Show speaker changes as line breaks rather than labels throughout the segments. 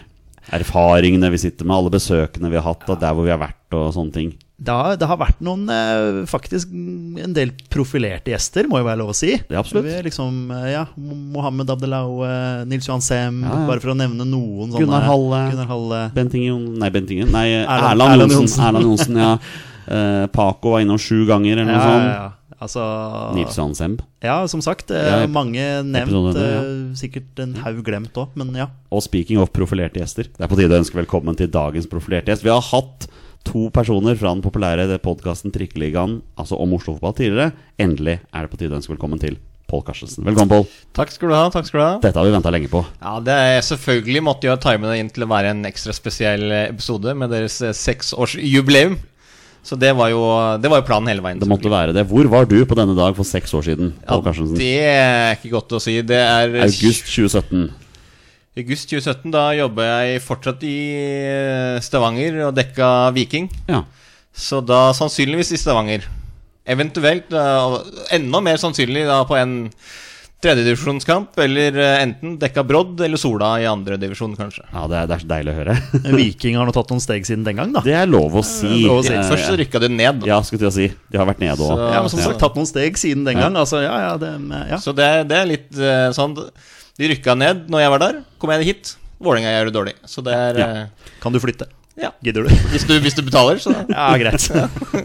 erfaringene vi sitter med, alle besøkene vi har hatt, og der hvor vi har vært og sånne ting.
Det har, det har vært noen eh, faktisk mm, en del profilerte gjester, må jo være lov å si.
Ja, absolutt.
Vi er liksom, eh, ja, Mohammed Abdelau, eh, Nils Johan Sem,
Ja, ja.
bare for å nevne noen sånne.
Gunnar Halle.
Gunnar Halle.
Bent Ingen Nei, Bent Ingen Nei, eh,
Erland-
Erland,
Erland
Johnsen.
Johnsen.
Erland Johnsen, ja. Eh, Paco var innom sju ganger, eller
Ja,
noe
ja,
sånt.
ja. Altså,
sånn. Nils Johan Semb.
ja, som sagt, eh,
Ja, ep-
mange
episoden heter
nevnt.
det, ja. Mm.
eh, Sikkert en haug glemt òg, men ja.
Og speaking of profilerte gjester, det er på tide å ønske velkommen til dagens profilerte gjest. Vi har hatt to personer fra den populære podkasten Trikkeligaen, altså om Oslo fotball tidligere. Endelig er det på tide å ønske velkommen til Pål Karstensen. Velkommen, Pål.
Takk skal du ha. takk skal du ha
Dette har vi venta lenge på.
Ja, det er Selvfølgelig måtte jeg time det inn til å være en ekstra spesiell episode med deres eh, seksårsjubileum. Så det var jo, det var jo planen hele veien.
Det måtte være det. Hvor var du på denne dag for seks år siden,
ja,
Pål Karstensen?
det er ikke godt å si. Det er
August 2017.
august 2017. Da jobba jeg fortsatt i eh, Stavanger og dekka Viking.
Ja.
Så da sannsynligvis i Stavanger. Eventuelt eh, enda mer sannsynlig da på en tredjedivisjonskamp, eller eh, enten dekka Brodd eller Sola i andredivisjon, kanskje.
ja det, er, det er så deilig å høre.
Viking har nå tatt noen steg siden den gang, da.
Det er lov å si.
lov å si.
Eh,
Først så rykka det ned. da.
Ja, skulle til å si. De har vært nede òg.
Så-
ja, men sånn- som
ja.
sagt, tatt noen steg siden den gang. Altså, ja, ja, det, ja.
Så det, det er litt eh, sånn De rykka ned når jeg var der. Kom jeg hit, Vålerenga gjør det dårlig. Så det er
Ja.
eh,
Kan du flytte?
Ja.
Gidder du?
Hvis, du, hvis du betaler, så
Ja, greit.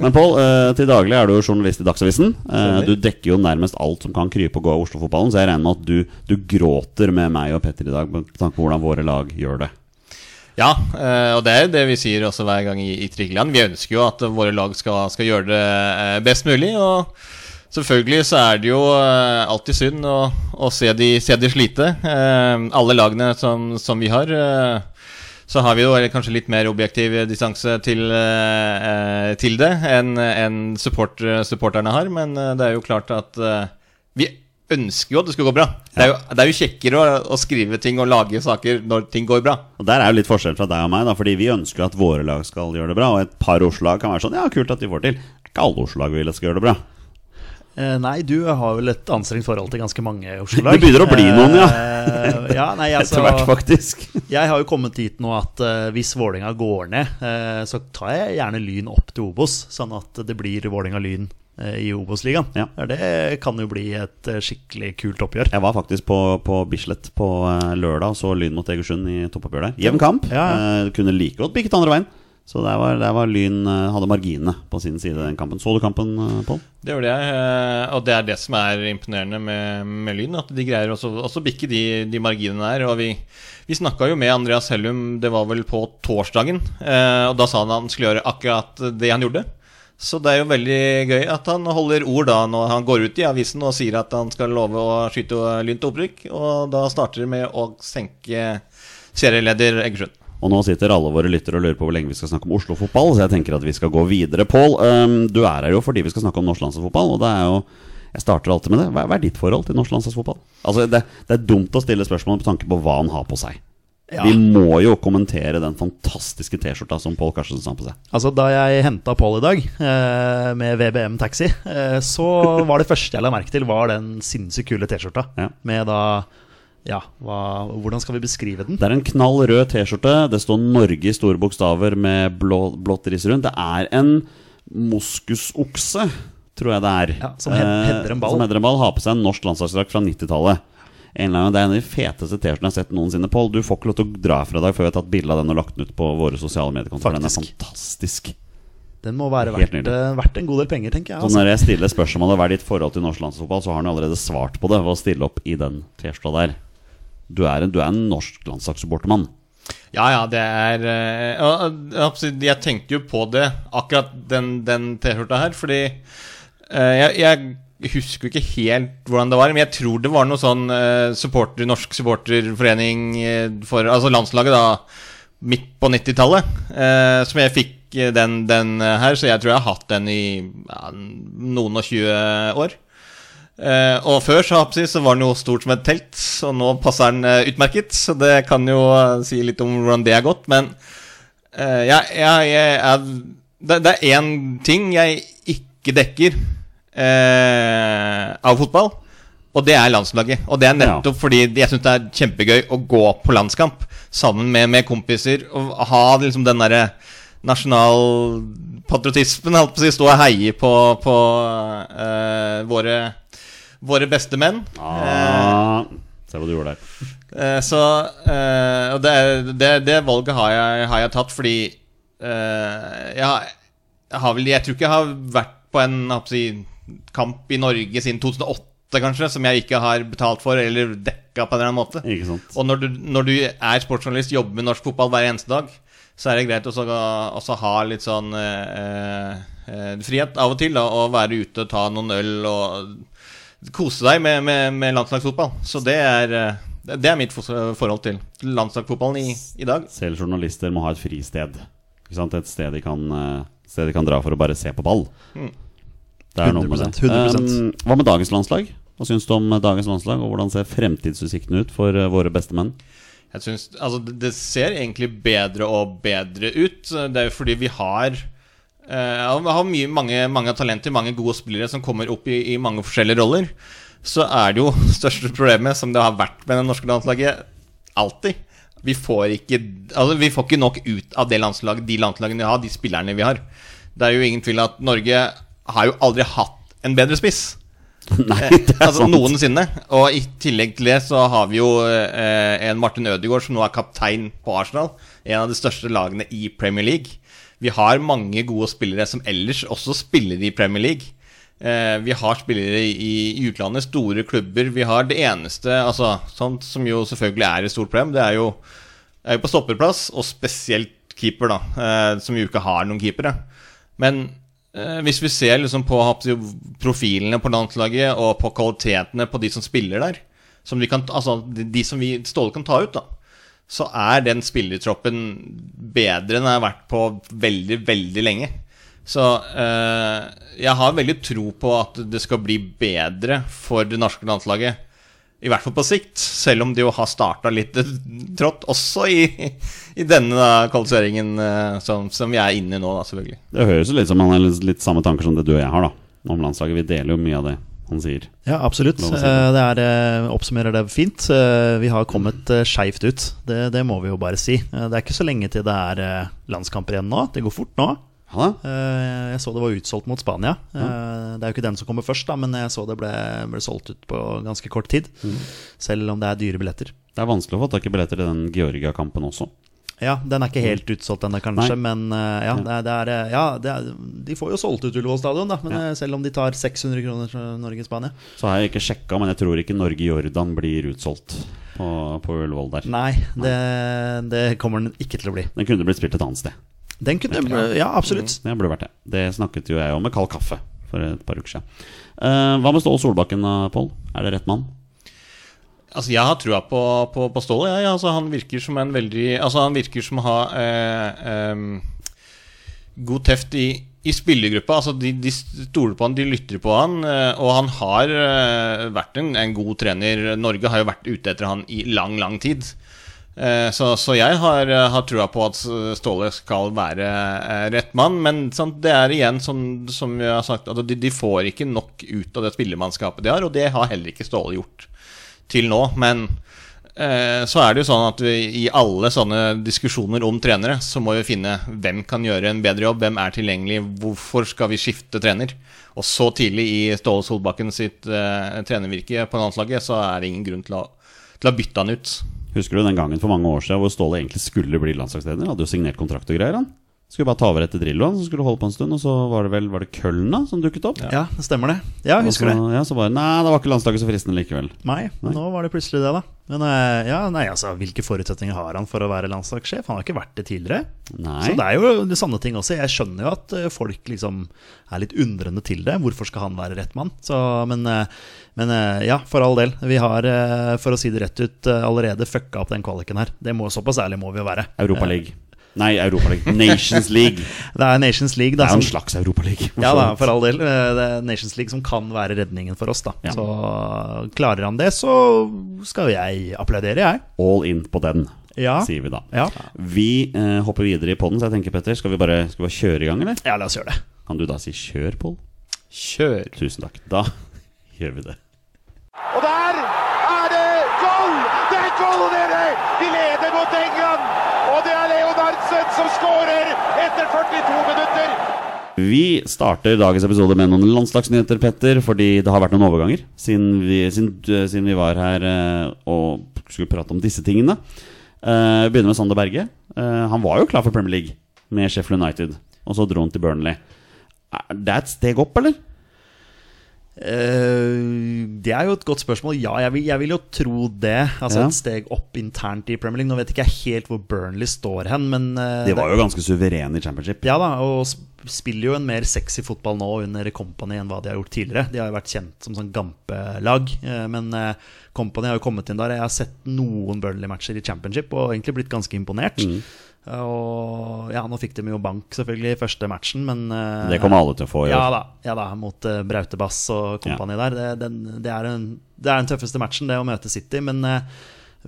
Men Pål, eh, til daglig er du jo journalist i Dagsavisen. Eh,
Stemmer.
Du dekker jo nærmest alt som kan krype og gå av Oslo-fotballen, så jeg regner med at du, du gråter med meg og Petter i dag med tanke på hvordan våre lag gjør det.
Ja, eh, og det er jo det vi sier også hver gang i, i Triggeland. Vi ønsker jo at eh, våre lag skal, skal gjøre det eh, best mulig. Og selvfølgelig så er det jo eh, alltid synd å, å se, de, se de slite. Eh, Alle lagene som, som vi har. eh, Så har vi jo kanskje litt mer objektiv distanse til, eh, eh, til det enn enn support, supporterne har, men eh, det er jo klart at eh, vi ønsker jo at det skal gå bra. Det er jo, det er jo kjekkere å, å skrive ting og lage saker når ting går bra.
Og Der er jo litt forskjell fra deg og meg, da, fordi vi ønsker at våre lag skal gjøre det bra. Og et par Oslo-lag kan være sånn Ja, kult at de får til. Det er ikke alle Oslo-lag vil at skal gjøre det bra.
Eh, Nei, du har vel et anstrengt forhold til ganske mange Oslo-lag.
Det begynner å bli noen, ja.
Eh, ja nei, altså,
Etter hvert, faktisk.
jeg har jo kommet dit nå at eh, hvis Vålinga går ned, eh, så tar jeg gjerne Lyn opp til Obos, sånn at det blir Vålinga-Lyn eh, i Obos-ligaen.
Ja.
Det kan jo bli et eh, skikkelig kult oppgjør.
Jeg var faktisk på, på Bislett på eh, lørdag og så Lyn mot Egersund i toppoppgjør der. Jevn kamp.
Ja,
Eh, kunne like godt bikket andre veien. Så der var, der var Lyn eh, hadde marginene på sin side i den kampen. Så du kampen, eh, Pål?
Det gjorde jeg, eh, og det er det som er imponerende med, med Lyn. At de greier også også å bikke de, de marginene der. Og vi, vi snakka jo med Andreas Hellum, det var vel på torsdagen. eh, Og da sa han han skulle gjøre akkurat det han gjorde. Så det er jo veldig gøy at han holder ord da når han går ut i avisen og sier at han skal love å skyte Lyn til opprykk. Og da starter det med å senke serieleder Egersund.
Og nå sitter alle våre lyttere og lurer på hvor lenge vi skal snakke om Oslo-fotball, så jeg tenker at vi skal gå videre. Pål, ehm, du er her jo fordi vi skal snakke om norsk landslagsfotball, og det er jo jeg starter alltid med det. Hva hva er ditt forhold til norsk landslagsfotball? Altså, det, det er dumt å stille spørsmål med tanke på hva han har på seg.
Ja.
Vi må jo kommentere den fantastiske T-skjorta som Pål Karstensen har på seg.
Altså, da jeg henta Pål i dag eh, med VBM Taxi, eh, så var det første jeg la merke til, var den sinnssykt kule T-skjorta.
Ja.
Med da Ja, hva, hvordan skal vi beskrive den?
Det er en knall rød T-skjorte. Det står Norge i store bokstaver med blå, blått riss rundt. Det er en moskusokse, tror jeg det er.
Ja, som he-
Eh,
header en ball.
Som header en ball. Har på seg en norsk landslagsdrakt fra 90-tallet. En eller annen- Det er en av de feteste T-skjortene jeg har sett noensinne. Pål, du får ikke lov til å dra herfra i dag før vi har tatt bilde av den og lagt den ut på våre sosiale mediekontoer. Den er
Faktisk.
fantastisk.
Den må være
Helt
verdt,
nydelig. Sånn
eh, verdt en god del penger, tenker jeg.
Så
Altså.
når jeg stiller spørsmålet hva er ditt forhold til norsk landslagsfotball, så har han jo allerede svart på det ved å stille opp i den T-skjorta der. Du er en, du er en norsk landslagssupportermann.
Ja, ja, det er eh, ja, ja, absolutt. Jeg tenkte jo på det, akkurat den, den T-skjorta her, fordi eh, jeg, jeg husker jo ikke helt hvordan det var, men jeg tror det var noe sånn eh, supporter, norsk supporterforening eh, for Altså landslaget, da, midt på 90-tallet, eh, som jeg fikk eh, den, den eh, her, så jeg tror jeg har hatt den i ja, noen og 20 år. Eh, og før så, hoppsi, så var den jo stort som et telt, og nå passer den eh, utmerket. Så det kan jo eh, si litt om hvordan det har gått, men eh, jeg, jeg, jeg er, det, det er én ting jeg ikke dekker eh, av fotball, og det er landslaget. Og det er nettopp fordi jeg syns det er kjempegøy å gå på landskamp sammen med, med kompiser og ha liksom den derre nasjonalpatriotismen, holdt på å si, stå og heie på, på eh, våre, våre beste menn.
Ah, se hva du gjorde der.
Eh, så eh, Og det, er- det, det valget har jeg, har jeg tatt fordi eh, jeg, har- jeg har vel Jeg tror ikke jeg har vært på en hva skal jeg si, kamp i Norge siden 2008, kanskje, som jeg ikke har betalt for eller dekka på en eller annen måte.
Ikke sant?
Og når du, når du er sportsjournalist, jobber med norsk fotball hver eneste dag, så er det greit også å også ha litt sånn eh, eh, frihet av og til, da, og være ute og ta noen øl og kose deg med, med, med landslagsfotball. Så det er, eh, det er mitt fos- forhold til landslagsfotballen i, i dag.
Selv journalister må ha et fristed. Ikke sant? Et sted de kan, eh, sted de kan dra for å bare se på ball. Det er noe med det.
100%,
Eh,
100%.
hva med dagens landslag? Hva syns du om dagens landslag, og hvordan ser fremtidsutsiktene ut for eh, våre beste menn?
Jeg synes, altså det- Det ser egentlig bedre og bedre ut. Det er jo fordi vi har eh, ja, Vi har mye, mange, mange talenter, mange gode spillere som kommer opp i, i mange forskjellige roller. Så er det jo største problemet, som det har vært med det norske landslaget, alltid Vi får ikke, altså vi får ikke nok ut av det landslaget, de landslagene vi har, de spillerne vi har. Det er jo ingen tvil at Norge har jo aldri hatt en bedre spiss.
Nei, det er
Altså
sant!
noensinne. Og i tillegg til det så har vi jo eh, en Martin Ødegaard som nå er kaptein på Arsenal. En av de største lagene i Premier League. Vi har mange gode spillere som ellers også spiller i Premier League. Eh, vi har spillere i, i utlandet, store klubber. Vi har det eneste altså, sånt som jo selvfølgelig er et stort problem, det er jo, er jo på stopperplass, og spesielt keeper, da, eh, som jo ikke har noen keepere. Men eh, hvis vi ser liksom på hva skal jeg si, profilene på landslaget og på kvalitetene på de som spiller der, som vi kan, ta- altså de, de som vi Ståle kan ta ut, da, så er den spillertroppen bedre enn den har vært på veldig, veldig lenge. Så eh, jeg har veldig tro på at det skal bli bedre for det norske landslaget. I hvert fall på sikt, selv om de jo har starta litt trått også i, i denne da, kvalifiseringen eh, som, som vi er inne i nå, da, selvfølgelig.
Det høres jo litt som han har litt, litt samme tanker som det du og jeg har, da. Om landslaget. Vi deler jo mye av det han sier.
Ja, absolutt.
Lov å si det.
Eh, Det er, eh, oppsummerer det fint. Eh, Vi har kommet eh, skeivt ut, det, det må vi jo bare si. Eh, Det er ikke så lenge til det er eh, landskamper igjen nå. Det går fort nå.
Ja, da.
Eh, Jeg så det var utsolgt mot Spania. Eh, Det er jo ikke den som kommer først, da, men jeg så det ble, ble solgt ut på ganske kort tid. Selv om det er dyre billetter.
Det er vanskelig å få tak i billetter til den Georgia-kampen også.
Ja, den er ikke helt utsolgt ennå, kanskje, men eh, Mm. ja, det er, det er, eh, ja det er, de får jo solgt ut Ullevål stadion, da. Men eh, selv om de tar 600 kroner fra Norge-Spania.
Så har jeg ikke sjekka, men jeg tror ikke Norge-Jordan blir utsolgt på, på Ullevål der.
Nei, det, det kommer den ikke til å bli.
Den kunne blitt spilt et annet sted.
Den kunne Ja, absolutt.
Det burde vært det. Det snakket jo jeg om med kald kaffe for et par uker siden. Eh, hva med Ståle Solbakken, da, Pål? Er det rett mann?
Altså, jeg har trua på, på, på Ståle. Jeg. Altså, han virker som en veldig Altså, han virker som å ha eh, em, god teft i, i spillergruppa. Altså, de, de stoler på han, de lytter på han, eh, og han har eh, vært en, en god trener. Norge har jo vært ute etter han i lang, lang tid. Eh, Så, så jeg har, eh, har trua på at Ståle skal være eh, rett mann, men sånn, det er igjen som, som vi har sagt, at de, de får ikke nok ut av det spillermannskapet de har, og det har heller ikke Ståle gjort til nå. Men eh, så er det jo sånn at vi, i alle sånne diskusjoner om trenere, så må vi finne hvem kan gjøre en bedre jobb, hvem er tilgjengelig, hvorfor skal vi skifte trener? Og så tidlig i Ståle Solbakken sitt eh, trenervirke på landslaget, så er det ingen grunn til å, til å bytte han ut.
Husker du den gangen for mange år siden hvor Ståle egentlig skulle bli landslagstrener? Hadde jo signert kontrakt og greier, han. Skulle bare ta over etter Drillo, han, som skulle holde på en stund. Og så var det vel var det Køln da, som dukket opp?
Ja, det stemmer det. Ja, jeg husker
og
det.
så, Ja, så bare Nei, det var ikke landslaget så fristende likevel.
Nei,
Nei.
nå var det plutselig det, da. Men eh, ja, nei, altså, hvilke forutsetninger har han for å være landslagssjef? Han har ikke vært det tidligere.
Nei.
Så det er jo de sanne ting også. Jeg skjønner jo at eh, folk liksom er litt undrende til det. Hvorfor skal han være rett mann? Så, men, eh, men eh, ja, for all del. Vi har, eh, for å si det rett ut, eh, allerede fucka opp den kvaliken her. Det må Såpass ærlig må vi jo være. Eh,
Europa League. Nei, Europa League. Nations League.
Det er Nations League,
Det
da.
er jo en
som-
slags Europa League.
Ja da, for all del. Eh, Det er Nations League som kan være redningen for oss, da.
Ja.
Så klarer han det, så skal jo jeg applaudere, jeg.
All in på den,
Ja.
sier vi da.
Ja.
Vi eh, hopper videre i podden, så jeg tenker, Petter, skal vi bare, skal vi bare kjøre i gang, eller?
ja, la oss gjøre det.
Kan du da si 'kjør', Pål?
Kjør.
Tusen takk. Da gjør vi det.
Og der er det goal! Det er goal, dere! De leder mot England. Og det er Leo Narnsen som skårer etter 42 minutter.
Vi starter dagens episode med noen landslagsnyheter, Petter, fordi det har vært noen overganger siden vi, siden, eh, siden vi var her eh, og skulle prate om disse tingene. Eh, Vi begynner med Sander Berge. Eh, Han var jo klar for Premier League med Sheffield United, og så dro han til Burnley. Er det et steg opp, eller?
Eh, det er jo et godt spørsmål. Ja, jeg vil, jeg vil jo tro det. Altså
Ja.
Et steg opp internt i Premier League. Nå vet ikke jeg helt hvor Burnley står hen, men eh,
De var jo ganske suverene i Championship.
Ja da, og sp- spiller jo en mer sexy fotball nå under Company enn hva de har gjort tidligere. De har jo vært kjent som sånn gampelag, eh, men eh, Company har jo kommet inn der. Jeg har sett noen Burnley-matcher i Championship og egentlig blitt ganske imponert.
Mm.
Og ja, nå fikk de jo bank selvfølgelig i første matchen, men eh,
Det kommer alle til å få i
ja
år.
da, ja da, mot eh, Brautebass og kompani der. Det, den, det, er en, det er den tøffeste matchen, det å møte City. Men, eh,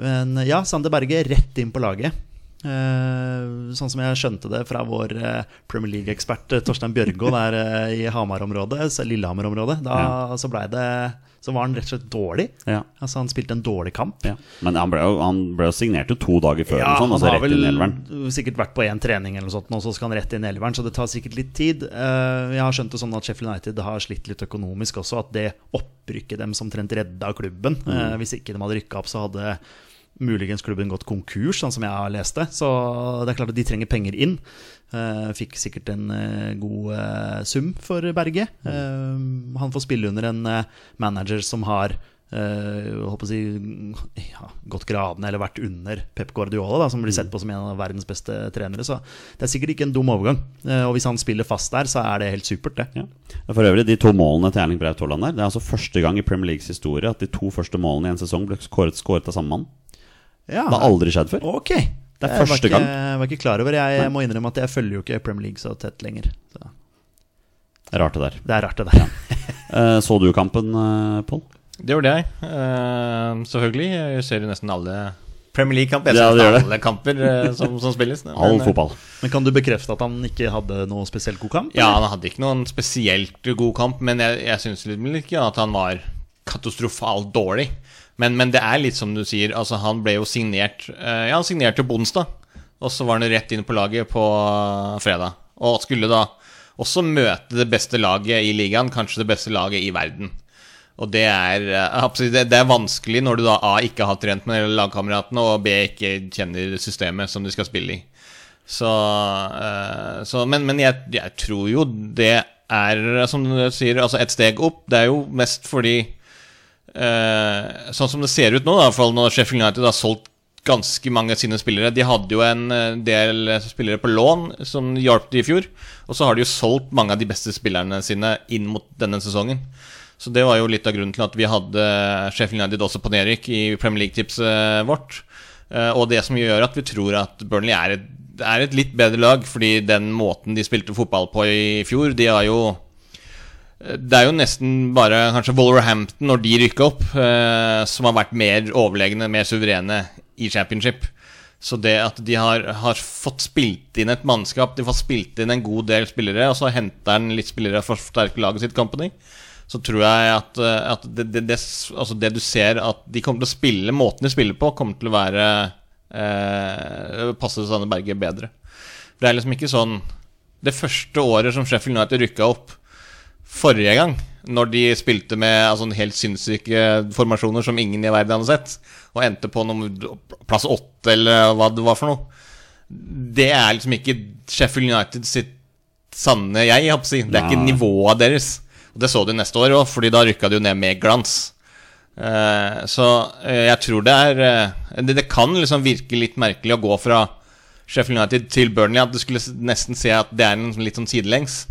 men ja, Sander Berge rett inn på laget. Eh, sånn som jeg skjønte det fra vår eh, Premier League-ekspert eh, Torstein Bjørgo der eh, i Hamar-området, så- Lillehammer-området, da så blei det Så var han rett og slett dårlig.
Ja.
Altså, han spilte en dårlig kamp.
Ja. Men han ble, jo, han ble jo signert jo to dager før,
Ja,
og sånn,
han
altså
har
rett inn i elveren.
vel sikkert vært på én trening, eller noe sånt, nå, så skal han rett inn i elveren. Så det tar sikkert litt tid. Eh, Jeg har skjønt det sånn at Sheffield United har slitt litt økonomisk også. At det opprykket dem som omtrent redda klubben.
Mm.
Eh, Hvis ikke de hadde rykka opp, så hadde muligens klubben gått konkurs, sånn som jeg har lest det. Så det er klart at de trenger penger inn. Eh, Fikk sikkert en eh, god eh, sum for Berge.
Mm.
Eh, Han får spille under en eh, manager som har eh, holdt på å si, ja, gått gradene eller vært under Pep Guardiola, da, som blir
Mm.
sett på som en av verdens beste trenere. Så det er sikkert ikke en dum overgang. Eh, og hvis han spiller fast der, så er det helt supert, det.
Ja. For øvrig, de to målene til Erling Braut Haaland der, det er altså første gang i Premier Leagues historie at de to første målene i en sesong ble skåret, skåret av samme mann.
Ja,
Det har aldri skjedd før.
Ok.
Det er
Jeg
første
var ikke,
gang.
Jeg var ikke klar over Jeg, jeg må innrømme at jeg følger jo ikke Premier League så tett lenger. Så
Det er rart det der.
det er rart, det der.
Eh, så du kampen, uh, Pål?
Det gjorde jeg, eh, selvfølgelig. Jeg ser jo nesten alle Premier League-kamp. Jeg
Ja,
synes
det gjør det.
alle kamper eh, som, som spilles. men,
All
eh,
fotball.
Men kan du bekrefte at han ikke hadde noe spesielt god kamp?
Ja, han hadde ikke noen spesielt god kamp, men jeg, jeg syns ikke at han var katastrofalt dårlig. Men, men det er litt som du sier, altså han ble jo signert eh, Ja, han signerte på onsdag, og så var han rett inn på laget på eh, fredag. Og skulle da også møte det beste laget i ligaen, kanskje det beste laget i verden. Og det er, eh, absolutt- det det er vanskelig når du da A ikke har trent med lagkameratene, og B ikke kjenner systemet som de skal spille i. Så, eh, så Men, men jeg, jeg tror jo det er, som du sier, altså et steg opp. Det er jo mest fordi eh, Sånn som det ser ut nå, da, i hvert fall når Sheffield United har solgt ganske mange av sine spillere De hadde jo en eh, del spillere på lån som hjalp de i fjor. Og så har de jo solgt mange av de beste spillerne sine inn mot denne sesongen. Så det var jo litt av grunnen til at vi hadde Sheffield United også på nedrykk i Premier League-tipset vårt. Eh, Og det som gjør at vi tror at Burnley er et, er et litt bedre lag, fordi den måten de spilte fotball på i fjor, de har jo det er jo nesten bare kanskje Wolverhampton, når de rykker opp, eh, som har vært mer overlegne, mer suverene i championship. Så det at de har, har fått spilt inn et mannskap, de har fått spilt inn en god del spillere, og så henter han litt spillere for å forsterke laget sitt, Company, så tror jeg at, eh, at det, det, det, s- altså det du ser at de kommer til å spille, måten de spiller på, kommer til å være eh, passe Sanne Berge bedre. For det er liksom ikke sånn Det første året som Sheffield United rykka opp, forrige gang, når de spilte med altså, helt sinnssyke formasjoner som ingen i verden hadde sett, og endte på noe, plass åtte, eller hva det var for noe Det er liksom ikke Sheffield United sitt sanne jeg, jeg håper å si. Det er ikke
Nei.
nivået deres. Og det så du neste år òg, Fordi da rykka de jo ned med glans. Eh, så eh, jeg tror det er eh, det, det kan liksom virke litt merkelig å gå fra Sheffield United til Burnley. At du skulle s- nesten se at det er en sånn litt sånn sidelengs.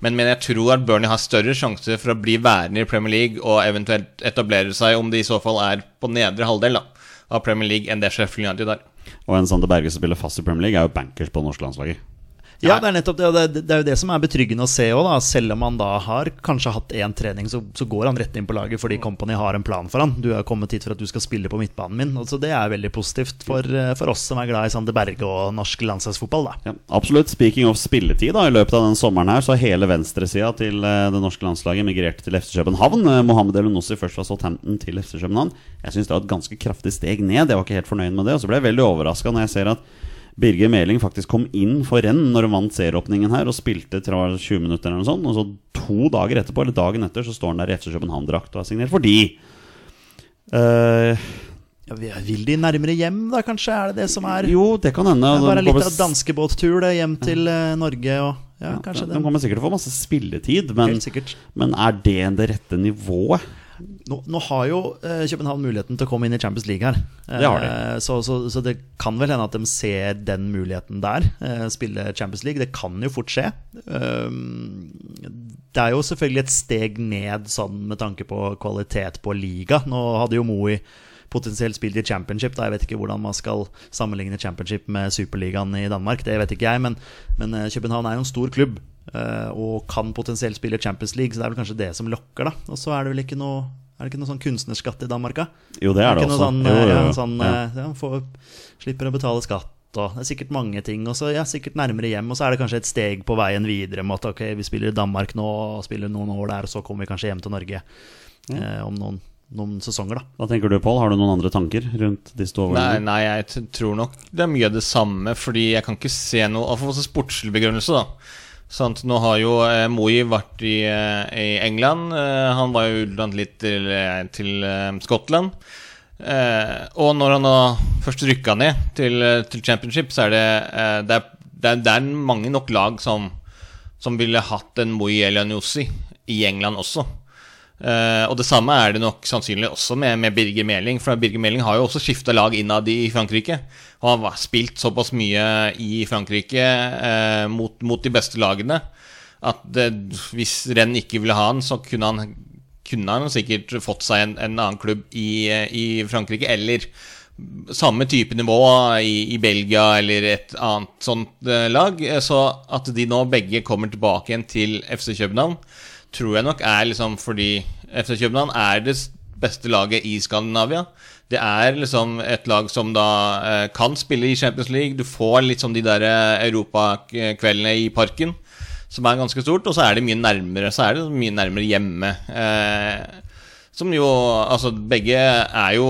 Men, men jeg tror at Burnley har større sjanse for å bli værende i Premier League og eventuelt etablere seg, om de i så fall er på nedre halvdel da, av Premier League, enn det Sheffield United er.
Og en Sander Berge som spiller fast i Premier League, er jo bankers på norske landslaget.
Ja, det er nettopp det. Og det, det er jo det som er betryggende å se òg, da. Selv om han da har kanskje hatt én trening, så, så går han rett inn på laget fordi Company har en plan for han. Du er kommet hit for at du skal spille på midtbanen min. Og så det er veldig positivt for, eh, for oss som er glad i Sander Berge og norsk landslagsfotball, da.
Ja, absolutt. Speaking of spilletid, da, i løpet av den sommeren her så har hele venstresida til eh, det norske landslaget migrert til FC København. Eh, Mohamed Elunussi først fra Southampton til FC København. Jeg syns det var et ganske kraftig steg ned. Jeg var ikke helt fornøyd med det. Og så ble jeg veldig overraska når jeg ser at Birger Meling faktisk kom inn for renn når hun vant serieåpningen her og spilte tror jeg det var 20 minutter eller noe sånt. Og så to dager etterpå, eller dagen etter, så står han der i FC København-drakt og er signert fordi eh,
Ja, vi- vil de nærmere hjem, da kanskje? Er det det som er
Jo, det kan hende. og
Det er bare
de kommer
litt av danskebåttur, det. Hjem til eh, Norge og Ja, kanskje
de
det.
kommer sikkert til å få masse spilletid, men,
Helt sikkert.
men er det det rette nivået?
Nå, nå har jo eh, København muligheten til å komme inn i Champions League her.
Det har de.
Eh, så, så, så det kan vel hende at de ser den muligheten der. eh, spille Champions League. Det kan jo fort skje. Um, det er jo selvfølgelig et steg ned sånn med tanke på kvalitet på liga. Nå hadde jo Moe potensielt spilt i championship. Da. Jeg vet ikke hvordan man skal sammenligne championship med superligaen i Danmark. Det vet ikke jeg, men, men eh, København er jo en stor klubb. eh, Og kan potensielt spille Champions League, så det er vel kanskje det som lokker, da. Og så er det vel ikke noe Er det ikke noe sånn kunstnerskatt i Danmark, da?
Jo, det er det
ikke
også.
Noe sånn,
Jo, jo, jo.
Ja, sånn,
Ja.
eh, ja, får, slipper å betale skatt. Og det er sikkert mange ting. Og så ja, sikkert nærmere hjem. Og så er det kanskje et steg på veien videre med at ok, vi spiller i Danmark nå, og spiller noen år der, og så kommer vi kanskje hjem til Norge eh, om noen, noen sesonger, da.
Hva tenker du, Pål? Har du noen andre tanker rundt disse to
Nei,
overgangene?
nei, jeg t tror nok det er mye av det samme, fordi jeg kan ikke se noe altså, Av også sportslig begrunnelse, da. Sant? Nå har jo eh, Moi vært i, eh, i England. Eh, han var jo utlånt litt til, eh, til eh, Skottland. Eh, og når han da først rykka ned til, eh, til championship, så er det, eh, det, er, det, er, det er mange nok lag som, som ville hatt en Moi eller en Jossi i England også. Eh, og det samme er det nok sannsynlig også med, med Birger Meling. For Birger Meling har jo også skifta lag innad i Frankrike. Og har va- spilt såpass mye i Frankrike eh, mot, mot de beste lagene at det, hvis Renn ikke ville ha han, så kunne han, kunne han sikkert fått seg en, en annen klubb i, eh, i Frankrike. Eller samme type nivå i, i Belgia eller et annet sånt eh, lag. eh, Så at de nå begge kommer tilbake igjen til FC København, tror jeg nok er liksom fordi FC København er det s- beste laget i Skandinavia. Det er liksom et lag som da eh, kan spille i Champions League. Du får litt sånn de der eh, europakveldene i parken, som er ganske stort. Og så er det mye nærmere, så er det mye nærmere hjemme. Eh, som jo Altså, begge er jo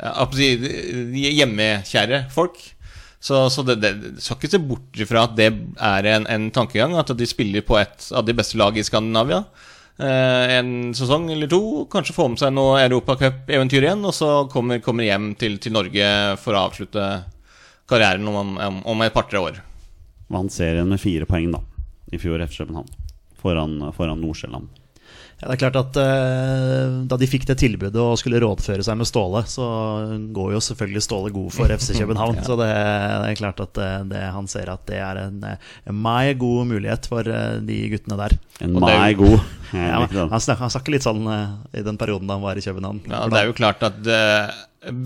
eh, hva skal jeg si, De er hjemmekjære folk. Så, så det, det du skal ikke se bort ifra at det er en, en tankegang, at de spiller på et av de beste lagene i Skandinavia. Eh, en sesong eller to, kanskje få med seg noe Europacup-eventyr igjen, og så kommer, kommer hjem til, til Norge for å avslutte karrieren om, om, om et par-tre år.
Vant serien med fire poeng, da. I fjor FC København. Foran, foran Nordsjælland.
Ja, det er klart at eh, Da de fikk det tilbudet og skulle rådføre seg med Ståle, så går jo selvfølgelig Ståle god for FC København. Så det, det er klart at eh, det, han ser at det er en, eh, en meg god mulighet for eh, de guttene der.
En
Og det er
mai
jo-
god. eh, Jeg
Ja,
liker
men
den.
han, snak, han snakket litt sånn eh, i den perioden da han var i København.
Ja, det er jo klart at eh,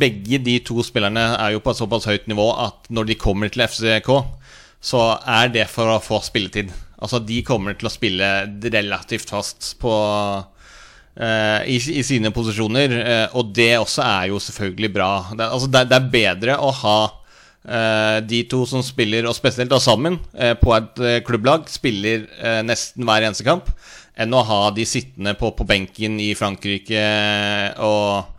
begge de to spillerne er jo på et såpass høyt nivå at når de kommer til FCK, så er det for å få spilletid. Altså, de kommer til å spille relativt fast på eh, i, I sine posisjoner, eh, og det også er jo selvfølgelig bra. Det, altså, det, det er bedre å ha eh, de to som spiller, og spesielt da sammen, eh, på et eh, klubblag, spiller eh, nesten hver eneste kamp, enn å ha de sittende på, på benken i Frankrike eh, og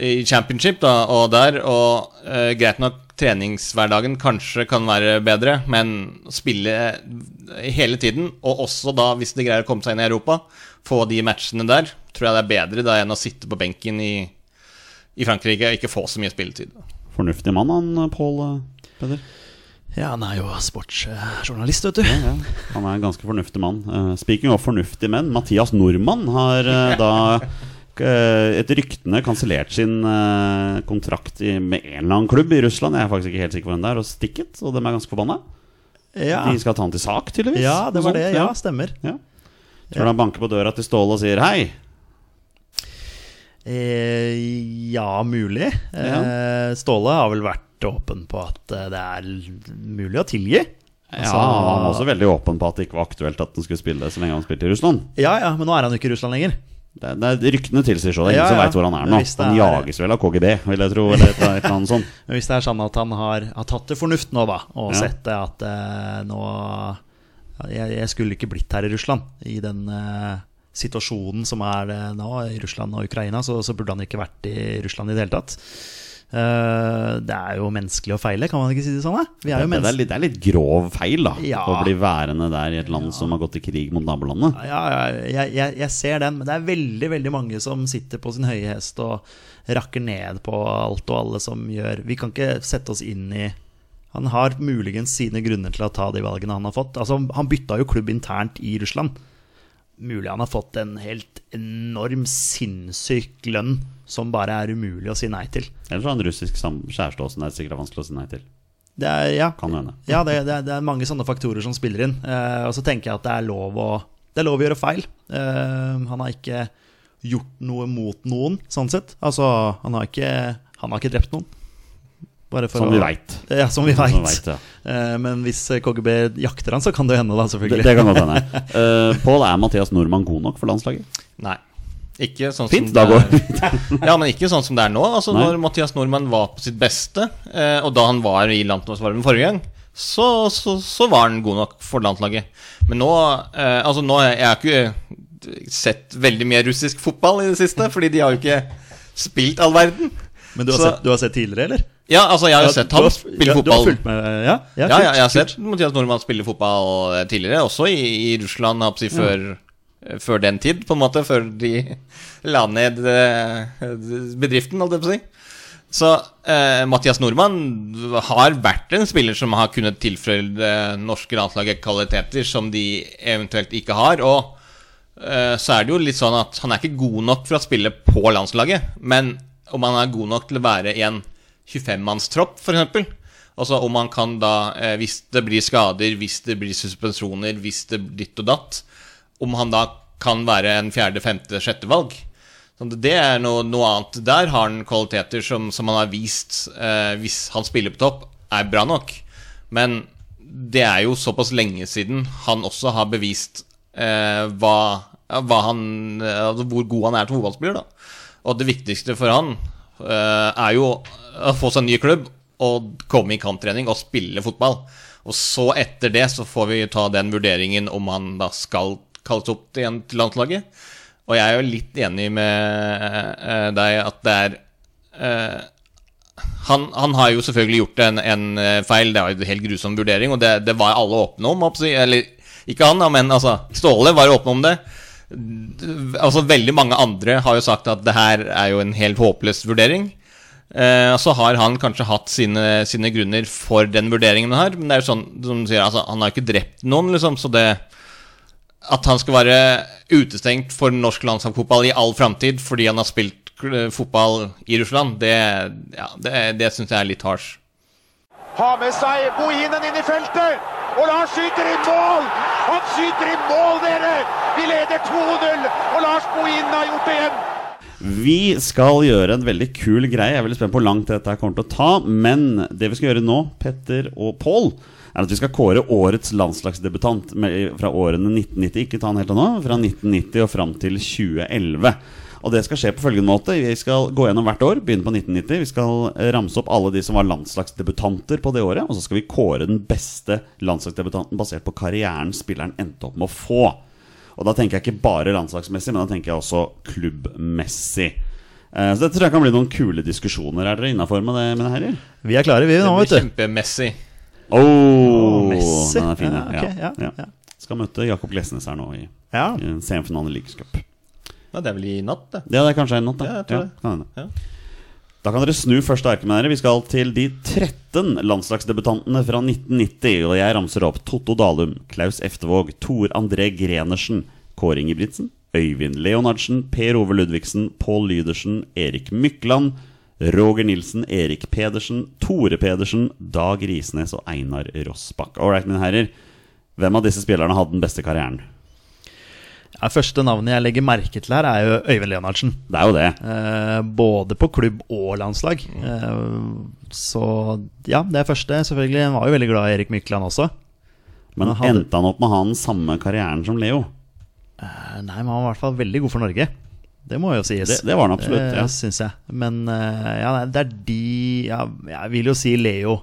i championship da, og der. Og eh, greit nok, treningshverdagen kanskje kan være bedre, men spille eh, hele tiden, og også da, hvis de greier å komme seg inn i Europa, få de matchene der, tror jeg det er bedre da enn å sitte på benken i, i Frankrike og ikke få så mye spilletid.
Fornuftig mann, han Pål eh, Peder.
Ja, han er jo sportsjournalist, vet du.
Ja, han er en ganske fornuftig mann. Eh, speaking of fornuftige menn, Mathias Nordmann har eh, da eh, etter ryktene kansellert sin eh, kontrakt i, med en eller annen klubb i Russland. Jeg er faktisk ikke helt sikker på hvem det er, og stikket. Og dem er ganske forbanna.
Ja,
De skal ta han til sak, tydeligvis.
ja det
Noe
var
sånt,
det. Ja, stemmer.
ja. Tror du han banker på døra til Ståle og sier hei?
Eh, ja, mulig. Eh, Ståle har vel vært åpen på at eh, det er l- mulig å tilgi. Altså,
Ja, han var også veldig åpen på at det ikke var aktuelt at han skulle spille så lenge han spilte i Russland.
Ja, ja, men nå er han jo ikke i Russland lenger.
Det, det, ryktene tilsier så. Det er ingen
Ja,
som
ja.
veit hvor han er nå.
Hvis det
Han
er-
jages vel av KGB, vil jeg tro. Eller et, et eller annet sånt.
Men hvis det er sånn at han har, har tatt til fornuft nå, da, og
Ja.
sett det at eh, nå ja, jeg, jeg skulle ikke blitt her i Russland. I den eh, situasjonen som er eh, nå, i Russland og Ukraina, så, så burde han ikke vært i Russland i det hele tatt. Eh, det er jo menneskelig å feile, kan man ikke si det sånn? Da? Vi er
det,
jo
er
mennesker.
litt, det er litt grov feil, da.
Ja.
Å bli værende der i et land som har gått til krig mot nabolandet.
Ja, ja, jeg, jeg, jeg ser den, men det er veldig veldig mange som sitter på sin høye hest og rakker ned på alt og alle som gjør Vi kan ikke sette oss inn i Han har muligens sine grunner til å ta de valgene han har fått. Altså, han bytta jo klubb internt i Russland. Mulig han har fått en helt enorm, sinnssyk lønn som bare er umulig å si nei til.
Ellers har han russisk sam- kjæreste også, som det er sikkert vanskelig å si nei til.
Det er, ja,
Kan hende.
ja, det, det, er, det er mange sånne faktorer som spiller inn. Eh, og så tenker jeg at det er lov å, det er lov å gjøre feil. Eh, han har ikke gjort noe mot noen, sånn sett. Altså, han har ikke, han har ikke drept noen. Bare for
Som
å-
vi veit.
Ja, som vi
Som vi vet,
veit.
ja.
Eh, men hvis KGB jakter han, så kan det jo hende, da,
Det,
selvfølgelig.
det kan godt hende. Uh, Pål, er Mathias Nordmann god nok for landslaget?
Nei. Ikke sånn
Fint,
som
da
det
går vi
er- Ja, men ikke sånn som det er nå. Altså,
Nei.
når Mathias Nordmann var på sitt beste, eh, og da han var i landslagsvarmen forrige gang, så, så, så var han god nok for landslaget. Men nå eh, Altså, nå har jeg har ikke eh, sett veldig mye russisk fotball i det siste, fordi de har jo ikke spilt all verden.
Men du har,
Så-
sett, du har sett tidligere, eller?
Ja, altså, jeg har jo
Ja,
sett
du
ham
har-
spille
ja, Du har
fotball.
fulgt med, eh, ja? ja,
Ja,
kult,
ja, jeg har
kult.
sett Mathias Nordmann spille fotball eh, tidligere, også i, i Russland, jeg holdt på å si, før, eh, før den tid, på en måte. Før de la ned eh, bedriften, holdt jeg på å si. Så eh, Mathias Nordmann har vært en spiller som har kunnet tilføre det norske landslaget kvaliteter som de eventuelt ikke har. Og eh, så er det jo litt sånn at han er ikke god nok for å spille på landslaget. Men om han er god nok til å være i en 25-mannstropp, f.eks. Altså om han kan da, eh, hvis det blir skader, hvis det blir suspensjoner, hvis det blir ditt og datt Om han da kan være en fjerde, femte, sjette valg. Sånn, det er noe, noe annet. Der har han kvaliteter som, som han har vist, eh, hvis han spiller på topp, er bra nok. Men det er jo såpass lenge siden han også har bevist eh, hva ja, hva han, eh, altså hvor god han er til fotballspiller. da. Og det viktigste for han eh, er jo å få seg en ny klubb og komme i kamptrening og spille fotball. Og så etter det så får vi ta den vurderingen om han da skal kalles opp til igjen til landslaget. Og jeg er jo litt enig med eh, deg at det er eh, han, han har jo selvfølgelig gjort en, en eh, feil, det var jo en helt grusom vurdering, og det, det var alle åpne om. håper jeg å si. Eller ikke han, da, men altså, Ståle var åpne om det. D- Altså, Veldig mange andre har jo sagt at det her er jo en helt håpløs vurdering. Eh, så har han kanskje hatt sine, sine grunner for den vurderingen han har, men det er jo sånn, som du sier, altså, han har jo ikke drept noen, liksom, så det at han skal være utestengt for norsk landslagsfotball i all framtid fordi han har spilt kl- fotball i Russland, det, ja, det, det syns jeg er litt harsh.
Har med seg Bohinen inn i feltet. Og Lars skyter i mål! Han skyter i mål, dere! Vi leder 2-0, og Lars Bohinen har gjort det igjen.
Vi skal gjøre en veldig kul greie. Jeg er veldig spent på hvor langt dette her kommer til å ta. Men det vi skal gjøre nå, Petter og Pål, er at vi skal kåre årets landslagsdebutant med- fra årene 1990 Ikke ta den helt av nå. Fra 1990 og fram til 2011. Og det skal skje på følgende måte. Vi skal gå gjennom hvert år, begynne på 1990. Vi skal eh, ramse opp alle de som var landslagsdebutanter på det året. Og så skal vi kåre den beste landslagsdebutanten basert på karrieren spilleren endte opp med å få. Og da tenker jeg ikke bare landslagsmessig, men da tenker jeg også klubbmessig. Eh, Så dette tror jeg kan bli noen kule diskusjoner. Er dere innafor med det, mine herrer?
Vi er klare, vi
Det
nå,
blir
vet du.
kjempemessig.
Oh,
Messi.
Den er fin, ja.
Ja, ok, ja, ja.
Skal møte Jakob Glesnes her nå i,
Ja.
i en semifinale i Leagues Cup.
Ja, det er vel i natt, det.
Ja, det er kanskje en natt,
Ja,
da.
jeg tror det.
kan hende.
Ja.
Da kan dere snu første arket med dere. Vi skal til de 13 landslagsdebutantene fra 1990. Og jeg ramser opp Totto Dalum, Klaus Eftevåg, Tor André Grenersen, Kåre Ingebrigtsen, Øyvind Leonardsen, Per Ove Ludvigsen, Pål Lydersen, Erik Mykland, Roger Nilsen, Erik Pedersen, Tore Pedersen, Dag Risnes og Einar Rossbakk. All right, mine herrer. Hvem av disse spillerne hadde den beste karrieren?
Ja, første navnet jeg legger merke til her, er jo Øyvind Leonardsen.
Det er jo det.
Eh, både på klubb og landslag.
Mm.
Eh, så ja, det er første. Selvfølgelig Han var jo veldig glad i Erik Mykland også.
Men
Men hadde-
endte han opp med å ha den samme karrieren som Leo?
Eh, nei, men han var i hvert fall veldig god for Norge. Det må jo sies.
Det, det var han absolutt.
Eh,
ja
syns jeg. Men eh, ja, nei, det er de ja, Jeg vil jo si Leo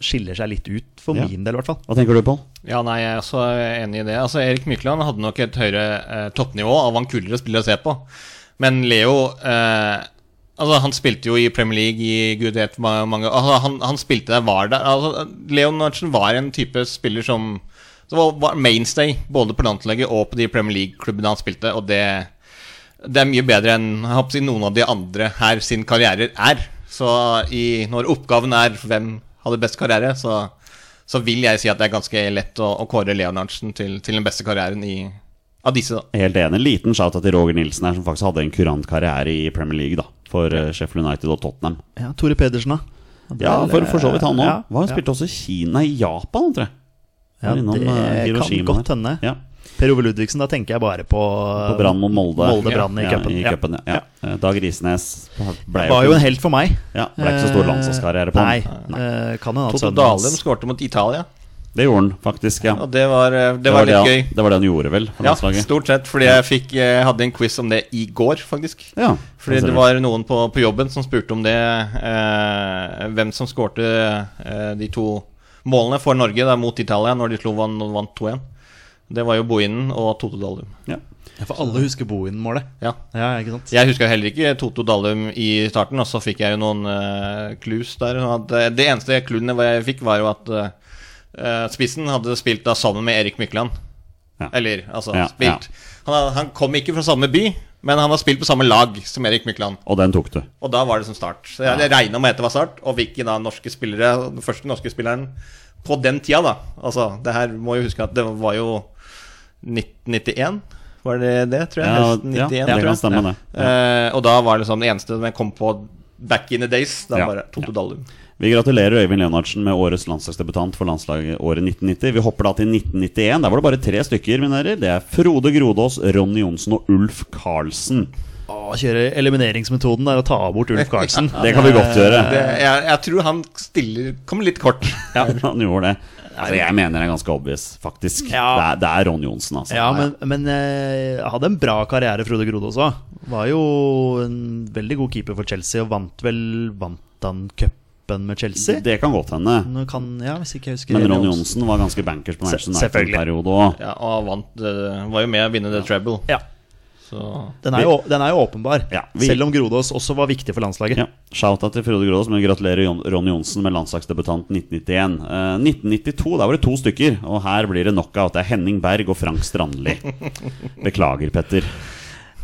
skiller seg litt ut, for
Ja.
min del i hvert fall.
Hva tenker du, Pål?
Ja, nei, jeg er også enig i det. Altså, Erik Mykland hadde nok et høyere eh, toppnivå av han kulere spiller å se på. Men Leo eh, Altså, han spilte jo i Premier League i gud vet hvor mange- mange altså, han, han spilte der, var der. Altså, Leonardsen var en type spiller som som var, var mainstay både på landslaget og på de Premier League-klubbene han spilte, og det det er mye bedre enn jeg håper å si, noen av de andre her sin karrierer er. Så i, når oppgaven er hvem hadde best karriere, så, så vil jeg si at det er ganske lett å, å kåre Leonardsen til, til den beste karrieren i, av disse. da.
Helt enig. Liten shout til Roger Nilsen her, som faktisk hadde en kurant karriere i Premier League da for eh, Sheffield United og Tottenham.
Ja, Tore Pedersen, da? Han
Ja,
ble-
for, for så vidt han
ja,
òg. Han
ja.
spilte også i Kina, i Japan, tror jeg.
Ja,
Var innom,
det
eh,
kan
Hiroshima
godt
her.
hende.
Ja.
Per Ove Ludvigsen, da tenker jeg bare på,
På Brann mot Molde.
Molde Brann i
ja,
cupen.
I
Ja.
cupen, ja. Ja. Eh, Dag Risnes ble
Var jo en helt for meg.
Ja, ble ikke så stor landslagskarriere på
Eh, Nei,
han.
eh, kan hende at
Toto
sønnen
Dalum
hans
skårte mot Italia,
Det gjorde han faktisk, ja.
og det var, eh, det var
det,
litt
han,
gøy.
det var det han gjorde, vel, for
Ja,
landslaget.
stort sett, fordi jeg fikk, eh, hadde en quiz om det i går, faktisk.
Ja,
Fordi
ser
det
du.
var noen på, på jobben som spurte om det eh, Hvem som skårte eh, de to målene for Norge da, mot Italia når de slo van, vant 2-1. Det var jo Bohinen og Toto Dallum.
ja.
Ja, For alle husker Bohin-målet.
Ja.
Ja, ikke sant?
Jeg huska heller ikke Toto Dallum i starten, og så fikk jeg jo noen eh, clues der. sånn At, eh, det eneste clouene jeg fikk, var jo at eh, spissen hadde spilt da sammen med Erik Mykland.
Ja.
Eller, altså,
Ja,
spilt. Han, har- han kom ikke fra samme by, men han har spilt på samme lag som Erik Mykland.
Og den tok du.
Og da var det som start. Så jeg, jeg regna med at det var start, og fikk da norske spillere, den første norske spilleren på den tida, da. Altså, det her må jo huske at det var jo 1991. Var det det, tror jeg?
Ja,
Høsten
ja,
91,
det
tror jeg.
kan stemme, det.
Eh, og da var det sånn det eneste som jeg kom på back in the days, da
Ja,
bare Toto
ja.
Dallum.
Vi gratulerer Øyvind Leonardsen med årets landslagsdebutant for landslaget året 1990. Vi hopper da til 1991. Der var det bare tre stykker, mine herrer. Det er Frode Grodås, Ronny Johnsen og Ulf Karlsen.
å kjøre elimineringsmetoden er å ta bort Ulf Eh, Carlsen.
Det kan vi godt gjøre.
Det, jeg, jeg tror han stiller Kommer litt kort.
Han gjorde det. Altså, jeg mener det er ganske obvious, faktisk. Det,
Ja.
er, det er Ron Johnsen, altså.
Ja, men, men eh, hadde en bra karriere, Frode Grode også. Var jo en veldig god keeper for Chelsea, og vant vel Vant han cupen med Chelsea?
Det kan godt hende.
Nå kan, ja, hvis ikke jeg husker
Men
helt
Ron
godt.
Johnsen var ganske bankers på Manchester
Se- selvfølgelig.
United-periode òg.
Ja, og han vant, eh, var jo med å vinne The Treble.
Ja,
Så
den er jo, den er jo åpenbar.
Ja, vi-
Selv om Grodås også var viktig for landslaget.
Ja. Shout-out til Frode Grås, men gratulerer Jon- Ron Johnsen med landslagsdebutant 1991. Eh, 1992, der var det to stykker, og her blir det knockout. Det er Henning Berg og Frank Strandli. Beklager, Petter.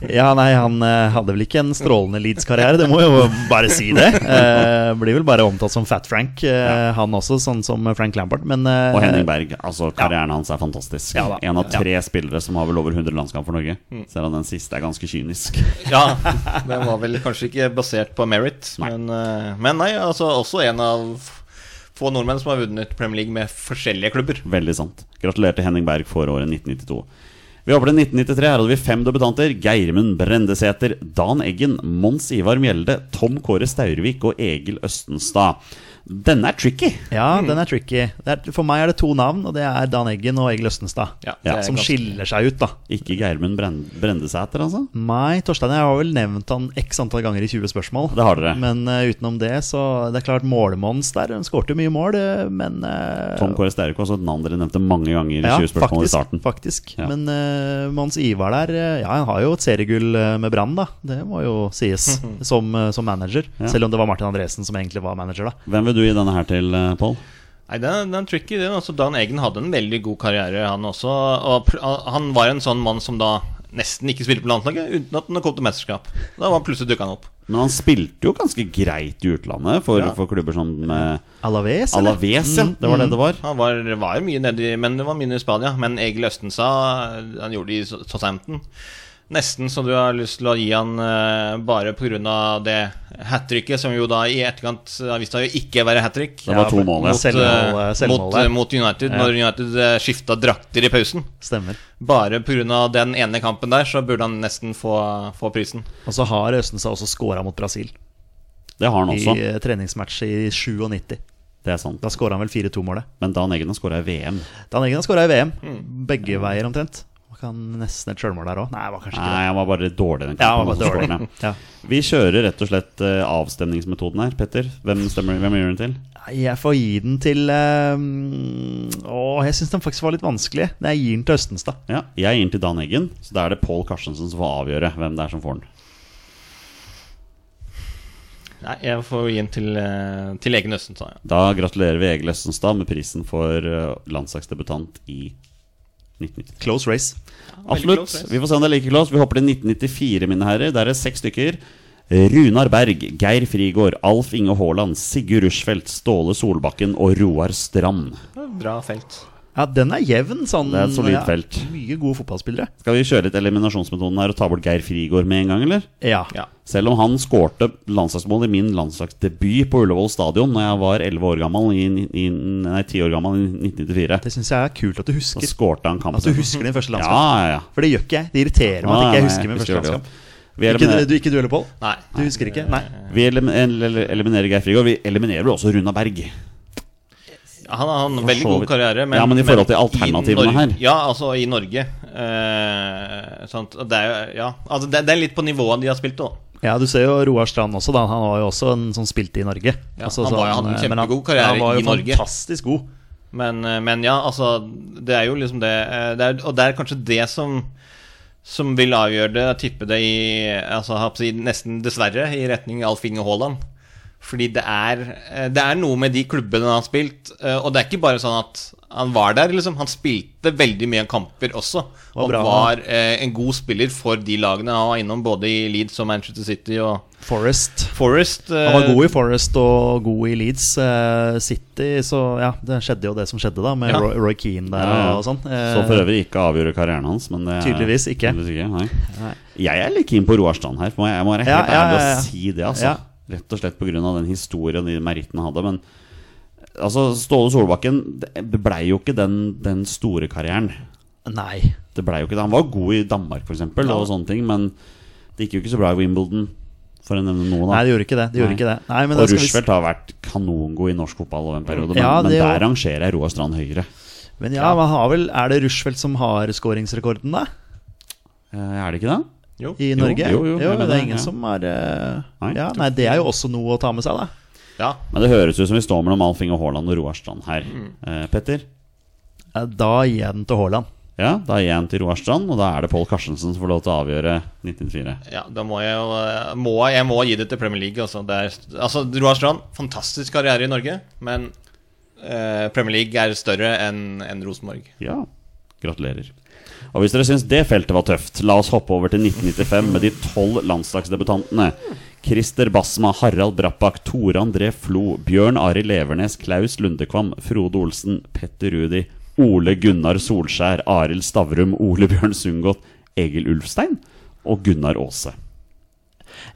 Ja, nei, han eh, hadde vel ikke en strålende Leeds-karriere, det må jo bare si det. Eh, blir vel bare omtalt som Fat Frank, eh, han også, sånn som Frank Lampard. Men, eh,
Og Henning Berg. Altså, karrieren hans er fantastisk.
Ja Mm. da.
en av tre spillere som har vel over 100 landskamp for Norge. Selv om den siste er ganske kynisk.
Ja, den var vel kanskje ikke basert på merit, men, eh, men nei, altså også en av få nordmenn som har vunnet Premier League med forskjellige klubber.
Veldig sant. Gratulerer til Henning Berg for året 1992. Vi hopper til 1993. Her hadde vi fem debutanter. Geirmund Brendesæter, Dan Eggen, Mons Ivar Mjelde, Tom Kåre Staurvik og Egil Østenstad. Denne er tricky.
Ja, den er tricky. Det er, for meg er det to navn, og det er Dan Eggen og Egil Østenstad.
Ja,
Ja,
det er
som
ganske-
skiller seg ut, da.
Ikke Geirmund Bren Brendesæter, altså?
Nei, Torstein, jeg har vel nevnt han x antall ganger i 20 spørsmål.
Det har dere.
Men eh, utenom det, så Det er klart målmons der. Hun skårte jo mye mål, eh, men eh,
Tom Kåre Staurvik var også et navn dere nevnte mange ganger. i
ja,
20 spørsmål i
faktisk,
starten
faktisk.
Ja.
Men eh, Mons Ivar der eh, Ja, han har jo et seriegull eh, med Brann, da. Det må jo sies. som, eh, som manager. Selv om det var Martin Andresen som egentlig var manager, da.
Hvem vil du gi denne her til, eh, Pål?
Nei, den, den er tricky, den. Altså, Dan Eggen hadde en veldig god karriere, han også. Og pr- han var en sånn mann som da nesten ikke spilte på landslaget, uten at han kom til mesterskap. Da var plutselig dukka han opp.
Men han spilte jo ganske greit i utlandet for,
Ja.
for klubber som eh,
Alaves, eller? Mm.
Alaves, ja. Det var det det var.
Han var, var jo mye nedi, men det var mindre i Spania. Men Egil Østenstad, han gjorde det i Sa- Southampton. Nesten så du har lyst til å gi han eh, bare pga. det hat tricket, som jo da i etterkant eh, har vist seg å ikke være hat trick.
Det var to mål, ja.
mot, eh,
Selvmål, eh,
mot,
selvmål der.
eh, mot United, når United eh, skifta drakter i pausen.
Stemmer.
Bare pga. den ene kampen der, så burde han nesten få, få prisen.
Og så har Østenstad også scora mot Brasil
Det har han
i
også.
eh, treningsmatch i 97.
Det er sant.
Da skåra han vel 4-2-målet.
Men Dan Eggen har skåra i VM.
Dan Eggen har skåra i VM.
Hmm.
Begge veier omtrent. Og kan nesten et sjølmål der òg. Nei, det var kanskje ikke det.
Nei, han var bare litt dårlig den
Ja, han
kampen.
var bare
han var
dårlig. Ja.
skårende. Vi kjører rett og slett eh, avstemningsmetoden her. Petter, hvem, stemmer, hvem gjør den til?
Nei, Jeg får gi den til eh, Å, jeg syns den faktisk var litt vanskelig. Nei, jeg gir den til Østenstad.
Ja, Jeg gir den til Dan Eggen, så da er det Pål Karstensen som får avgjøre hvem det er som får den.
Nei, jeg får gi den til, eh, til Egil Østenstad. Ja.
Da gratulerer vi Egil Østenstad med prisen for eh, landslagsdebutant i 1993.
Close race.
Absolutt.
close, yes.
Vi får se om det er like close. Vi hopper til 1994, mine herrer. Der er det seks stykker. Runar Berg, Geir Frigård, Alf Inge Haaland, Sigurd Rushfeldt, Ståle Solbakken og Roar Strand.
Bra felt.
Ja, den er jevn. Sånn,
Det er et solid
ja,
felt.
Mye gode fotballspillere.
Skal vi kjøre litt eliminasjonsmetoden her og ta bort Geir Frigård med en gang, eller?
Ja.
Ja.
Selv om han skårte landslagsmål i min landslagsdebut på Ullevål stadion Når jeg var 11 år gammel i, i, Nei, 10 år gammel i 1994
Det syns jeg er kult at du
Så
husker.
skårte han kampen
At du husker din første
Ja,
landskamp.
ja, ja
For det gjør ikke jeg. Det irriterer meg at
Nei,
ikke jeg
nei,
husker min første
husker det
landskamp.
godt. Vi,
Ikke,
eliminer,
du, ikke du heller, Pål?
Nei.
Du husker ikke? Nei.
vi elim- el- eliminerer Geir Frigård Vi eliminerer vel også Runa Berg
Han har en
For
veldig
så
god
vidt.
karriere.
Ja, men i forhold til
i
alternativene
Norge-
her.
Ja, altså i Norge. Eh, sant? Og Det, er, jo- ja. altså, det, det er litt på nivået de har spilt òg.
Ja, du ser jo Roar Strand også, da. Han var jo også en som spilte i Norge.
Ja, han var jo- hadde en
eh, men han-
kjempegod karriere
han var jo
i Norge.
Fantastisk god.
Men, eh, men ja, altså Det er jo liksom det, eh, det er, Og det er kanskje det som som vil avgjøre det, tippe det i altså, jeg holdt på å si, Nesten dessverre i retning Alf Inge Haaland. Fordi det er, eh, det er noe med de klubbene han har spilt. eh, Og det er ikke bare sånn at han var der, liksom. Han spilte veldig mye kamper også.
Var
Og
bra,
var eh, en god spiller for de lagene han var innom, både i Leeds og Manchester City og
Forest.
Forest. eh,
Han var god i Forest og god i Leeds eh, City, så ja, det skjedde jo det som skjedde, da, med
Ja.
Roy, Roy Keane der
Ja, ja.
og sånn. Eh,
Så for øvrig ikke avgjøre karrieren hans men det er,
Tydeligvis ikke.
tydeligvis ikke, nei. Jeg er litt keen på Roar Strand her For jeg må være helt
Ja, ja,
ærlig
ja, ja.
å si det altså.
Ja.
Rett og slett på grunn av den historien og de merittene han hadde Men altså, Ståle Solbakken Det ble jo ikke den, den store karrieren
Nei.
Det ble jo ikke det Han var god i Danmark for eksempel og sånne ting Men Det gikk jo ikke så bra i Wimbledon, for å nevne noen.
Nei,
Da.
det gjorde ikke det. det, gjorde
Nei.
ikke det. Nei, men da
og
skal vi s-
Rushfeldt har vært kanongod i norsk fotball over en periode, men,
Ja,
men
det
der
jo.
rangerer jeg Roar Strand høyere.
Men ja, man har vel, er det Rushfeldt som har skåringsrekorden, da?
Eh, Er det ikke det?
Jo.
I
Jo,
Norge?
jo, jo, jeg mener
det
det,
er ingen
ja.
som har eh,
Nei.
ja, Nei, det er jo også noe å ta med seg, da.
Ja.
Men det høres ut som vi står mellom Alfing og Haaland og Roar Strand her. Eh, Petter?
Eh, Da gir jeg den til Haaland.
Ja, da gir jeg den til Roar Strand, og da er det Pål Karstensen som får lov til å avgjøre 1994.
Ja, da må jeg jo eh, må, jeg- Jeg må gi det til Premier League. Altså, det er, altså Roar Strand, fantastisk karriere i Norge, men eh, Premier League er større enn enn Rosenborg.
Ja, gratulerer. Og hvis dere syns det feltet var tøft, la oss hoppe over til 1995 med de tolv landslagsdebutantene. Christer Basma, Harald Brappak, Tore André Flo, Bjørn Ari Levernes, Klaus Lundekvam, Frode Olsen, Petter Rudi, Ole Gunnar Solskjær, Arild Stavrum, Ole Bjørn Sundgodt, Egil Ulfstein og Gunnar Aase.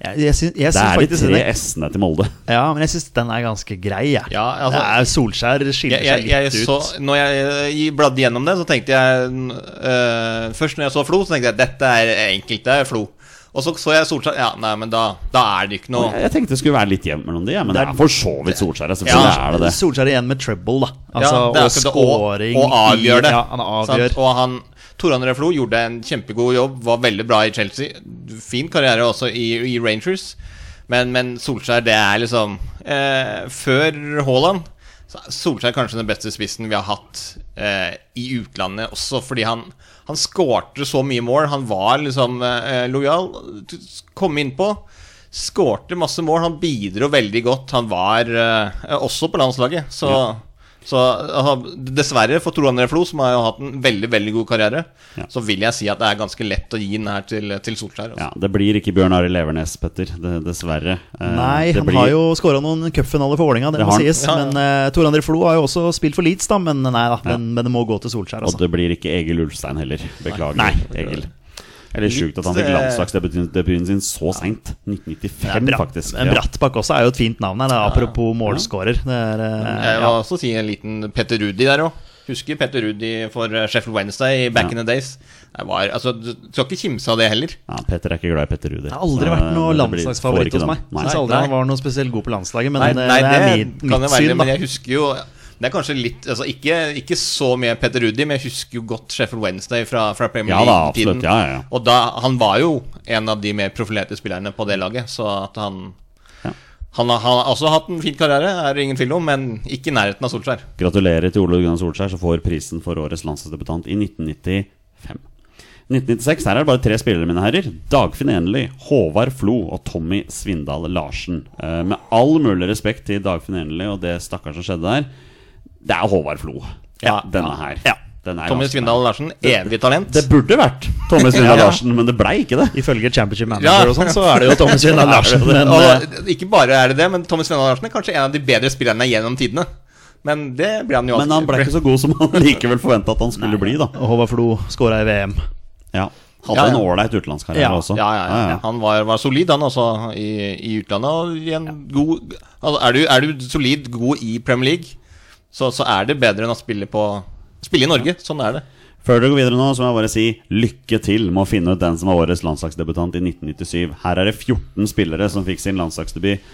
Jeg, jeg, syns- jeg
Det er
syns
de
faktisk
tre
den er,
S-ene til Molde.
ja, men jeg syns den er ganske grei, jeg.
Ja, altså-
Det er Solskjær skiller
Jeg, jeg, jeg
seg litt
så,
ut.
når jeg eh, bladde gjennom det, så tenkte jeg eh, Først når jeg så Flo, så tenkte jeg dette er enkelt, det er Flo. Og så så jeg Solskjær. Ja, nei, men da, da er det ikke noe
Jeg tenkte det skulle være litt jevnt mellom de, ja, men det er for så vidt Solskjær. ja, Selvfølgelig
Ja,
er det det.
Solskjær igjen med trouble, da. Altså,
ja,
og
det er akkurat det,
scoring.
Og, og
i-
avgjør det.
Ja, han avgjør.
sant? Og han Tore André Flo gjorde en kjempegod jobb, var veldig bra i Chelsea. Fin karriere også i, i Rangers. Men, men Solskjær, det er liksom eh, Før Haaland så er Solskjær kanskje den beste spissen vi har hatt eh, i utlandet også, fordi han han skårte så mye mål. Han var liksom eh, lojal. Kom innpå. Skårte masse mål. Han bidro veldig godt. Han var eh, også på landslaget, så så altså, dessverre for Tor André Flo, som har jo hatt en veldig veldig god karriere,
Ja.
så vil jeg si at det er ganske lett å gi den her til, til Solskjær. Altså.
Ja, Det blir ikke Bjørn Arild Levernes, Petter. Det, dessverre. Eh,
Nei,
det
han
blir-
har jo skåra noen cupfinaler for Vålerenga, det,
Det
må
har han.
sies.
Ja, ja.
Men uh, Tor André Flo har jo også spilt for Leeds, da. Men eh, nei da, men, men det må gå til Solskjær,
Og
altså.
det blir ikke Egil Ulfstein heller. Beklager,
Nei.
Egil. Eller sjukt at han
Litt,
fikk
eh,
landslagsdebuten sin så seint. 1995,
Bratt-
faktisk.
men
Ja.
Brattbakk også er jo et fint navn her, da, apropos målskårer. Det er, eh,
Jeg vil også si en liten Petter Rudi der òg. Husker Petter Rudi for eh, Sheffield Wednesday i back
Ja.
in the days. Det var, altså, du skal ikke kimse av det heller.
Ja, Petter er ikke glad i Petter eh, Rudi.
det har aldri vært noe landslagsfavoritt hos meg.
Nei.
Syns aldri
Nei.
han var noe spesielt god på landslaget, men
Nei,
eh,
nei,
det
det,
er min, mitt
kan jo være det,
syn,
men
da.
jeg husker jo Det er kanskje litt altså, ikke, ikke så mye Petter Rudi, men jeg husker jo godt Sheffield Wednesday fra, fra Premier
Ja da,
League-tiden.
absolutt. Ja, ja, ja.
Og da, han var jo en av de mer profilerte spillerne på det laget, så at han
Ja.
han, har- han har også hatt en fin karriere, er det ingen tvil om, men ikke i nærheten av Solskjær.
Gratulerer til Ole Gunnar Solskjær, som får prisen for årets landslagsdebutant i 1995. 1996, Her er det bare tre spillere, mine herrer. Dagfinn Enli, Håvard Flo og Tommy Svindal Larsen. Eh, med all mulig respekt til Dagfinn Enli og det stakkars som skjedde der. Det er Håvard Flo.
Ja,
denne her. Den er
Tommy
ganske
Svindal Larsen, evig talent.
nær. altså, Det burde vært Tommy Svindal Larsen, men det blei ikke det.
Ifølge Championship
Ja.
Manager og sånn, så er det jo Thomas Vinnar Larsen. Men, eh,
og ikke bare er det det, men Tommy Svindal Larsen er kanskje en av de bedre spillerne gjennom tidene. Men det ble han jo
Men han ble ikke så god som han likevel forventa at han skulle bli, da.
eh, Håvard Flo skåra i VM.
Ja.
Ja,
Hadde
ja.
en ålreit utenlandskarriere
Ja,
også.
Ja, ja, ja. Han var, var solid, han også, i, i utlandet. Og i en god, altså, er, du, er du solid god i Premier League, så, så er det bedre enn å spille, på, spille i Norge. Sånn er det.
Før dere går videre nå, så må jeg bare si lykke til med å finne ut den som var årets landslagsdebutant i 1997. Her er det 14 spillere som fikk sin landslagsdebut,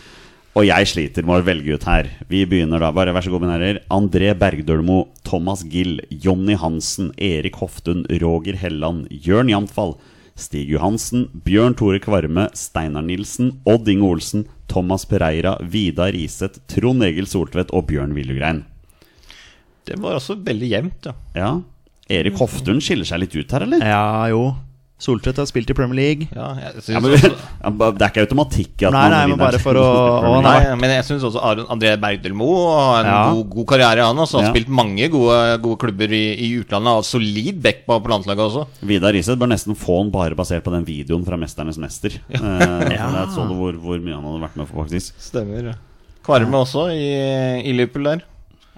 og jeg sliter med å velge ut her. Vi begynner da. Bare vær så god, mine herrer. André Bergdølmo, Thomas Gill, Jonny Hansen, Erik Hoftun, Roger Helland, Jørn Jamtfall, Stig Johansen, Bjørn Tore Kvarme, Steinar Nilsen, Odd Inge Olsen, Thomas Pereira, Vidar Riseth, Trond Egil Soltvedt og Bjørn Willegrein.
Det var også veldig jevnt, ja.
Ja. Erik Hoftun skiller seg litt ut her, eller?
Ja jo. Soltvedt har spilt i Premier League.
ja, jeg
Ja,
synes
men,
også,
ja, ba- det er ikke automatikk i at
Nei,
man
nei, men
vinner.
bare for å- å-
nei, men jeg syns også Aron André Bergdølmo har en
Ja.
god, god karriere. Han også. Han har
Ja.
spilt mange gode, gode klubber i, i utlandet og solid back på, på landslaget også.
Vidar Riseth bør nesten få han bare basert på den videoen fra 'Mesternes mester'. Eh,
Ja.
Der så du hvor, hvor mye han hadde vært med for, faktisk.
Stemmer. Kvarme også i, i Liverpool der.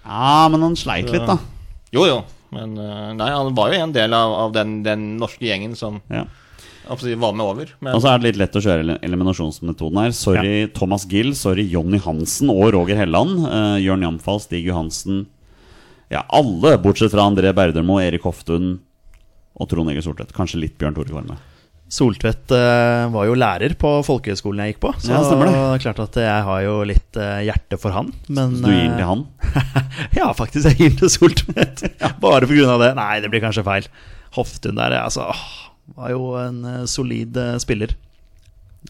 Ja, men han sleit litt, da.
Jo, jo. Men eh, nei, han var jo en del av, av den, den norske gjengen som
Ja.
absolutt var med over. Men
Og så er det litt lett å kjøre ele- eliminasjonsmetoden her. Sorry Thomas Gill, sorry Jonny Hansen og Roger Helland. Eh, Jørn Jamfall, Stig Johansen Ja, alle bortsett fra André Berdermo, Erik Hoftun og Trond Egil Sortvedt. Kanskje litt Bjørn Tore Kvarme.
Soltvedt eh, var jo lærer på folkehøyskolen jeg gikk på, så
Ja, stemmer
det
det.
er klart at jeg har jo litt eh, hjerte for han. Men, eh,
Så du gir den til han?
ja, faktisk. Jeg gir den til Soltvedt. Bare på grunn av det. Nei, det blir kanskje feil. Hoftun der, altså. åh, Var jo en eh, solid eh, spiller.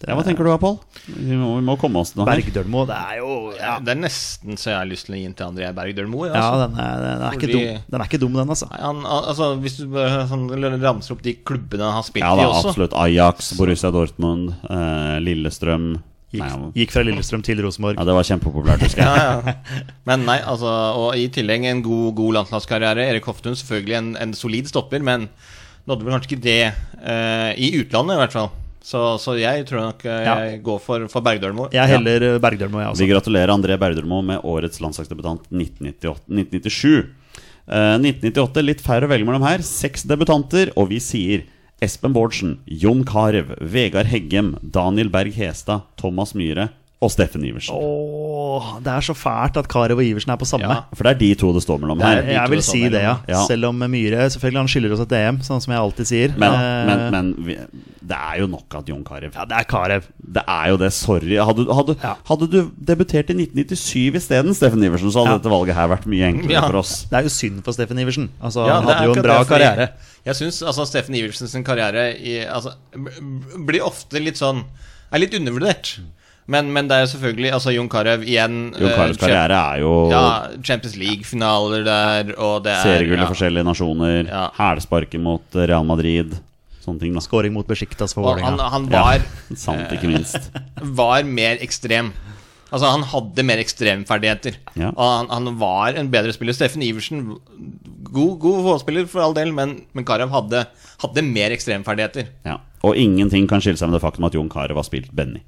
Ja, hva tenker du da, Pål? Vi, må- vi må komme oss noe her.
Bergdølmo, det er jo ja.
Det er nesten så jeg har lyst til å gi den til André Bergdølmo.
Ja, den er, den, er ikke
Fordi-
dum. den er ikke dum, den, altså.
altså. Nei, han, al- altså, hvis du bare sånn, ramser opp de klubbene han har spilt
Ja da,
i også
absolutt. Ajax, Borussia Dortmund, eh, Lillestrøm Nei,
Gikk,
han-
gikk fra Lillestrøm til Rosenborg.
ja, det var kjempepopulært, husker jeg.
ja, ja. Men nei, altså Og i tillegg en god, god landslagskarriere. Erik Hoftun selvfølgelig en, en solid stopper, men nådde vel kanskje ikke det eh, i utlandet, i hvert fall. Så, så jeg tror nok eh,
Ja.
jeg går for, for Bergdølmo.
Jeg heller eh, Bergdølmo, jeg
Vi
også.
gratulerer André Berdermo med årets landslagsdebutant 1998-1997. Eh, 1998, litt færre å velge mellom her. Seks debutanter, og vi sier Espen Bårdsen, Jon Carew, Vegard Heggem, Daniel Berg Hestad, Thomas Myhre og Steffen Iversen.
Åh, det er så fælt at Carew og Iversen er på samme.
Ja.
For det er de to det står mellom
Det er
her.
de to
Jeg vil
det står
si det, ja.
mellom.
Ja.
Selv om Myhre selvfølgelig han skylder oss et DM, sånn som jeg alltid sier.
Men,
Eh,
men, men vi, det er jo nok at Jon Carew
Ja, det er Carew.
Det er jo det, sorry. Hadde, hadde,
Ja.
hadde du debutert i 1997 isteden, Steffen Iversen, så hadde
Ja.
dette valget her vært mye enklere
Ja.
for oss.
Det er jo synd for Steffen Iversen. Altså,
Ja,
han
det er
hadde jo en
akkurat
bra
det, fordi
karriere.
Jeg syns altså, Steffen Iversen sin karriere i, altså, b- b- blir ofte litt sånn Er litt undervurdert. Men, men det er jo selvfølgelig altså, Jon Carew igjen.
Jon
eh,
Carews
champ-
karriere er jo
ja, Champions League-finaler der, og det er
Seriegull i
ja.
forskjellige nasjoner,
Ja.
hælsparket mot Real Madrid, sånne ting. da
Skåring mot Besjiktas for
Og han,
Vålerenga.
han var Eh.
Sant, ikke minst.
var mer ekstrem. Altså Han hadde mer ekstremferdigheter.
Ja.
Og han, han var en bedre spiller. Steffen Iversen, god, god fotballspiller for all del, men, men Karev hadde, hadde mer ekstremferdigheter.
Ja. Og ingenting kan skille seg med det faktum at Jon Carew har spilt Benny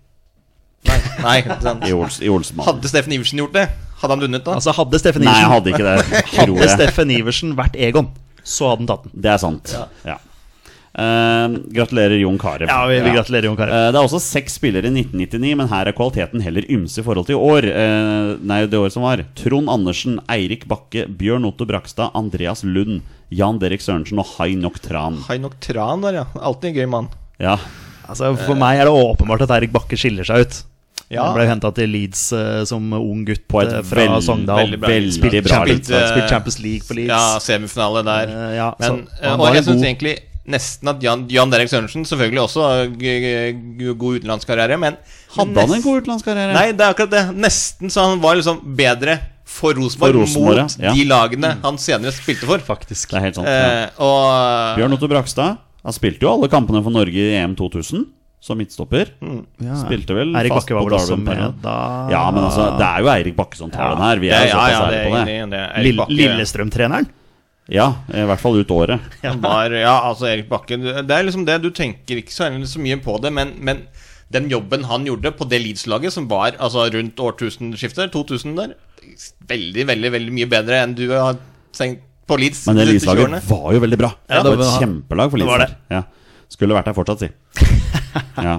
Nei, nei ikke sant?
i, Ols i Olsenmannen.
Hadde Steffen Iversen gjort det, hadde han vunnet da?
Altså, hadde Steffen
Nei, jeg
Iversen,
hadde ikke det. Tror
hadde
jeg.
Steffen Iversen vært Egon, så hadde han tatt den.
Det er sant. Ja. Eh, gratulerer, Jon Carew.
Ja, vi, vi gratulerer Jon Carew.
Eh, Det er også seks spillere i 1999, men her er kvaliteten heller ymse i forhold til i år. Eh, Nei, det året som var. Trond Andersen, Eirik Bakke, Bjørn Otto Brakstad, Andreas Lund, Jan Derek Sørensen og Hai Nok Tran.
Hai nok tran der, ja. Alltid en gøy mann.
Ja,
Altså, for meg er det åpenbart at Eirik Bakke skiller seg ut.
Ja.
Han ble henta til Leeds eh, som ung gutt
På et
eh, fra
veld-
Sogndal.
veldig bra Leeds-lag.
spilt,
Bra
Champions,
Leeds-lag.
spilt Champions League for Leeds.
Ja, semifinale der.
Eh, ja,
men,
så
eh,
han var
og jeg
en
syns
god-
egentlig nesten at Jan, Jan Derek Sørensen selvfølgelig også har g- g- god utenlandskarriere, men
Hadde han en god utenlandskarriere?
Nei, det er akkurat det. Nesten så han var liksom bedre for Rosenborg,
For Rosenborg,
mot
ja.
de lagene han senere spilte for.
Det er helt sant. ja.
Eh, og
Bjørn Otto Brakstad Han spilte jo alle kampene for Norge i EM 2000 som midtstopper.
Mm.
Ja.
Spilte vel
Eirik
fast
Bakke
på
var vel også
Darwin
med
Perrin.
da
Ja, men altså, det er jo Eirik Bakke som tar
Ja.
den her. Vi
det,
er jo
ja,
såpass
ja, det er
ærlige på det.
egentlig det. er Erik
Lill-
Bakke.
Lillestrøm-treneren?
Ja, i hvert fall ut året.
Han var, ja, altså Erik Bakke du- Det er liksom det, du tenker ikke så, så mye på det, men, men den jobben han gjorde på det Leeds-laget, som var altså, rundt årtusenskiftet, 2000 der, veldig, veldig veldig mye bedre enn du har tenkt på Leeds.
Men det
de siste 20 årene.
Leeds-laget var jo veldig bra.
Ja,
det var
det
et
var-
kjempelag for
det var
Leeds. Ja. Skulle vært der fortsatt, si. Ja.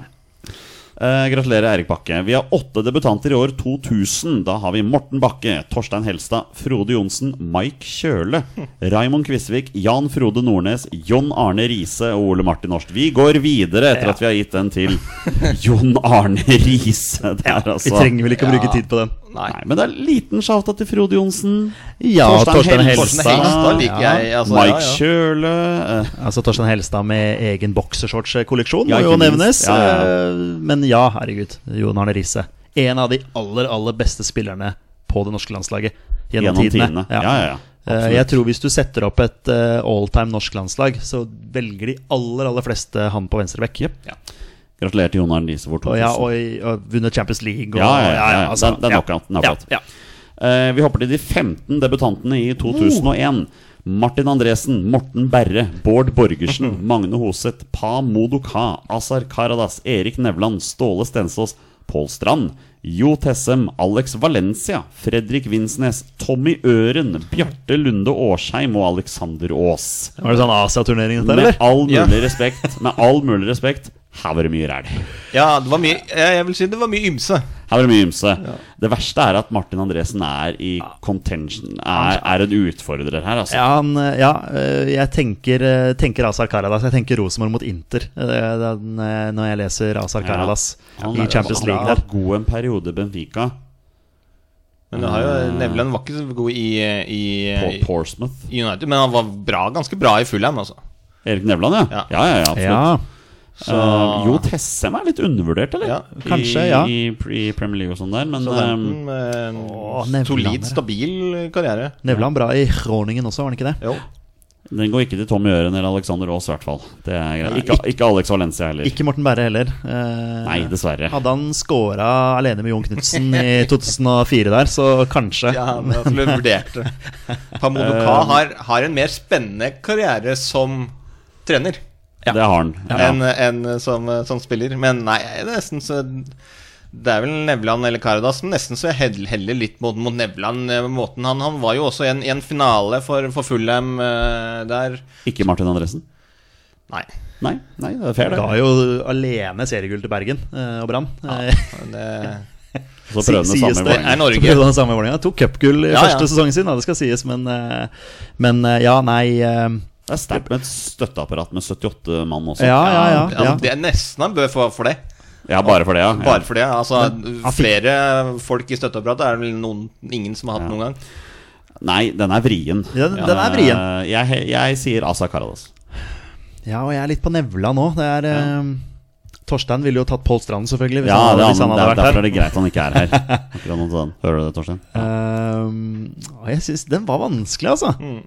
Eh, gratulerer, Eirik Bakke. Vi har åtte debutanter i år 2000. Da har vi Morten Bakke, Torstein Helstad, Frode Johnsen, Mike Kjøle, Raimond Kvisvik, Jan Frode Nordnes, Jon Arne Riise og Ole Martin Norst. Vi går videre etter
Ja.
at vi har gitt den til Jon Arne Riise der, altså.
Vi trenger vel ikke å bruke tid på den.
Nei.
Nei, men det er en liten sjafta til Frode Johnsen.
Ja, Torstein Helstad.
Torstein Helstad liker
Ja.
jeg. Altså,
Mike
ja, ja.
Kjøle eh,
Altså Torstein Helstad med egen boksershortskolleksjon
Ja,
må jo
ikke
nevnes.
minst. Ja, ja,
Eh, Men ja, herregud. Jon Arne Riise. En av de aller, aller beste spillerne på det norske landslaget gjennom,
Gjennom
tidene.
tidene. Ja, ja, ja.
Eh,
Absolutt.
Jeg tror hvis du setter opp et eh, alltime norsk landslag, så velger de aller, aller fleste han på venstrebekk.
Gratulerer til Jon Arne Riise for 2000.
Og, ja, og, og vunnet Champions League. Og,
Ja, ja, ja, ja. Det er- det er
ja.
knockout, knockout.
Ja, ja.
Eh, vi hopper til de 15 debutantene i 2001. Martin Andresen, Morten Berre, Bård Borgersen, Magne Hoseth, Pa Modoka, Azar Karadas, Erik Nevland, Ståle Stensås, Pål Strand, Jo Tessem, Alex Valencia, Fredrik Vinsnes, Tommy Øren, Bjarte Lunde Årsheim og Alexander Aas.
Var det sånn Asia-turnering, dette,
Med
eller?
all mulig
Ja.
respekt, med all mulig respekt Her var det mye ræl.
Ja, det var mye Jeg jeg vil si det var mye ymse.
Her var det mye ymse. Det verste er at Martin Andresen er i contention, er, er en utfordrer her, altså.
Ja, han, eh, ja eh, jeg tenker, eh, tenker Azar Karadas. Jeg tenker Rosenborg mot Inter eh, den, eh, når jeg leser Azar Karadas
Han,
i Champions
han
League
har
der.
vært god en periode, Benfica,
Men det har jo, Nevland var ikke så god i, i,
Mm. på
i
Porsmouth.
United, men han var bra, ganske bra i Fulham, altså.
Erik Nevland, ja.
Ja.
Ja, ja, ja, absolutt.
Ja,
Så... jo Tessem er litt undervurdert, eller?
Ja,
kanskje,
I,
ja.
I, I Premier League og sånn der, men
Så det er en
Åh,
eh,
Nevland,
solid,
dere.
stabil karriere.
Nevland bra i Groningen også, var han ikke det?
Jo.
eh, den går ikke til Tom Gjøren eller Alexander Aas, i hvert fall. Det er greit. Ikke, ikke Alex Valencia heller.
Ikke Morten Berre heller. Eh,
Nei, dessverre.
Hadde han scora alene med Jon Knutsen i 2004 der, så kanskje.
Ja, men jeg skulle vurdert det. Pamodoka har, har en mer spennende karriere som trener
Det har han. Ja.
enn enn som, som spiller. Men nei, jeg er nesten så det er vel Nevland eller Caradas, men nesten så jeg hell- heller litt mot, mot Nevland. eh, måten han, han var jo også i en, i en finale for, for Fulham eh, der.
Ikke Martin Andresen?
Nei.
Nei, nei, det er fair,
Ga
det.
jo alene seriegull til Bergen eh, og Brann. Eh,
Det,
Så prøver han det
sies
samme i
det.
Vålerenga.
er Norge.
Så prøvde han det samme i Vålerenga. Tok cupgull i
Ja, ja.
første sesongen sin, ja, det skal sies, men, eh, men eh, ja, nei eh,
Det er sterkt med et støtteapparat med 78 mann også.
Ja, ja, ja.
ja,
ja.
det er nesten han bør få for det.
Ja, bare for det, ja.
Bare for det. Altså,
han fikk-
flere folk i støtteapparatet er det vel noen, ingen som har hatt
Ja.
noen gang.
Nei, den er vrien.
Ja, den- den er vrien.
Eh, Jeg, jeg sier Asa Karadas.
Ja, og jeg er litt på nevla nå. Det er eh, Torstein ville jo tatt Pål Strand, selvfølgelig, hvis,
Ja,
han,
det er,
hvis han
han,
hadde
der,
vært
derfor er
her.
det greit han ikke er her. Akkurat noe sånn. Hører du det, Torstein?
Eh, og jeg syns den var vanskelig, altså.
Mm.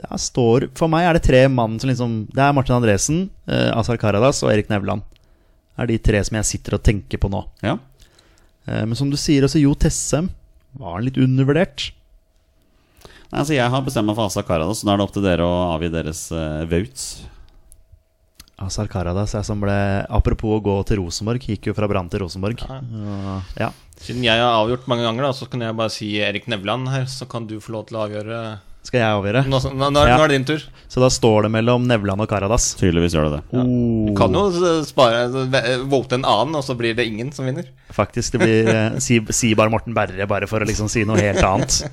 Det er- står, for meg er det tre mann som liksom Det er Martin Andresen, eh, Azar Karadas og Erik Nevland. er de tre som jeg sitter og tenker på nå.
Ja.
Eh, men som du sier, også Jo Tessem var han litt undervurdert.
Nei, altså Jeg har bestemt meg for Asa Karadas, så da er det opp til dere å avgi deres uh, vauts.
Azar Karadas, jeg som ble Apropos å gå til Rosenborg, gikk jo fra Brann til Rosenborg. Og- Ja.
Siden jeg har avgjort mange ganger, da, så kan jeg bare si Erik Nevland her, så kan du få lov til å avgjøre.
Skal jeg avgjøre?
Nå, nå, nå,
Ja.
nå er det din tur.
Så da står det mellom Nevland og Karadas.
Tydeligvis gjør det det.
Du
Oh,
kan jo s- spare, v- vote en annen, og så blir det ingen som vinner.
faktisk, det blir eh, si, si bare Morten Berre, bare for å liksom si noe helt annet.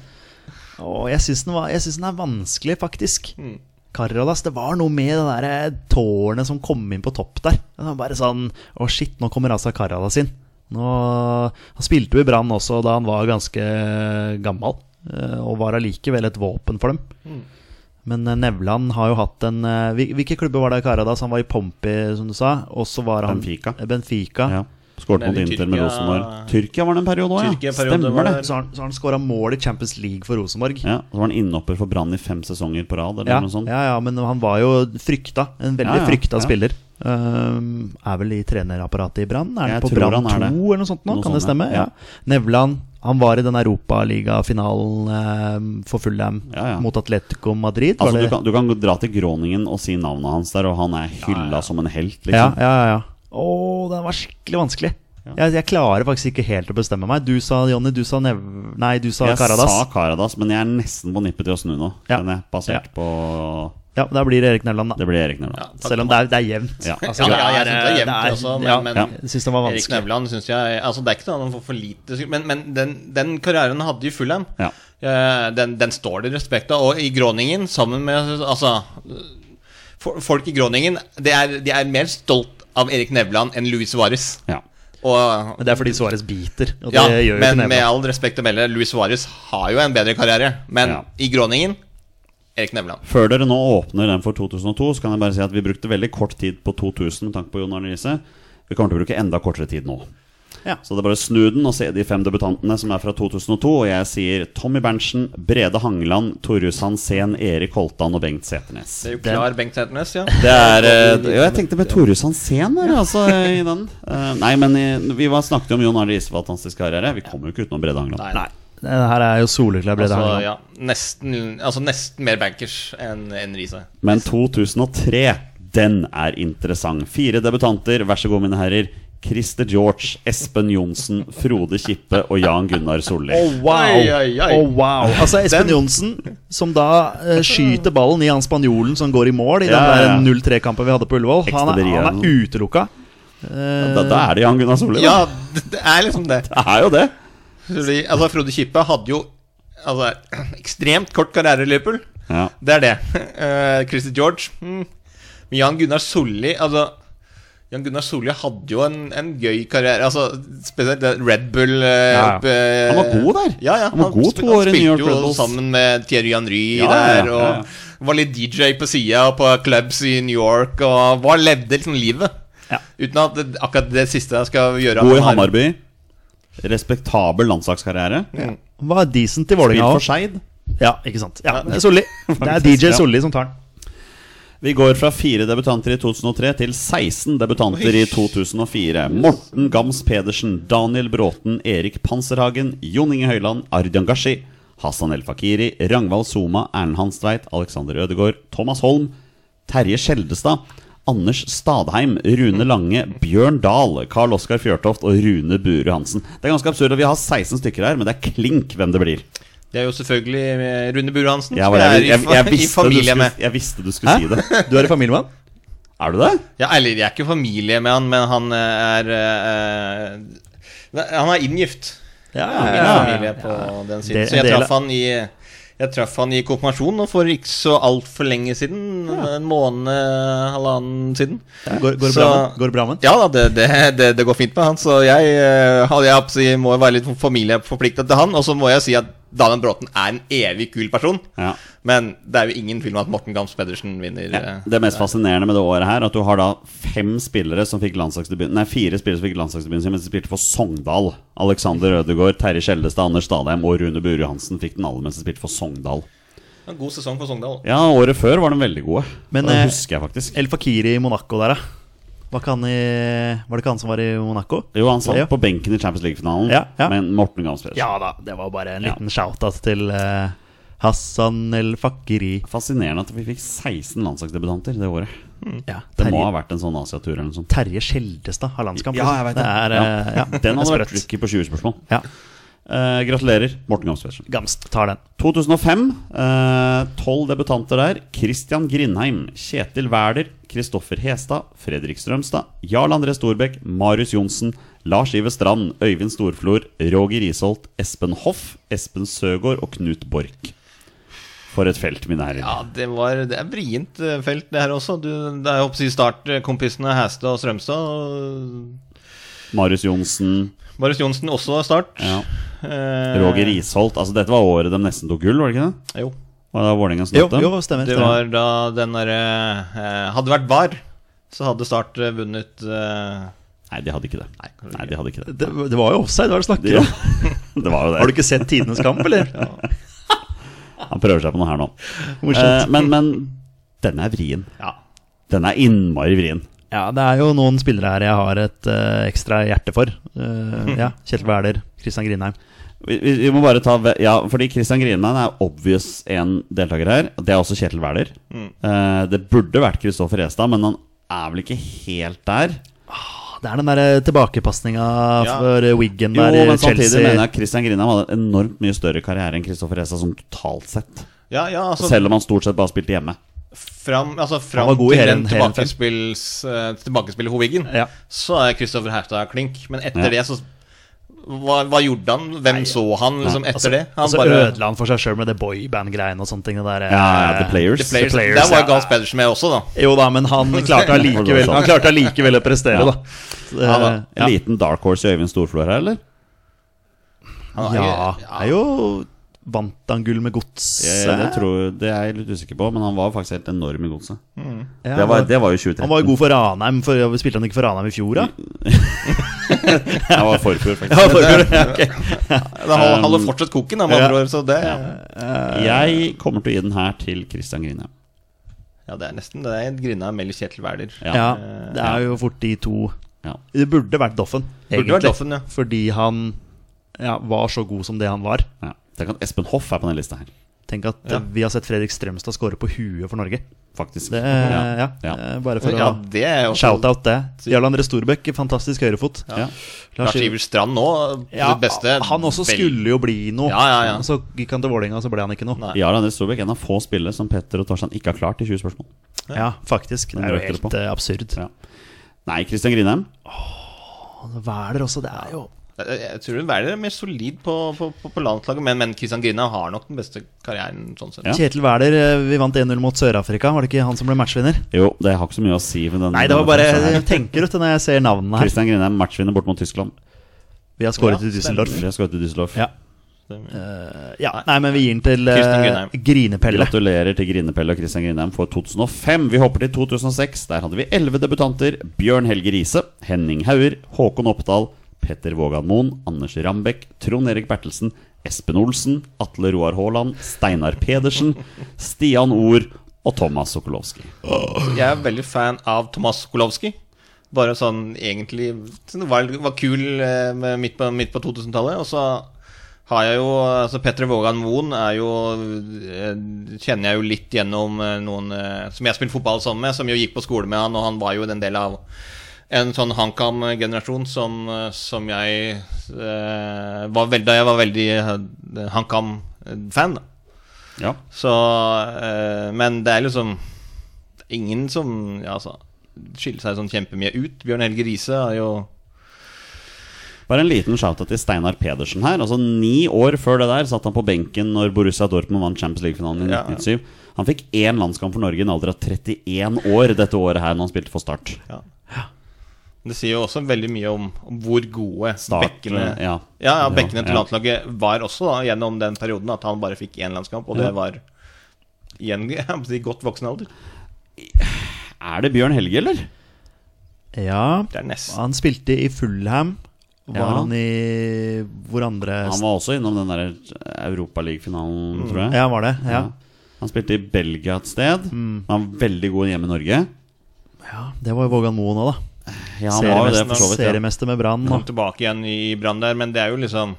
Å, jeg syns den, var- jeg synes den er vanskelig, faktisk.
Mm.
Karadas, det var noe med det derre tårnet som kom inn på topp der. Det var bare sånn Å, shit, nå kommer Azar Karadas inn. Nå, han spilte jo i Brann også da han var ganske gammel, eh, og var allikevel et våpen for dem.
Mm.
Men eh, Nevland har jo hatt en eh, hvil- Hvilke klubber var det Karadas? Han var i Pompey, som du sa. Og så var han
Benfica.
Benfica.
Ja. Skåret mot
Nede i
Inter med
Tyrkia-
Rosenborg. Tyrkia var det en periode òg,
Tyrkia
ja.
en periode
Stemmer
var
det.
der.
Så har han, så har han skåra mål i Champions League for Rosenborg.
Ja, Så var han innhopper for Brann i fem sesonger på rad, eller
Ja,
noe sånt.
ja, ja, men han var jo frykta. En veldig
Ja, ja,
frykta
ja.
spiller. Ehm, er vel i trenerapparatet i Brann? Er
Jeg
han på
tror
Brann 2
han er det.
eller noe sånt nå?
Noe
kan det
sånt,
stemme?
ja.
Ja. Nevland. Han var i den europaligafinalen um, for Fulham
Ja, ja.
mot Atletico Madrid. var
Altså, du
det-
kan, du kan dra til Groningen og si navnet hans der, og han er hylla som en helt,
Ja,
liksom.
ja, ja, ja. Å, den var skikkelig vanskelig. Jeg, jeg klarer faktisk ikke helt å bestemme meg. Du sa Jonny, du sa Nev... Nei, du sa
Jeg
Karadas.
sa Karadas, men jeg er nesten på nippet til å snu nå.
Ja.
Den er basert på
Ja, da blir det Erik Nevland, da.
Det blir Erik Nevland.
takk.
Selv om det er, Altså, det er jevnt.
Ja.
Ja, ja, jeg synes det er jevnt også, men,
ja,
men
ja.
Jeg syns den var
Erik
vanskelig.
Nevland synes jeg Altså, det er ikke noe han får for lite skryt, Men, men den, den karrieren han hadde i Fulham,
Ja.
eh, den, den står det respekt av. Og i Groningen, sammen med Altså, for, folk i Groningen de er, de er mer stolt av Erik Nevland enn Luis Suárez.
Ja.
Og
Men det er fordi Suárez biter, og det
Ja,
gjør jo ikke
men med
Nevland.
all respekt å melde, Luis Suárez har jo en bedre karriere. Men
Ja.
i Groningen Erik Nevland.
Før dere nå åpner den for 2002, så kan jeg bare si at vi brukte veldig kort tid på 2000 med tanke på Jon Arne Riise. Vi kommer til å bruke enda kortere tid nå.
Ja.
Så det er bare å snu den og se de fem debutantene som er fra 2002. Og jeg sier Tommy Berntsen, Brede Hangeland, Torjus Hansen, Erik Holtan og Bengt Seternes.
Det er jo klar Bengt Setnes, ja.
Det er eh, Jo, jeg tenkte på Torjus Hansen her, altså, i den. Eh, nei, men eh, vi var, snakket jo om Jon Arne Riise var hans karriere. Vi kommer jo ikke utenom Brede Hangeland.
Nei.
Nei, det her er jo soleklar bredde.
Altså,
her nå.
ja, nesten, altså nesten mer bankers enn enn Riise.
Men 2003, den er interessant. Fire debutanter, vær så god, mine herrer. Christer George, Espen Johnsen, Frode Kippe og Jan Gunnar Solli.
Å, wow.
Oi, oi, oi.
Å, wow. Altså Espen Johnsen, som da eh, skyter ballen i han spanjolen som går i mål i
Ja, ja, ja.
den der 0-3-kampen vi hadde på Ullevål. Han er, han
Ekspedierende.
er utelukka.
Da, da er det Jan Gunnar Solli. da.
Ja, det det er liksom det.
Det er jo det.
Fordi, altså, Frode Kippe hadde jo altså, ekstremt kort karriere i Liverpool.
Ja.
Det er det. Uh, Christer George. Mm. Men Jan Gunnar Solli altså, Jan Gunnar Solli hadde jo en, en gøy karriere. Altså, spesielt det Red Bull
Ja,
eh,
ja.
opp, eh,
Han var god der.
Ja, ja,
Han var god to
spil-
år i New York
Han
Red
spilte jo
Bulls.
sammen med Thierry Henry
Ja, ja, ja,
der.
ja,
Og
ja.
Var litt DJ på sida og på clubs i New York. Og var levde liksom livet.
Ja.
Uten at det, akkurat det siste jeg skal gjøre
God i
han er-
Hammarby. Respektabel landslagskarriere.
Han var decent i
Spilt
Vålerenga
for
òg.
Skeid.
Ja, ikke sant. Ja, det er Solli. Det er DJ
ja.
Solli som tar den.
Vi går fra fire debutanter i 2003 til 16 debutanter i 2004. Morten Gams Pedersen, Daniel Bråten, Erik Panserhagen, Jon Inge Høyland, Ardian Gashi, Hassan El Fakiri, Ragnvald Soma, Erlend Hanstveit, Alexander Ødegaard, Thomas Holm, Terje Skjeldestad, Anders Stadheim, Rune Lange, Bjørn Dahl, Karl Oskar Fjørtoft og Rune Bure Hansen. Det er ganske absurd at vi har 16 stykker her, men det er klink hvem det blir.
Det er jo selvfølgelig eh, Rune Bure Hansen.
Jeg,
som
var, jeg,
er i
jeg, jeg,
fa- i
visste, du
familie
skulle,
med.
jeg visste du skulle si det.
Du er i familie med han?
Er du det?
Ja, eller jeg er ikke i familie med han, men han eh, er eh, Nei, Han er inngift.
Ja,
Ingen
ja,
familie
ja.
på den siden.
Det-
så jeg
det-
traff han i jeg traff han i konfirmasjon nå for ikke så altfor lenge siden. En måned, halvannen siden.
Går, går, det
Så-
bra med? går det bra med han?
Ja da, det, det, det, det går fint med han. Så jeg, eh, hadde jeg opp- si, må være litt familieforpliktet til han. Og så må jeg si at Daniel Bråten er en evig kul person.
Ja.
Men det er jo ingen tvil om at Morten Gams Pedersen vinner.
Ja,
eh,
Det mest fascinerende med det året her, at du har da fem spillere som fikk landslagsdebuten Nei, fire spillere som fikk landslagsdebuten sin, mens de spilte for Sogndal.
Mm.
Alexander Ødegaard, Terje Skjeldestad, Anders Stadheim og Rune Buru Hansen fikk den alle mens de spilte for Sogndal.
En god sesong for Sogndal.
Ja, året før var de veldig gode.
Men,
det
eh,
husker jeg faktisk.
El Fakiri i Monaco der, da. Var, ikke han i, var det ikke han som var i Monaco?
Jo, han satt
Ja.
på benken i Champions League-finalen,
Ja, ja.
men Morten Gams Pedersen.
Ja da, det var bare en liten shout-out til eh, Hassan El Fakiri.
Fascinerende at vi fikk 16 landslagsdebutanter det året.
Ja,
Det må
Mm. Terje-
ha vært en sånn Asiatur eller noe sånt.
Terje Skjeldestad har landskamp.
Ja, jeg vet
det.
det.
Er, eh, ja, det
Den hadde
er
vært
sprøtt.
tricky på 20 spørsmål.
Ja,
Eh, gratulerer, Morten Gams Pedersen.
Gamst tar den.
2005. eh, Tolv debutanter der. Christian Grindheim, Kjetil Wæler, Kristoffer Hestad, Fredrik Strømstad, Jarl André Storbekk, Marius Johnsen, Lars Ive Strand, Øyvind Storflor, Roger Isholt, Espen Hoff, Espen Søgaard og Knut Borch. For et felt, mine herrer.
Ja, det, var, det er vrient eh, felt, det her også. Du, det er jo oppsi startkompisene Hæstad og Strømstad.
Marius Johnsen,
Marius Johnsen også start.
ja.
Eh,
Roger Isholt. Altså, dette var året de nesten tok gull, var det ikke det?
Jo.
Var det da Vålerenga som
Jo,
tapte?
jo stemmer.
Det
stemmer.
var da den derre eh, Hadde det vært VAR, så hadde Start eh, vunnet eh,
Nei, de hadde ikke det. Nei,
kanskje
de hadde ikke det.
Det, det var jo offside, hva er det du snakker
Ja.
om?
det var jo det.
Har du ikke sett Tidenes kamp, eller?
Han prøver seg på noe her nå. Eh,
Morsomt.
men, men den er vrien.
Ja.
Den er innmari vrien.
Ja, det er jo noen spillere her jeg har et eh, ekstra hjerte for. Eh, ja, Kjetil Wæler, Christian Grindheim.
Vi, vi, vi må bare ta ve- Ja, fordi Christian Grinman er obvious en deltaker her. Det er også Kjetil Wæler. Eh, det burde vært Kristoffer Estad, men han er vel ikke helt der.
Det er den der eh, tilbakepasninga
Ja.
for eh, Wiggen
Jo,
der i
men samtidig
Chelsea.
mener jeg at Christian Grinheim hadde en enormt mye større karriere enn Kristoffer Estad sånn totalt sett.
Ja, ja, altså,
Selv om han stort sett bare spilte hjemme.
fram, altså, fram
var god i
til
hele-
den
hele fem.
tilbakespills, eh, tilbakespillet Hoviggen,
Ja.
så er Kristoffer Herstad klink. Men etter
Ja.
det, så hva, hva gjorde han? Hvem så han liksom etter det? Han
altså
bare
ødela han for seg sjøl med det boyband-greiene og sånne ting. Det der, eh,
Ja, ja, The Players.
The Players.
The Players,
Der var
ja.
Gals Pedersen med også, da.
Jo da, men han klarte allikevel, han klarte allikevel å prestere,
Ja.
da. Så,
Ja, da.
eh,
En liten dark horse i Øyvind Storflor her, eller?
Han er jo-
Ja, er jo Vant han gull med gods?
Jeg, det, tror, det er jeg litt usikker på, men han var faktisk helt enorm i godset.
eh, Ja,
Det, var- det var jo 2013.
Han var jo god for Ranheim. For, spilte han ikke for Ranheim i fjor, da?
Jeg var forfjor, faktisk.
Ja, for, ja,
Han holder-
Um,
holder fortsatt koken, da, med andre ord. Så det,
Eh,
Jeg kommer til å gi den her til Christian Grine.
ja, det er nesten det er Grina mellom Kjetil Wæler.
Ja.
ja, det er jo fort de to
Ja.
Det burde vært Doffen,
Burde vært Doffen, ja.
Fordi han ja, var så god som det han var.
Ja. Tenk at Espen Hoff er på den lista her,
Tenk at eh, vi har sett Fredrik Strømstad skåre på huet for Norge.
faktisk.
Det, ja. Ja,
Ja.
eh, Bare for
Ja,
å
det er jo
Shout-out det. Jarl André Storbekk, fantastisk høyrefot.
Ja.
Lars Iver Strand nå, på
Ja,
sitt beste.
han også
Vel-
skulle jo bli noe.
Ja, ja, ja.
Så gikk han til Vålerenga, så ble han ikke noe.
Nei.
Jarl André Storbekk, en av få spillere som Petter og Torstein ikke har klart i 20 spørsmål.
Ja, faktisk. Det
Men
er jo
røyker det
helt
på.
eh, absurd.
Ja. Nei, Christian Grindheim.
Altså, Hvaler også, det er jo
Jeg, jeg tror Werner er mer solid på, på, på, på landslaget, men, men Christian Grina har nok den beste karrieren sånn sett.
Ja.
Kjetil Wæler, eh, vi vant 1-0 mot Sør-Afrika. Var det ikke han som ble matchvinner?
Jo, det har ikke så mye å si. Med den,
Nei, det var bare
denne
Jeg tenker ut det når jeg ser navnene her.
Christian Grindheim matchvinner bort mot Tyskland.
Vi har skåret
Ja,
i Düsseldorf.
Vi har skåret til Düsseldorf.
Ja. Eh, ja, nei, men vi gir den til eh,
Christian Grindheim.
Grinepelle.
Gratulerer til Grinepelle og Christian Grindheim for 2005. Vi hopper til 2006. Der hadde vi elleve debutanter. Bjørn Helge Riise, Henning Hauger, Håkon Oppdal, Petter Vågan Moen, Anders Rambekk, Trond Erik Bertelsen, Espen Olsen, Atle Roar Haaland, Steinar Pedersen, Stian Ord og Thomas Sokolowski.
Jeg er veldig fan av Tomas Kolowski. Bare sånn egentlig sånn, var, var kul eh, med- midt på, midt på 2000-tallet. Og så har jeg jo altså Petter Vågan Moen er jo eh, kjenner jeg jo litt gjennom eh, noen eh, som jeg spilte fotball sammen med, som jo gikk på skole med han, og han var jo en del av en sånn HamKam-generasjon som, eh, som jeg eh, var veldig, Da jeg var veldig eh, HamKam-fan, da.
Ja.
Så eh, Men det er liksom ingen som ja, altså, skiller seg sånn kjempemye ut. Bjørn Helge Riise er jo
Bare en liten shout-out til Steinar Pedersen her. Altså Ni år før det der satt han på benken når Borussia Dortmund vant Champions League-finalen i
Ja.
1997. Han fikk én landskamp for Norge i en alder av 31 år dette året her når han spilte for Start.
ja. Det sier jo også veldig mye om, om hvor gode
Start, eh,
bekkene
ja.
Ja, ja,
Ja,
bekkene til
ja.
landslaget var også da, gjennom den perioden. At han bare fikk én landskamp, og det
Ja.
var i en jeg må si, godt voksen alder.
Er det Bjørn Helge, eller?
Ja,
Det er nesten
han spilte i Fulham. Var
Ja.
han i Hvor andre
Han var også innom den der Europaliga-finalen, tror jeg.
Ja, var det? Ja.
Han spilte i Belgia et sted. Han var veldig god hjemme i Norge.
ja. Det var jo Vågan Moen òg, da.
Ja, han var jo det,
Seriemester,
for så vidt. Ja.
seriemester med Brann.
kom
og
tilbake igjen i Brann der, men det er jo liksom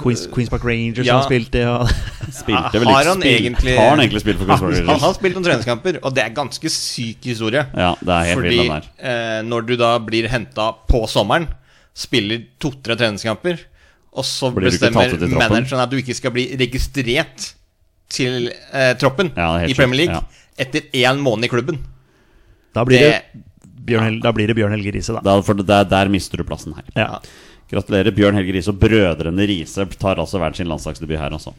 Queens, Queens Park Rangers
Ja.
han spilte i. og-
Spilte vel
Har
ikke
han
spilt-
egentlig-
Har han egentlig spilt for Chris
Han, han
Rogers?
har spilt noen treningskamper, og det er ganske syk historie.
Ja, det er helt
Fordi
vild, den der.
eh, når du da blir henta på sommeren, spiller to-tre treningskamper, og så
Blir du ikke
bestemmer
tatt ut i troppen?
manageren at du ikke skal bli registrert til eh, troppen
Ja, det er helt
i Premier
sjukt,
League etter én måned i klubben.
Da blir det,
Det-
Bjørn, Hel- da blir det Bjørn Helge Riise, da.
Da, for der, der mister du plassen her.
Ja.
Gratulerer. Bjørn Helge Riise og brødrene Riise tar altså hver sin landslagsdebut her, altså.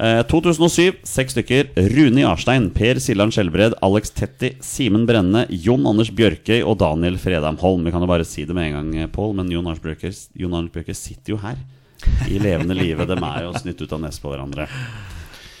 Eh, 2007, seks stykker. Rune Jarstein, Per Siljan Skjelbred, Alex Tetti, Simen Brenne, Jon Anders Bjørkøy og Daniel Fredheim Holm. Vi kan jo bare si det med en gang, eh, Pål, men Jon Anders Bjørkøy, Jon Anders Bjørkøy sitter jo her. I levende live. Dem er jo snytt ut av nesen på hverandre.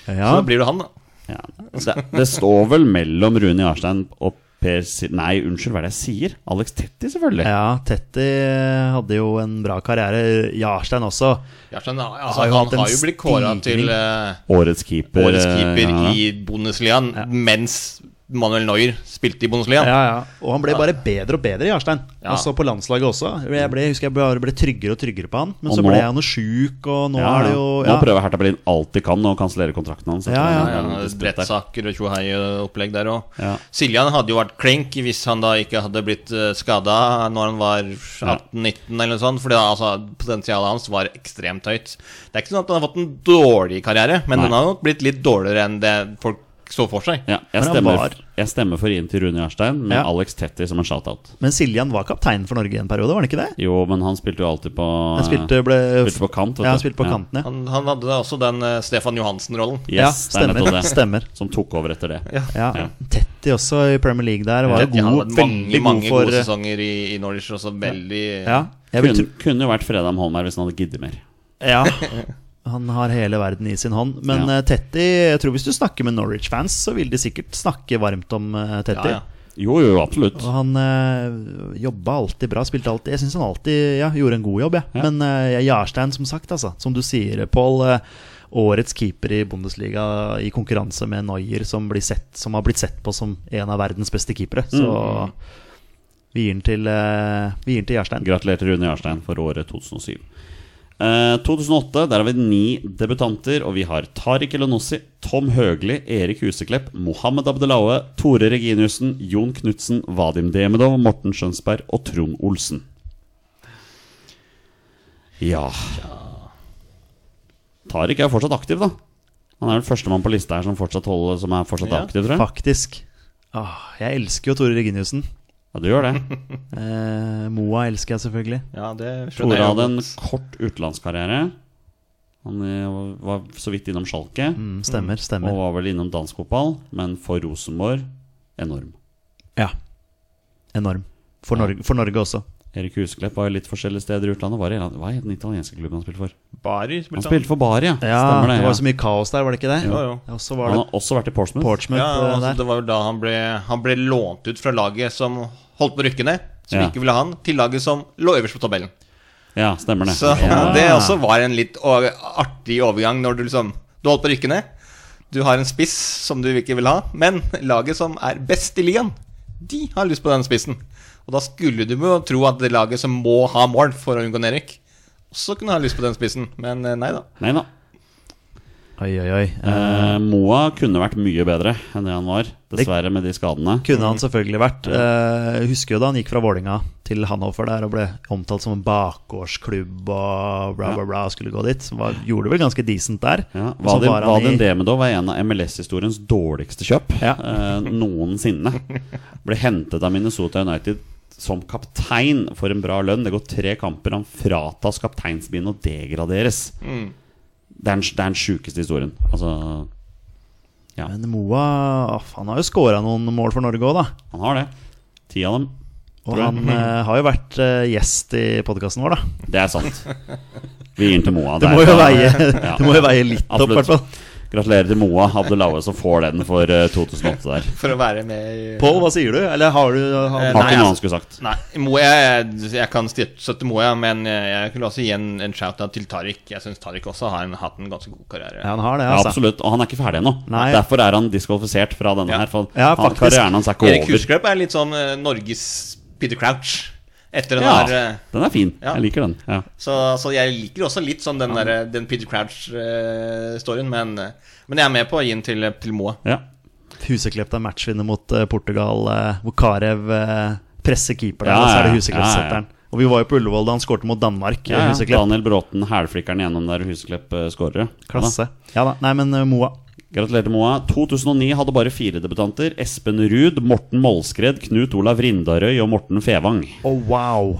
Så
Ja.
da blir du han, da.
Ja. Det, det står vel mellom Rune Jarstein og Per Si- Nei, unnskyld, hva er det jeg sier? Alex Tetti, selvfølgelig.
ja, Tetti eh, hadde jo en bra karriere. Jarstein også.
Jarstein, ja, altså,
har jo hatt
han
en
har jo blitt kåra til eh,
Årets keeper.
årets
eh,
keeper
ja, ja.
i Bundesligaen mens Manuel Neuer spilte i Bundesligaen.
Ja, ja. Og han ble bare bedre og bedre, Jarstein.
Ja.
Og så på landslaget også. Jeg ble, husker jeg bare ble tryggere og tryggere på han. Men
Og
så
nå-
ble han jo sjuk, og nå
Ja,
er det jo
ja.
ja.
Nå prøver Hertha Berlin alt de kan å kansellere kontrakten hans.
Ja, ja.
Ja,
Det er litt sprøtt der.
Rettssaker og tjohei-opplegg der òg.
Ja.
Siljan hadde jo vært klink hvis han da ikke hadde blitt skada når han var 18-19 eller noe sånt, for altså, potensialet hans var ekstremt høyt. Det er ikke sånn at han har fått en dårlig karriere, men
Nei.
den har nok blitt litt dårligere enn det folk så for seg.
Ja, jeg,
Men han var-
stemmer, jeg stemmer for inn til Rune Jarstein med
Ja.
Alex Tetti som en shoutout.
Men Siljan var kaptein for Norge i en periode, var han ikke det?
Jo, men han spilte jo alltid på
Han spilte, ble,
spilte på kant, vet
Ja, han
du.
spilte på
Ja.
kanten, ja.
Han, han hadde også den eh, Stefan Johansen-rollen.
Yes,
Ja,
det er nettopp
stemmer.
det.
stemmer.
Som tok over etter det.
Ja.
Ja. Tetti også i Premier League der var jo
Han hadde
god,
mange,
veldig god
mange
for eh,
gode sesonger i, i Norwich, også veldig
Ja, jeg vil
Kunne, kunne jo vært Fredheim Holm her hvis han hadde giddet mer.
tro Ja. Han har hele verden i sin hånd. Men
Ja.
eh, Tetti jeg tror hvis du snakker med Norwich-fans, så vil de sikkert snakke varmt om eh, Tetti.
Ja, ja.
Jo, jo, absolutt.
Og han eh, jobba alltid bra, spilte alltid Jeg syns han alltid ja, gjorde en god jobb, jeg.
Ja.
Men eh, Jarstein, som sagt, altså. Som du sier, Pål. eh, årets keeper i Bundesliga i konkurranse med Neuer, som, blir sett, som har blitt sett på som en av verdens beste keepere. Så vi gir den til, eh, vi gir den til Jarstein.
Gratulerer til Rune Jarstein for året 2007. Eh, 2008, der har vi ni debutanter, og vi har Tariq Elenossi, Tom Høgli, Erik Huseklepp, Mohammed Abdelaue, Tore Reginiussen, Jon Knutsen, Vadim Demidov, Morten Skjønsberg og Trond Olsen. Ja Tariq er jo fortsatt aktiv, da. Han er den førstemann på lista her som fortsatt, holder, som er fortsatt
Ja.
aktiv, tror jeg.
Faktisk. Ah, jeg elsker jo Tore Reginiussen.
Ja, du gjør det.
Eh, Moa elsker jeg selvfølgelig.
Ja, det skjønner
Tore
jeg.
hadde en
godt.
kort utenlandskarriere. Han eh, var så vidt innom Schalke,
Mm, stemmer,
og
stemmer.
var vel innom dansk fotball, men for Rosenborg enorm.
Ja. Enorm. For Norge, for Norge også.
Erik Husklepp var jo litt forskjellige steder i utlandet. Var det, hva het den italienske klubben han spilte for?
Bari
Han
spilte han.
spilte for Bari, ja.
Ja,
Stemmer
det,
det.
var
ja.
så mye kaos der, var det ikke det?
Jo, jo.
Og så var
Han
det
har også vært i Portsmouth.
Portsmouth
Ja,
eh,
altså,
der.
det var jo da han ble, han ble lånt ut fra laget som holdt på å rykke ned, som
Ja.
ikke ville ha han, til laget som lå øverst på tabellen.
Ja, stemmer det.
Så
ja.
det også var en litt o- artig overgang når du liksom Du holdt på å rykke ned. Du har en spiss som du ikke vil ha, men laget som er best i ligaen, de har lyst på den spissen. Og da skulle du jo tro at det laget som må ha mål for å unngå nedrykk, også kunne ha lyst på den spissen, men eh, nei da.
Nei da.
Oi, oi, oi. Eh,
Eh, Moa kunne vært mye bedre enn det han var, dessverre, med de skadene.
kunne han selvfølgelig vært. Eh, husker jo da han gikk fra Vålinga til Hannover der og ble omtalt som en bakgårdsklubb og bla,
Ja.
bla, bla, skulle gå dit. Var, gjorde det vel ganske decent der.
Ja,
Og så
Vadim,
var han
Vadim
i-
Demidov er en av MLS-historiens dårligste kjøp
Ja.
eh, noensinne. Ble hentet av Minnesota United som kaptein for en bra lønn. Det går tre kamper, han fratas kapteinsbind og degraderes.
Mm.
Det er den- det er den sjukeste historien. Altså,
Men Moa aff, han har jo skåra noen mål for Norge òg, da.
han har det. Ti av dem.
Og han eh, har jo vært eh, gjest i podkasten vår, da.
Det er sant. Vi gir den til Moa.
Det
er
må jo
bra.
veie,
Ja.
det må jo veie litt opp, i
Absolutt.
hvert fall.
Gratulerer til Moa Abdelaue som får den for eh, 2008 der.
For å være med i
Pål, hva sier du? Eller har du har,
Eh,
Har
Nei,
ikke
altså-
noe han skulle sagt.
Nei, Moe, jeg, jeg kan støtte Moe, men eh, jeg kunne også gi en, en shout-out til Tariq. Jeg syns Tariq også har en, hatt en ganske god karriere.
Ja, han har det,
Ja,
altså.
absolutt. Og han er ikke ferdig ennå.
Nei.
Derfor er han diskvalifisert fra denne
Ja.
her. For
Ja,
han,
faktisk.
karrieren hans er ikke
Erik
over.
Husklepp er litt sånn eh, Norges Peter Crouch. Etter den
Ja,
her eh,
den er fin.
Ja.
Jeg liker den. Ja.
så, så jeg liker også litt sånn den, der, eh, den Peter Crouch-storyen, men, eh, men jeg er med på å gi den til, til Moa.
Ja.
Huseklepp er matchvinner mot eh, Portugal, eh, hvor Karev eh, presser keeper der,
Ja,
og så er
ja,
det
ja.
Huseklepp som setter den. Og vi var jo på Ullevål da han skårte mot Danmark. eh,
Ja, ja.
Huseklepp.
Daniel Bråten, hælflikkeren gjennom der Huseklepp eh, skårer.
Klasse. Ja da. Nei, men eh, Moa.
Gratulerer til Moa. 2009 hadde bare fire debutanter. Espen Ruud, Morten Målskred, Knut Olav Rindarøy og Morten Fevang.
Oh, wow.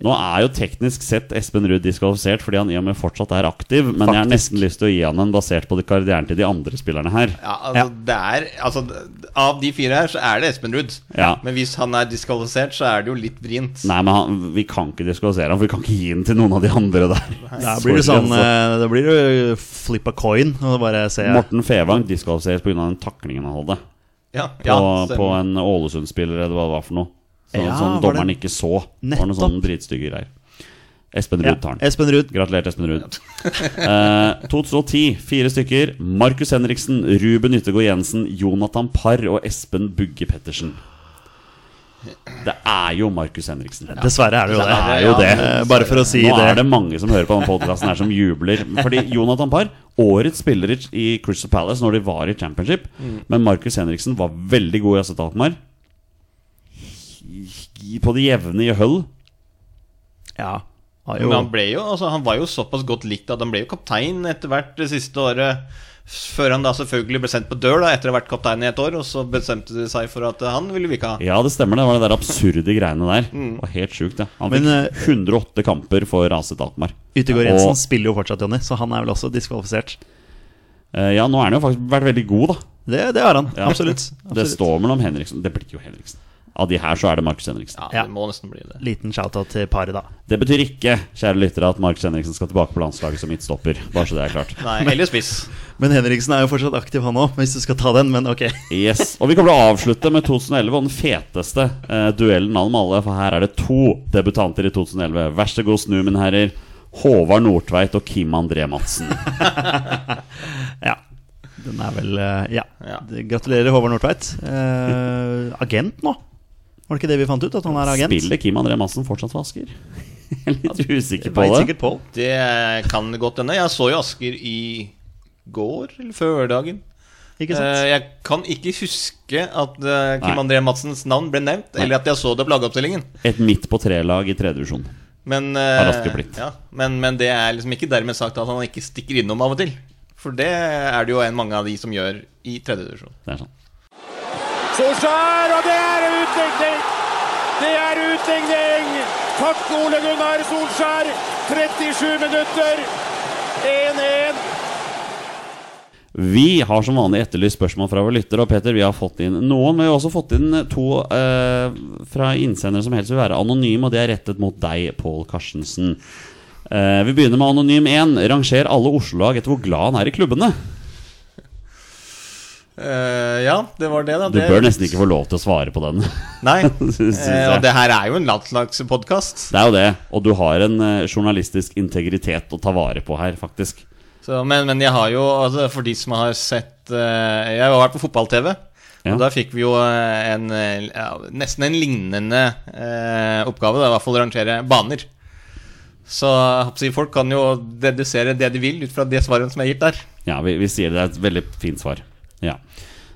Nå er jo teknisk sett Espen Ruud diskvalifisert fordi han i og med fortsatt er aktiv, men jeg har nesten lyst til å gi han en basert på de karrieren til de andre spillerne her.
Ja, altså, Det er, altså, d- av de fire her, så er det Espen Ruud.
Ja.
Men hvis han er diskvalifisert, så er det jo litt vrient.
Nei, men han, vi kan ikke diskvalifisere ham, for vi kan ikke gi den til noen av de andre der. Altså,
Da blir det
Sorry,
sånn eh, Da blir det jo flip a coin, og bare se
altså. Morten Fevang diskvalifiseres pga. den taklingen han hadde
Ja,
på,
ja,
på
stemmer.
en Ålesund-spiller, eller hva det var for noe. Sånn,
Ja,
som
var det-
dommeren ikke så. Det Var noen
Nettopp.
sånne dritstygge greier. Espen
Ja,
Ruud tar den.
Espen Ruud.
Gratulerer til Espen Ruud. Eh, 2010, fire stykker. Markus Henriksen, Ruben Yttergård Jensen, Jonathan Parr og Espen Bugge Pettersen. Det er jo Markus Henriksen.
Dessverre er det jo det.
Det er jo det.
Eh, Bare for å si
Nå er
det.
det mange som hører på denne podcasten her som jubler. Fordi Jonathan Parr, årets spiller i- i Crystal Palace når de var i championship, men Markus Henriksen var veldig god i AZ Alkmaar. På det jevne i Hull.
Ja. Har
Men han
jo
ble jo, altså, han var jo såpass godt likt at han ble jo kaptein etter hvert det siste året. f- Før han da selvfølgelig ble sendt på dør da, etter å ha vært kaptein i et år. Og så bestemte de seg for at eh, han ville vi ikke ha.
Ja, det stemmer, det var det der absurde greiene der. Det var helt sjukt, det. Han fikk
Mm. Men, eh,
108 kamper for AZ Alkmaar.
Yttergård
Og-
Jensen spiller jo fortsatt, Jonny, så han er vel også diskvalifisert.
Eh, Ja, nå har han jo faktisk vært veldig god, da.
Det, det har han.
Ja.
Absolutt.
Det
Absolutt.
står mellom Henriksen. Det blir jo Henriksen. Av de her så er det Markus Henriksen.
Ja,
Ja.
det må nesten bli det.
Liten shout-out til paret, da.
Det betyr ikke, kjære lyttere, at Markus Henriksen skal tilbake på landslaget som midtstopper. Bare så det er klart.
Nei, eller spiss.
Men Henriksen er jo fortsatt aktiv, han òg, hvis du skal ta den. Men ok.
Yes, Og vi kommer til å avslutte med 2011 og den feteste eh, duellen av dem alle. For her er det to debutanter i 2011. Vær så god, snu, mine herrer. Håvard Nordtveit og Kim André Madsen.
Ja. Den er vel eh, Ja.
Ja.
Gratulerer, Håvard Nordtveit. Eh, agent nå? Var det ikke det vi fant ut? At han er agent?
Spiller Kim André Madsen fortsatt for Asker? Jeg er litt usikker på
Veit
det.
sikkert Pål.
Det kan godt hende. Jeg så jo Asker i går, eller førdagen.
Ikke sant?
Eh, Jeg kan ikke huske at eh, Kim
Nei.
André Madsens navn ble nevnt, eller at jeg så det på lagoppstillingen.
Et midt på tre-lag i tredje divisjon.
Men,
Har
eh,
Asker blitt.
ja, men, men det er liksom ikke dermed sagt at han ikke stikker innom av og til. For det er det jo en mange av de som gjør i tredje divisjon.
Det er sånn.
Solskjær, og det er utligning! Det er utligning! Takk, Ole Gunnar Solskjær. 37 minutter. 1-1.
Vi har som vanlig etterlyst spørsmål fra våre lyttere, og Peter, vi har fått inn noen. Men vi har også fått inn to eh, fra innsendere som helst vil være anonyme, og det er rettet mot deg, Pål Karstensen. Eh, vi begynner med anonym 1. Ranger alle Oslo-lag etter hvor glad han er i klubbene.
Eh, ja, det var det, da.
Du bør nesten ikke få lov til å svare på den.
Nei.
Synes
Eh,
jeg.
og det her er jo en landslagspodkast.
Det er jo det, og du har en eh, journalistisk integritet å ta vare på her, faktisk.
Så, men, men jeg har jo, altså, for de som har sett eh, Jeg har vært på fotball-TV.
Ja.
Og da fikk vi jo eh, en, eh, ja, nesten en lignende eh, oppgave. Da, I hvert fall rangere baner. Så jeg håper å si, folk kan jo dedusere det de vil ut fra det svaret som er gitt der.
Ja, vi, vi sier det er et veldig fint svar. Ja.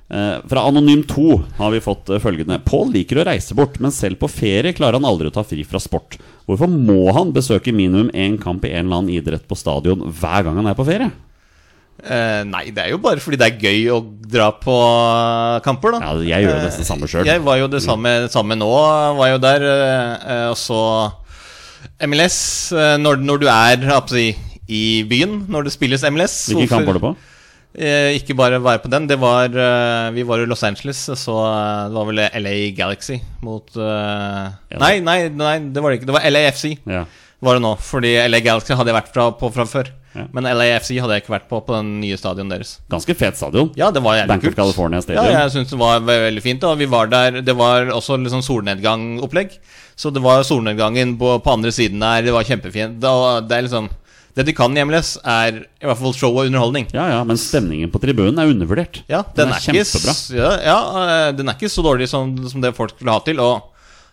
Eh, fra Anonym 2 har vi fått eh, følgende. Pål liker å reise bort, men selv på ferie klarer han aldri å ta fri fra sport. Hvorfor må han besøke minimum én kamp i en eller annen idrett på stadion hver gang han er på ferie?
Eh, nei, det er jo bare fordi det er gøy å dra på eh, kamper, da. Eh,
Ja, jeg gjør jo nesten det samme sjøl.
Jeg var jo det samme, samme nå. Var jo der, eh, eh, og så MLS. eh, Når, når du er jeg håper å si, i byen, når det spilles MLS
Hvilken kamp var det på?
Eh, ikke bare være på den. Det var, eh, vi var i Los Angeles, så eh, det var vel LA Galaxy mot eh,
Ja.
nei, nei, nei, det var det ikke. Det var LAFC
Ja.
var det nå. Fordi LA Galaxy hadde jeg vært fra, på fra før.
Ja.
Men LAFC hadde jeg ikke vært på på den nye stadion deres.
Ganske fet stadion.
Ja, det var jævlig
Bank of
kult.
California Stadium.
Ja, jeg syns det var ve veldig fint. Og vi var der, Det var også litt sånn solnedgangopplegg. Så det var solnedgangen på, på andre siden der. Det var kjempefint. Det, det er liksom Det de kan i MLS, er i hvert fall show og underholdning.
Ja ja, men stemningen på tribunen er undervurdert.
Ja, den, er, ikke,
kjempebra.
s- ja, ja, eh, den er ikke så dårlig som, som det folk skulle ha til. Og,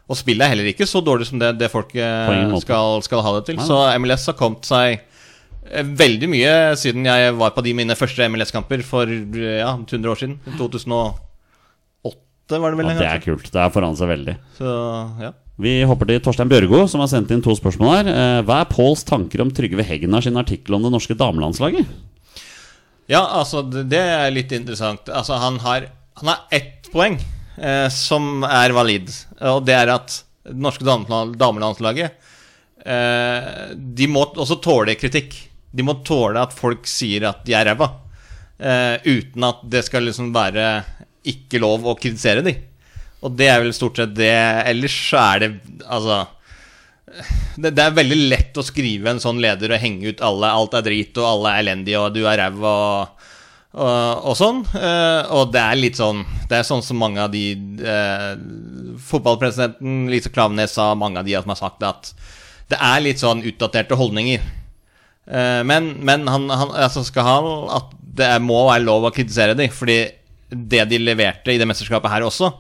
og spillet er heller ikke så dårlig som det, det folk eh,
På ingen måte.
skal, skal ha det til.
Nei.
Så MLS har kommet seg eh, veldig mye siden jeg var på de mine første MLS-kamper for eh, ja, 100 år siden. 2008 var det vel?
Ja,
en
det
gang.
er kult. Det er foran seg veldig.
Så, ja.
Vi hopper til Torstein Bjørgo, som har sendt inn to spørsmål her. Eh, Hva er Påls tanker om Trygve Hegnar sin artikkel om det norske damelandslaget?
ja, altså det det er litt interessant. Altså han har, han har ett poeng eh, som er valid, og det er at det norske dame- damelandslaget Eh, de må også tåle kritikk. De må tåle at folk sier at de er ræva. eh, uten at det skal liksom være ikke lov å kritisere de. Og det er vel stort sett det. Ellers så er det altså det, det er veldig lett å skrive en sånn leder og henge ut alle. Alt er drit, og alle er elendige, og du er ræva, og, og, og sånn. Eh, og det er litt sånn Det er sånn som mange av de eh, Fotballpresidenten Lise Klaveness sa, mange av de som har sagt at det er litt sånn utdaterte holdninger. Eh, men men han, han altså skal ha at det er, må være lov å kritisere de, fordi det de leverte i det mesterskapet her også,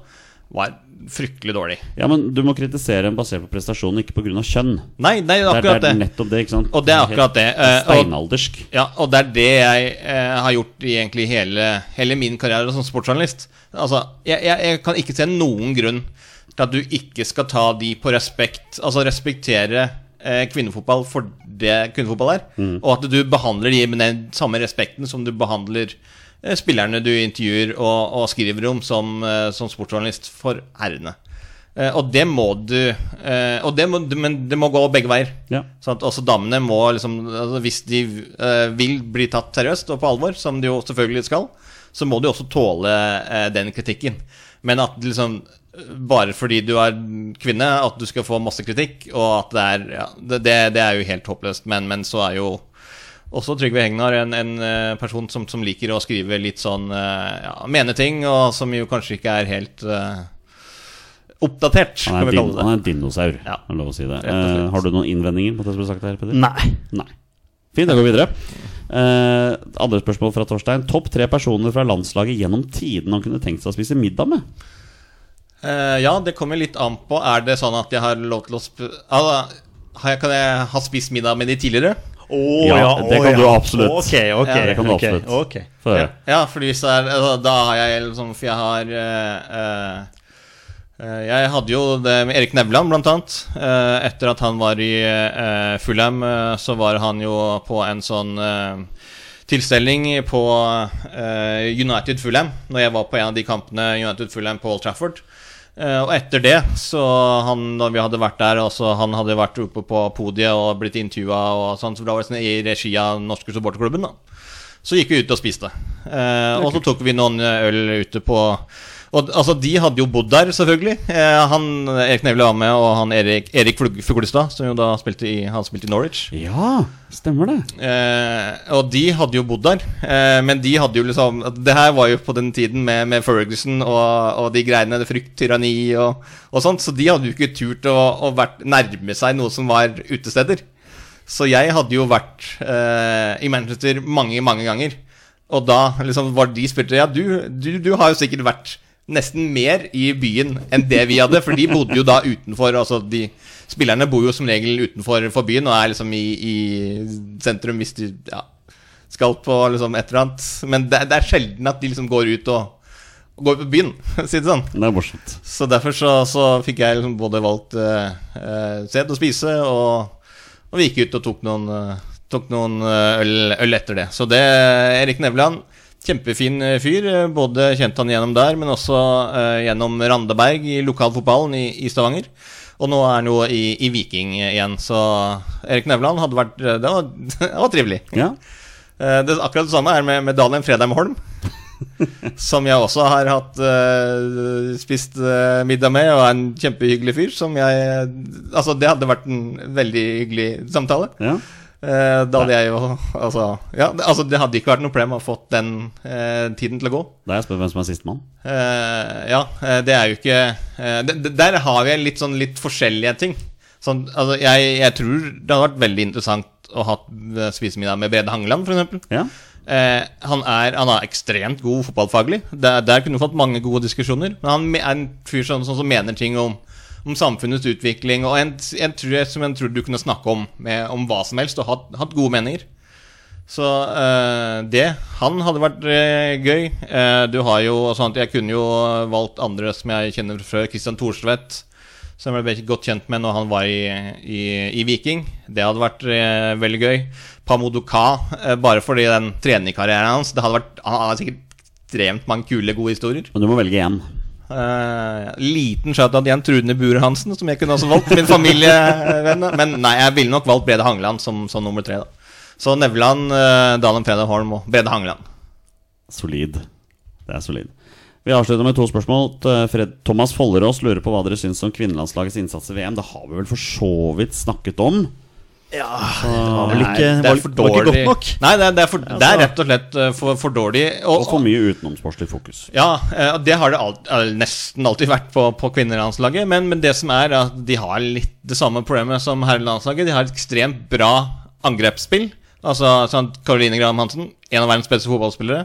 var fryktelig dårlig.
Ja, men du må kritisere en basert på prestasjonen, ikke pga. kjønn.
Nei,
Det er,
nei,
det
akkurat
er
det.
nettopp det, ikke sant?
Og det er akkurat det.
Helt
eh, og-
Steinaldersk.
Ja, og det er det jeg eh, har gjort i egentlig hele, hele min karriere som sportsjournalist. Altså, jeg, jeg, jeg kan ikke se noen grunn til at du ikke skal ta de på respekt, altså respektere eh, kvinnefotball for det kvinnefotball er, og at du behandler de med den samme respekten som du behandler eh, spillerne du intervjuer og, og skriver om som, eh, som sportsjournalist for herrene. Eh, og det må du eh, og det må, Men det må gå begge veier.
Ja.
Sånn at også damene må liksom altså Hvis de eh, vil bli tatt seriøst og på alvor, som de jo selvfølgelig skal, så må de også tåle eh, den kritikken. Men at liksom bare fordi du er kvinne, at du skal få masse kritikk, og at det er ja, Det, det, det er jo helt håpløst. Men, men så er jo også Trygve Hegnar en, en eh, person som, som liker å skrive litt sånn eh, ja, Mene ting, og som jo kanskje ikke er helt eh, oppdatert,
Han
kan
er,
vi
din,
kalle det.
han er en dinosaur,
Ja.
er det lov å si det.
Rett og slett. Mm.
Eh, har du noen innvendinger mot det som ble sagt her, Peder?
Nei.
Nei. Fint, da går vi videre. Eh, andre spørsmål fra Torstein. Topp tre personer fra landslaget gjennom tiden han kunne tenkt seg å spise middag med?
Eh, ja, det kommer litt an på. Er det sånn at jeg har lov til å sp altså, har jeg, Kan jeg ha spist middag med de tidligere?
Å
Ja, det kan du absolutt.
Ok, ok.
Ja, det
kan du
ok,
absolutt.
ok.
Få høre.
Ja, fordi hvis det er, altså, da har jeg liksom For jeg har eh, eh, eh, Jeg hadde jo det med Erik Nevland, blant annet. Eh, etter at han var i uh, Fulham, eh, så var han jo på en sånn eh, tilstelning på eh, United Fulham, når jeg var på en av de kampene United Fulham på Old Trafford. Eh, Og etter det, så han, da vi hadde vært der, og så han hadde vært oppe på podiet og blitt intervjua og sånn, så da var det sånn i regi av den norske supporterklubben, da. Så gikk vi ut og spiste. Eh, og så tok vi noen eh, øl ute på og, altså, De hadde jo bodd der, selvfølgelig. Eh, han, Erik Nevle var med, og han Erik, Erik Flug- Fuglestad, som jo da spilte i, han spilte i Norwich.
Ja, stemmer det.
Eh, og de hadde jo bodd der, eh, men de hadde jo liksom Det her var jo på den tiden med, med Ferguson og, og de greiene, det frykt, tyranni og, og sånt, så de hadde jo ikke turt å, å vært, nærme seg noe som var utesteder. Så jeg hadde jo vært eh, i Manchester mange, mange ganger. Og da liksom var de spurte Ja, du, du, du har jo sikkert vært nesten mer i byen enn det vi hadde, for de bodde jo da utenfor. Altså de Spillerne bor jo som regel utenfor for byen og er liksom i, i sentrum hvis de ja, skal på liksom et eller annet. Men det, er- det er sjelden at de liksom går ut og, og går på byen, si det sånn.
Det er morsomt.
Så derfor så, så fikk jeg liksom både valgt eh, eh, sted å spise, og, og vi gikk ut og tok noen, eh, tok noen eh, øl, øl etter det. Så det Erik Nevland, kjempefin eh, fyr. eh, Både kjente han gjennom der, men også eh, gjennom Randeberg i lokalfotballen i, i Stavanger. Og nå er han jo i, i Viking igjen, så Erik Nevland hadde vært eh, Det var, det var trivelig.
Ja,
Eh, Det, akkurat det samme er med, med Dalien Fredheim Holm. som jeg også har hatt eh, spist eh, middag med, og er en kjempehyggelig fyr. Som jeg Altså, det hadde vært en veldig hyggelig samtale.
ja.
Eh, da hadde jeg jo Altså, ja, det, altså, det hadde ikke vært noe problem å få den eh, tiden til å gå.
Da er jeg spør hvem som er sistemann.
Eh, ja, eh, det er jo ikke eh, det- det- Der har vi litt sånn litt forskjellige ting. Sånn, altså, jeg, jeg tror det hadde vært veldig interessant å ha eh, spisemiddag med Brede Hangeland, f.eks.
Ja.
Eh, han, er, han er ekstremt god fotballfaglig. Der, der kunne du fått mange gode diskusjoner. Men han me- er en fyr som, som, som mener ting om, om samfunnets utvikling, og en, en tror jeg, som en tror du kunne snakke om med, om hva som helst, og hatt, hatt gode meninger. Så eh, det Han hadde vært eh, gøy. Eh, du har jo sånn at Jeg kunne jo valgt andre som jeg kjenner fra før. Christian Thorstvedt, som jeg ble godt kjent med når han var i, i, i Viking. Det hadde vært eh, veldig gøy. Pamodoka, eh, bare fordi den trenerkarrieren hans det hadde vært, Han har sikkert ekstremt mange kule, gode historier.
Men du må velge én.
Eh, liten shout-out igjen Trudne Bure Hansen, som jeg kunne også valgt. Min familievenn. Men nei, jeg ville nok valgt Brede Hangeland som, som nummer tre. da Så Nevland, eh, Dalen Fredheim Holm og Brede Hangeland.
Solid. Det er solid. Vi avslutter med to spørsmål. T- Fred, Thomas Follerås lurer på hva dere syns om kvinnelandslagets innsats i VM. Det har vi vel for så vidt snakket om.
var vel ikke,
Nei, det er
var, var
for
ikke
dårlig.
godt nok.
Nei, det er, det er, for, det er rett og slett eh, for, for dårlig.
Og for mye utenomsportslig fokus.
Ja, eh, og det har det alt, eh, nesten alltid vært på, på kvinnelandslaget. Men, men det som er at de har litt det samme problemet som herrelandslaget. De har et ekstremt bra angrepsspill. Altså sånn, Caroline Graham Hansen, en av verdens beste fotballspillere.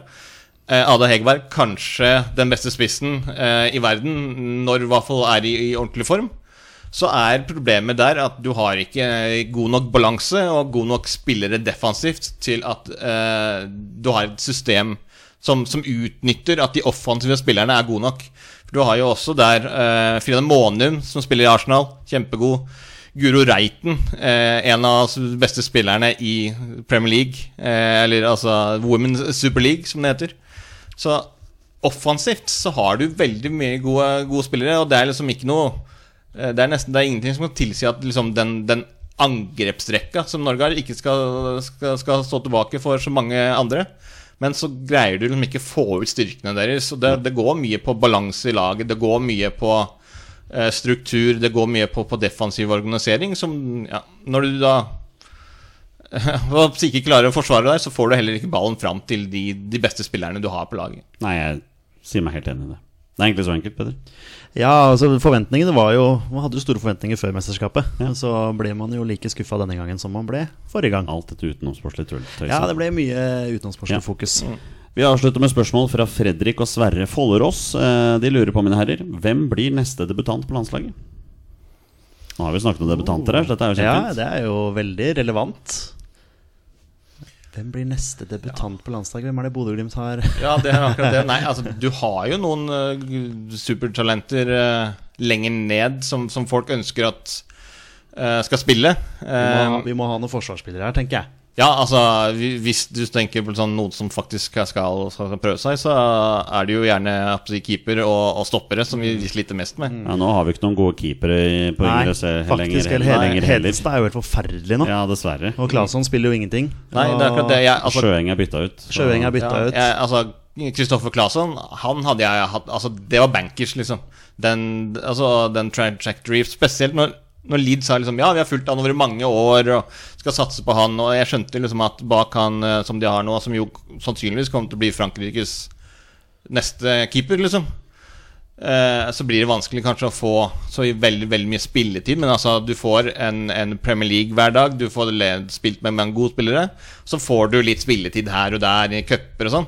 Eh, Ada Hegerberg, kanskje den beste spissen eh, i verden når Waffle er i, i ordentlig form. Så er problemet der at du har ikke eh, god nok balanse og god nok spillere defensivt til at eh, du har et system som, som utnytter at de offensive spillerne er gode nok. For du har jo også der eh, Frida Månum, som spiller i Arsenal, kjempegod. Guro Reiten, eh, en av de beste spillerne i Premier League, eh, eller altså Women's Super League, som det heter. Så offensivt så har du veldig mye gode, gode spillere, og det er liksom ikke noe eh, Det er nesten det er ingenting som kan tilsi at liksom den, den angrepsrekka som Norge har, ikke skal, skal, skal stå tilbake for så mange andre. Men så greier du liksom ikke få ut styrkene deres. Og det, det går mye på balanse i laget, det går mye på eh, struktur, det går mye på, på defensiv organisering, som ja, Når du da og hvis ikke klarer å forsvare deg, så får du heller ikke ballen fram til de, de beste spillerne du har på laget.
Nei, jeg sier meg helt enig i det. Det er egentlig så enkelt, Peder.
Ja, altså forventningene var jo Man hadde jo store forventninger før mesterskapet. Så ble man jo like skuffa denne gangen som man ble forrige gang.
Alt dette utenomsportslige tull. tøyset.
Ja, det ble mye utenomsportslig
Ja. Mm.
fokus.
Vi avslutter med spørsmål fra Fredrik og Sverre Follerås. Eh, De lurer på, mine herrer, hvem blir neste debutant på landslaget? Nå har vi snakket om debutanter her, så dette er jo
Ja,
kjempefint.
det er jo veldig relevant. Hvem blir neste debutant på landslaget? Hvem er det Bodø-Glimt har?
Ja, det er akkurat det. Nei, altså, du har jo noen eh, supertalenter eh, lenger ned som, som folk ønsker at eh, skal spille.
Vi må,
Eh, Um,
ha- vi må ha noen forsvarsspillere her, tenker jeg.
Ja, altså hvi- Hvis du tenker på sånn noen som faktisk skal, skal prøve seg, så er det jo gjerne jeg håper å si, keeper og, og stoppere som vi vi sliter mest med.
Ja, nå har vi ikke noen gode keepere i- på
Nei,
yngre se- lenger,
faktisk. Eller
lenger heller.
Hedenstad er jo helt forferdelig nå.
Ja, dessverre.
Og Claesson spiller jo ingenting.
Nei, det er akkurat det. Jeg, altså,
Sjøeng er bytta ut. så-
Sjøeng er bytta
Ja,
ut.
jeg, altså Kristoffer Claesson, han hadde jeg hatt Altså, det var bankers, liksom. Den, altså, den tra trajectory Spesielt når, når Leeds sa liksom Ja, vi har fulgt han over mange år og skal satse på han. Og jeg skjønte liksom at bak han eh, som de har nå, som jo sannsynligvis kommer til å bli Frankrikes neste keeper, liksom eh, så blir det vanskelig kanskje å få så veldig, veldig mye spilletid. Men altså, du får en, en Premier League hver dag, du får le- spilt med mange gode spillere. Så får du litt spilletid her og der i cuper og sånn.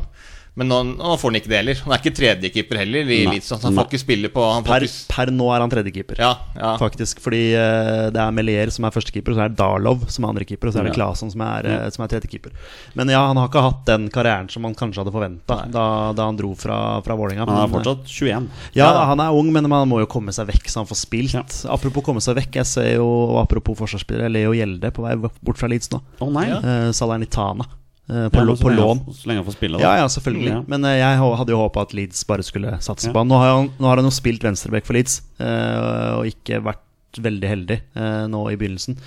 Men nå, nå får han ikke det heller. Han er ikke tredjekeeper heller. I
Nei.
Leeds, altså, han får ikke spille på han får
Per,
ikke, s-
per nå er han tredjekeeper.
ja, ja.
Faktisk, fordi eh, det er Melier som er førstekeeper, og så er det Darlov som er andrekeeper, og så er det
Ja.
Claesson som er,
Mm.
eh, som er tredjekeeper. Men ja, han har ikke hatt den karrieren som han kanskje hadde forventa da, da han dro fra, fra Vålerenga.
Han er
men, eh,
fortsatt 21.
Ja, han er ung, men han må jo komme seg vekk så han får spilt.
Ja.
Apropos komme seg vekk, jeg ser jo, og apropos forsvarsspillere, Leo Gjelde på vei bort fra Leeds nå.
Å nei!
Ja.
Eh, Salernitana eh, på, lå-
Ja, men så
på
lenge han-
lån.
Så lenge han får spille, da.
Ja, ja, selvfølgelig.
Ja.
Men eh, jeg hå- hadde jo håpa at Leeds bare skulle satse
Ja.
på han. Nå har han. Nå har han jo spilt venstreback for Leeds, eh, og ikke vært veldig heldig eh, nå i begynnelsen.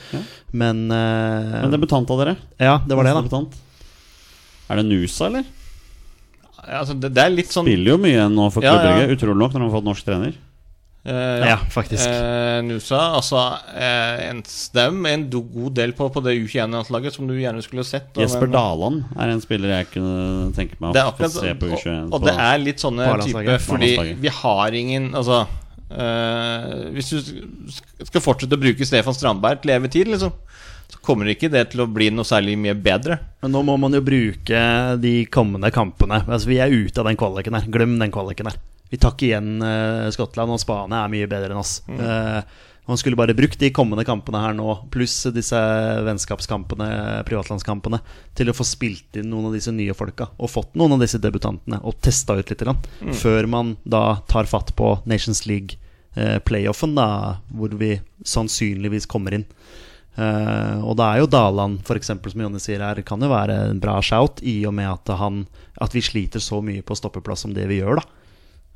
Men, eh,
Men debutant av dere?
Ja, det var det, da.
Debutant. Er det Nusa, eller?
Ja, Altså, det, det er litt sånn
Spiller jo mye nå for
Ja,
Klubb
ja.
Brygge, utrolig nok, når han har fått norsk trener.
eh,
Ja, faktisk.
Eh, Nusa, altså eh, en stem, en do, god del på, på det U21-landslaget som du gjerne skulle sett. og-
Jesper
men-
Daland er en spiller jeg kunne tenke meg
Det er
å få
akkurat
se på U21.
Og, og det er litt sånne
Barlandslaget.
type Fordi
Barlandslaget.
vi har ingen Altså eh, Hvis du sk- skal fortsette å bruke Stefan Strandberg til evig tid, liksom, så kommer ikke det til å bli noe særlig mye bedre.
Men nå må man jo bruke de kommende kampene. Altså, vi er ute av den kvaliken her. Glem den kvaliken her. Vi tar ikke igjen eh, Skottland, og Spania er mye bedre enn oss. Eh, man skulle bare brukt de kommende kampene her nå, pluss disse vennskapskampene, privatlandskampene, til å få spilt inn noen av disse nye folka, og fått noen av disse debutantene, og testa ut litt, grann, før man da tar fatt på Nations League. eh, Playoffen, da, hvor vi sannsynligvis kommer inn. Eh, og det er jo Daland, for eksempel, som Jonny sier her, kan jo være en bra shout, i og med at, han, at vi sliter så mye på stoppeplass som det vi gjør, da.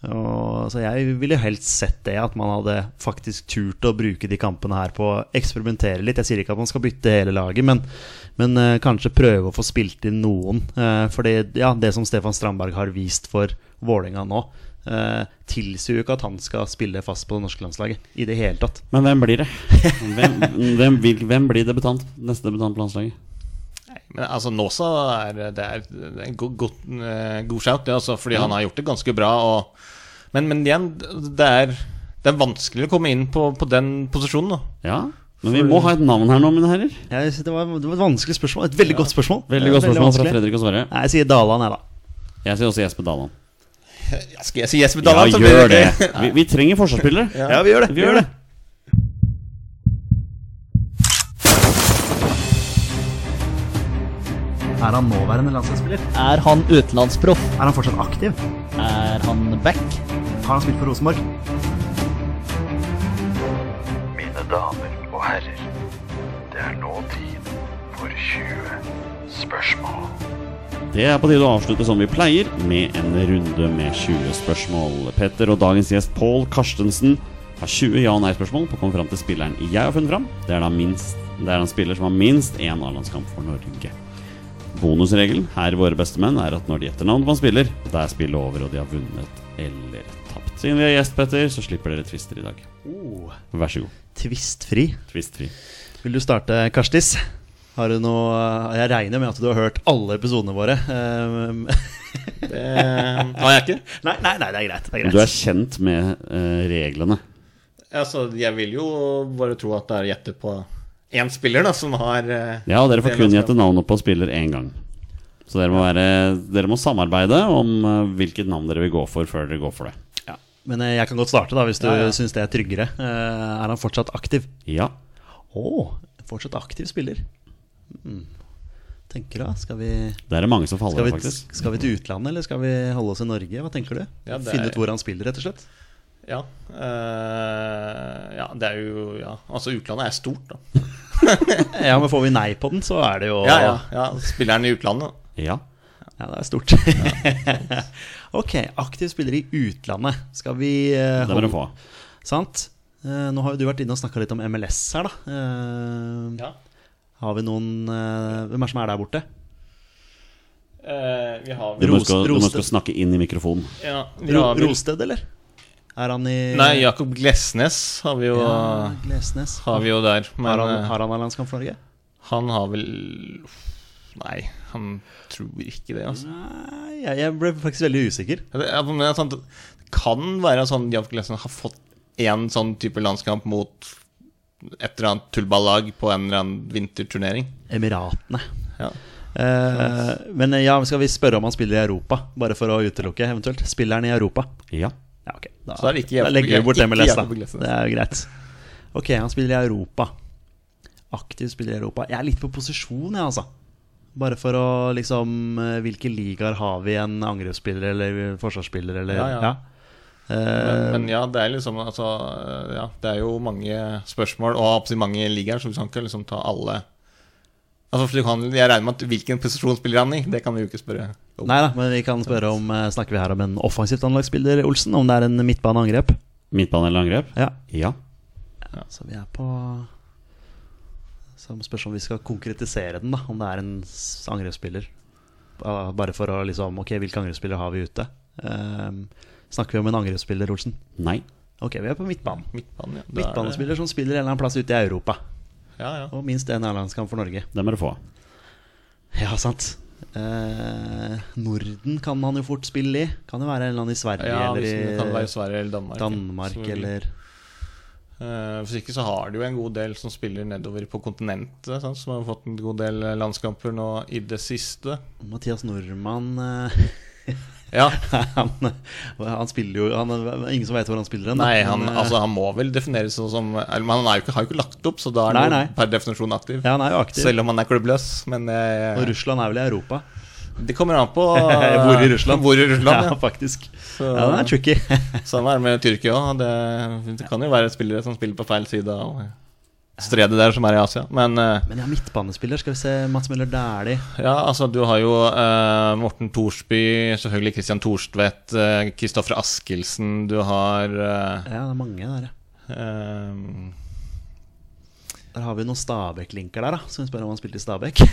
Og, så jeg ville jo helst sett det, at man hadde faktisk turt å bruke de kampene her på å eksperimentere litt. Jeg sier ikke at man skal bytte hele laget, men, men eh, kanskje prøve å få spilt inn noen. Uh, for det, ja, det som Stefan Strandberg har vist for Vålerenga nå, eh, tilsier jo ikke at han skal spille fast på det norske landslaget i det hele tatt.
Men hvem blir det? Hvem, hvem, vil, hvem blir debutant? neste debutant på landslaget?
Men altså Nåsa er, det er en god, god, eh, god shout, det, altså, fordi han har gjort det ganske bra. Og, men, men igjen, det er, det er vanskelig å komme inn på, på den posisjonen. Da.
Ja, men vi må ha et navn her nå, mine herrer.
Jeg synes det, var, det var et vanskelig spørsmål. Et veldig godt spørsmål.
Veldig godt spørsmål fra
vanskelig.
Fredrik og Sverre.
Nei, jeg sier Daland, jeg, da.
Jeg sier også Jesper Daland.
Ja, skal jeg si Jesper
Ja,
Dalland? så blir
gjør det!
ikke-
Vi, vi trenger forsvarsspillere.
Ja, vi gjør det.
Vi gjør det.
Er han nåværende landslagsspiller?
Er han utenlandsproff?
Er han fortsatt aktiv?
Er han back?
Har han spilt for Rosenborg?
Mine damer og herrer, det er nå tid for 20 spørsmål.
Det er på tide å avslutte som vi pleier, med en runde med 20 spørsmål. Petter og dagens gjest Pål Karstensen har 20 ja- og nei-spørsmål på å komme fram til spilleren jeg har funnet fram. Det er da minst, det er en spiller som har minst én A-landskamp for Norge. Bonusregelen her våre bestemenn er at når de gjetter navn på en spiller, da er spillet over og de har vunnet eller tapt. Siden vi er gjest, Petter, så slipper dere tvister i dag. Vær så god.
Tvistfri.
Tvistfri.
Vil du starte, Karstis? Har du noe Jeg regner med at du har hørt alle episodene våre. Ehm,
Eh, Har jeg ikke?
nei, nei, nei, det er greit. Det er
Men
greit.
Du er kjent med eh, reglene.
Altså, jeg vil jo bare tro at det er å gjette på én spiller da, som har eh,
Ja, og dere får
det
kun gjette
landskapet.
navnet på spiller én gang. Så dere må, være, dere må samarbeide om eh, hvilket navn dere vil gå for, før dere går for det.
ja. Men eh, jeg kan godt starte, da, hvis du
Ja, ja.
syns det er tryggere. Eh, er han fortsatt aktiv?
Ja.
Å, fortsatt aktiv spiller. Mm. Tenker da, skal vi
Det er det mange som faller
skal
av,
vi,
faktisk.
skal vi til utlandet, eller skal vi holde oss i Norge? Hva tenker du?
Ja, det er-
Finne ut hvor han spiller, rett og slett?
Ja, eh, ja, det er jo ja. Altså, utlandet er stort, da.
Ja, men får vi nei på den, så er det jo
Ja, ja, ja. Spilleren i utlandet.
Ja.
Ja, det er stort. ok, aktiv spiller i utlandet. Skal vi eh,
Det må de få.
Sant? Eh, nå har jo du vært inne og snakka litt om MLS her, da. Eh,
Ja.
Har vi noen eh, Hvem er det som er der borte?
Eh, vi har
Du
vel
må
Ros-
huske å- du må
Roste-
huske å snakke inn i mikrofonen.
ja, vi
Ro,
har vel-
Rosted, eller? Er han i
Nei, Jakob Glesnes har vi jo,
Ja, Glesnes.
har vi jo der. Men
Har
eh,
han, har han av landskamp for Norge?
han har vel Nei, han tror ikke det, altså.
Nei, jeg, jeg ble faktisk veldig usikker.
Ja, Det, ja, men det er sant, det kan være sånn Jakob Glesnes har fått én sånn type landskamp mot et eller annet tullballag på en eller annen vinterturnering.
Emiratene.
Ja.
Eh, men ja, skal vi spørre om han spiller i Europa? Bare for å utelukke, eventuelt. Spiller han i Europa?
Ja.
Ja, ok. Da,
Så da er det ikke
da
Jakob-
legger vi bort
ikke
MLS, da.
Jakob Glesnes.
Det er jo greit. Ok, han spiller i Europa. Aktiv spiller i Europa. Jeg er litt på posisjon, jeg, altså. Bare for å liksom eh, Hvilke ligaer har vi en angrepsspiller eller forsvarsspiller eller
Ja, ja.
Eh,
Men ja, det er liksom altså, ja, Det er jo mange spørsmål og absolutt mange ligaer, så du kan ikke liksom ta alle Altså, for du kan, Jeg regner med at hvilken posisjon spiller han i? Det kan vi jo ikke spørre om.
Nei da, men vi kan spørre om eh, Snakker vi her om en offensivt anlagsspiller, Olsen? Om det er en midtbaneangrep?
Midtbane eller angrep?
Ja.
Ja.
Så vi er på Så det spørs om vi skal konkretisere den, da. Om det er en s- angrepsspiller. Ba- Bare for å liksom Ok, hvilke angrepsspillere har vi ute? Ehm, snakker vi om en angrepsspiller, Olsen?
Nei.
Ok, vi er på midtbanen.
Midtbanen, ja. Da er det-
Midtbanespiller som spiller en eller annen plass ute i Europa.
Ja, ja.
Og minst én A-landskamp for Norge.
Det må du få.
Ja, sant. Eh, Norden kan han jo fort spille i. Kan jo være en eller annen i Sverige
ja
eller
hvis det kan
i
være Sverige eller Danmark.
Danmark
selvfølgelig.
eller
Eh, Hvis ikke så har de jo en god del som spiller nedover på kontinentet, sant? som har fått en god del eh, landskamper nå i det siste.
Mathias Nordmann eh,
Ja,
han, han spiller jo han, det er Ingen som vet hvor han spiller hen. da.
Nei, han,
Men, eh,
altså, han må vel defineres sånn som eller, Men han er jo ikke, har jo ikke lagt opp, så da er
Nei,
han jo
nei.
per definisjon aktiv.
eh, Ja, han er jo aktiv.
Selv om han er klubbløs. Men eh,
Og Russland er vel i Europa?
det kommer an på eh,
Hvor i Russland?
Hvor i Russland, ja.
faktisk.
Så-
Ja, den er tricky.
Samme er det med Tyrkia òg. Det, det kan jo være spillere som spiller på feil side av stredet der, som er i Asia. Men eh,
Men ja, midtbanespiller. Skal vi se Mats Møller Dæhlie.
Ja, altså du har jo eh, Morten Thorsby, selvfølgelig Christian Thorstvedt, eh, Kristoffer Askildsen, du har eh,
Ja, det er mange der, ja.
eh,
Der har vi noen Stabæk-linker der, da. Så vi spør om han spilte i Stabæk.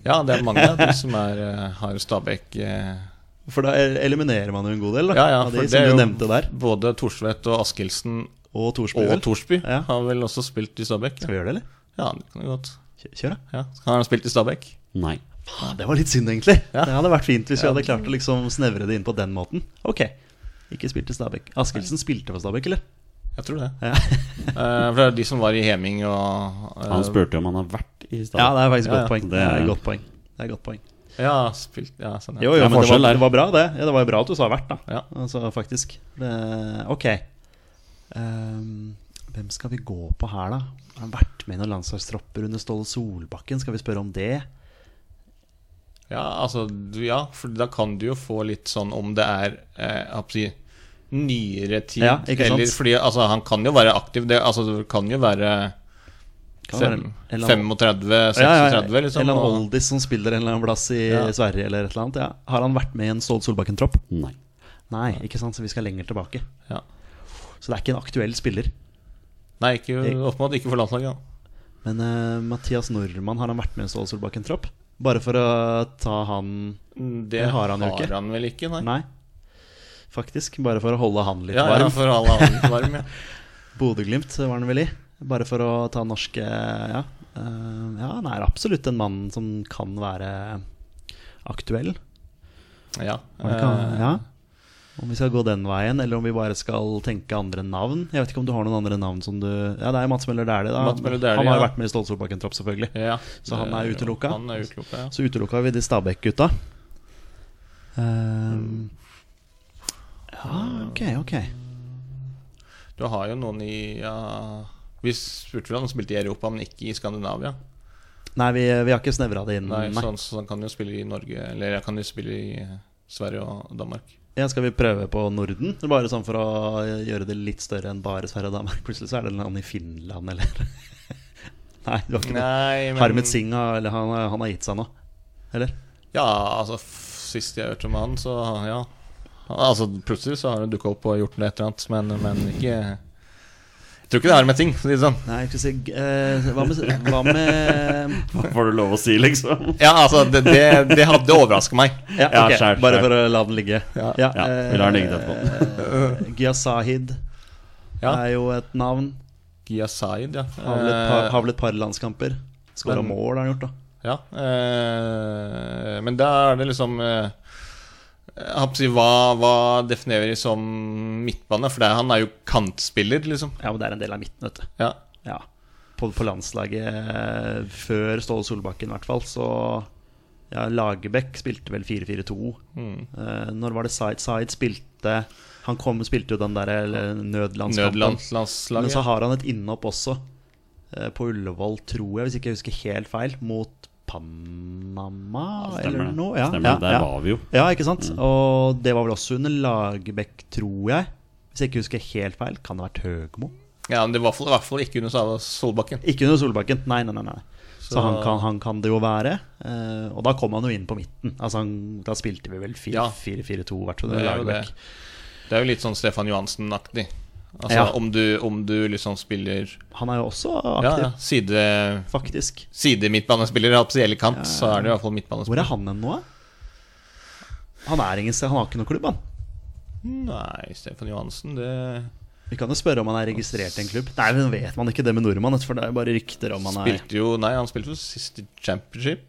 Ja, det er mange av de som er, eh, har Stabæk eh,
For da eliminerer man jo en god del, da.
Ja, ja,
av de
for det
som
er
du
jo
nevnte der.
både Thorstvedt og Askildsen
Og Thorsby.
og
vel?
Thorsby
Ja.
har vel også spilt i Stabæk.
Skal vi gjøre det, eller?
Ja, det kan jo godt.
Kjør, kjør da.
Ja, Har han spilt i Stabæk?
Nei.
Faen, det var litt synd, egentlig.
Ja.
Det hadde vært fint hvis vi hadde klart å liksom snevre det inn på den måten. Ok, ikke spilt i Stabæk. Askildsen spilte for Stabæk, eller?
Jeg tror det.
Ja.
Eh, for det er de som var i Heming og eh,
Han spurte jo om han har vært i stad.
Um, Ja, det er faktisk
Ja,
godt
ja.
poeng. Det er godt poeng. Det er godt poeng.
Ja, spilt, ja, sånn, ja.
Jo, jo,
Det er
men det
forskjell
var,
der.
det var bra, det. Ja, det var jo bra at du sa hvert, da.
Ja.
Altså, faktisk. Det, ok. Ehm, hvem skal vi gå på her, da? Har han vært med i noen landslagstropper under Ståle Solbakken? Skal vi spørre om det?
Ja, altså, du- ja, for da kan du jo få litt sånn om det er eh, jeg håper å si, nyere tid.
Ja, ikke sant?
Eller fordi altså, han kan jo være aktiv. Det, altså, det kan jo være
Kan være
fem,
en- en eller annen-
35-36, liksom.
eller en
og-
oldis som spiller en eller annen plass i
Ja.
Sverige eller et eller annet. Ja. Har han vært med i en Ståle Solbakken-tropp?
Nei.
Nei, ikke sant, så vi skal lenger tilbake.
ja.
Så det er ikke en aktuell spiller.
Nei, ikke, åpenbart ikke for landslaget. da.
Men eh, Mathias Normann, har han vært med i en Ståle Solbakken-tropp? Bare for å ta han
Det
har han jo ikke.
vel ikke, nei.
Nei. Faktisk. Bare for å holde han litt
ja, ja,
varm.
for alle andre varm, ja.
Bodø-Glimt var han vel i. Bare for å ta norske Ja. Eh, ja, han er absolutt en mann som kan være aktuell.
Ja.
Han kan,
eh,
ja. Om vi skal gå den veien, eller om vi bare skal tenke andre navn. Jeg vet ikke om du har noen andre navn som du Ja, det er Mats Møller Dæhlie, da.
Mats Møller Dæhlie,
han har jo
ja.
vært med i Ståle Solbakken-tropp, selvfølgelig.
ja.
Så han er
Eh,
utelukka?
Han er utelukka, ja.
Så utelukka vi de Stabæk-gutta. Eh, ja, ok, ok.
Du har jo noen i ja, Vi spurte vel om han spilte i Europa, men ikke i Skandinavia.
Nei, vi, vi har ikke snevra det inn.
Nei, sånn. Så, han, så han kan jo spille i Norge Eller jeg kan jo spille i eh, Sverige og Danmark.
Ja, skal vi prøve på Norden? Bare sånn for å gjøre det litt større enn bare Sverige og Danmark. Plutselig så er det en land i Finland, eller Nei, det var ikke noe.
Nei, men
Harmet Singh har- eller han, han har gitt seg nå? Eller?
Ja, altså, f- sist jeg hørte om han, så ja. Altså, plutselig så har han dukka opp og gjort noe et eller annet, men, men ikke Jeg tror ikke det har med ting, for å si det sånn.
Nei, skal vi si eh, Hva med, hva med
Får du lov å si, liksom?
Ja, altså, det, det, det hadde overraska meg.
Ja,
Ja,
ok,
skjær,
Bare
skjær.
for å la den ligge.
Ja.
Ja, vi lar den ligge til
eh, Gyasahid
Ja.
er jo et navn.
Gia Said, ja.
Har vel et par,
Eh,
har vel et par landskamper. Skåra
men-
mål, har han gjort, da.
Ja, eh, men da er det liksom eh, jeg holdt på å si, hva, hva definerer vi som midtbane? For det, er- han er jo kantspiller, liksom.
Ja, men det er en del av midten, vet du.
Ja,
Ja. På, på landslaget eh, før Ståle Solbakken, i hvert fall, så ja, Lagerbäck spilte vel 4-4-2.
Mm.
Eh, når var det Zaid Zaid spilte Han kom, spilte jo den der eh, nødlandskampen. Men
Nødlandslandslaget.
så har han et innhopp også, eh, på Ullevål, tror jeg, hvis ikke jeg husker helt feil, mot Panama
Stemmer
eller
det.
noe. Ja,
Stemmer
ja,
det. Der
ja.
var vi jo. Mm.
Ja, ikke sant? Og det var vel også under Lagerbäck, tror jeg. Hvis jeg ikke husker helt feil, kan det ha vært Høgmo?
Ja, men det var i hvert fall- i hvert fall ikke under Sala Solbakken.
Ikke under Solbakken, nei, nei, nei. nei. Så, han, kan, han kan det jo være. Eh, og da kom han jo inn på midten. Altså, han, da spilte vi vel
Ja.
4-4-2, i hvert fall.
Det er jo
Lagerbäck.
Det er jo litt sånn Stefan Johansen-aktig. Altså
Ja.
om, du, om du liksom spiller
Han er jo også
ja,
aktiv,
ja, side,
faktisk.
sidemidtbanespiller, holdt på å si, eller kant, så er det i hvert fall
Hvor
midtbanespiller.
er han hen nå, da? Han er ingen sted, han har ikke noen klubb, han.
Nei, Stefan Johansen, det
Vi kan jo spørre om han er registrert i en klubb. Nei, men vet man ikke det med nordmann, for det er jo bare rykter om han er
Spilte jo Nei, han spilte jo sist i championship.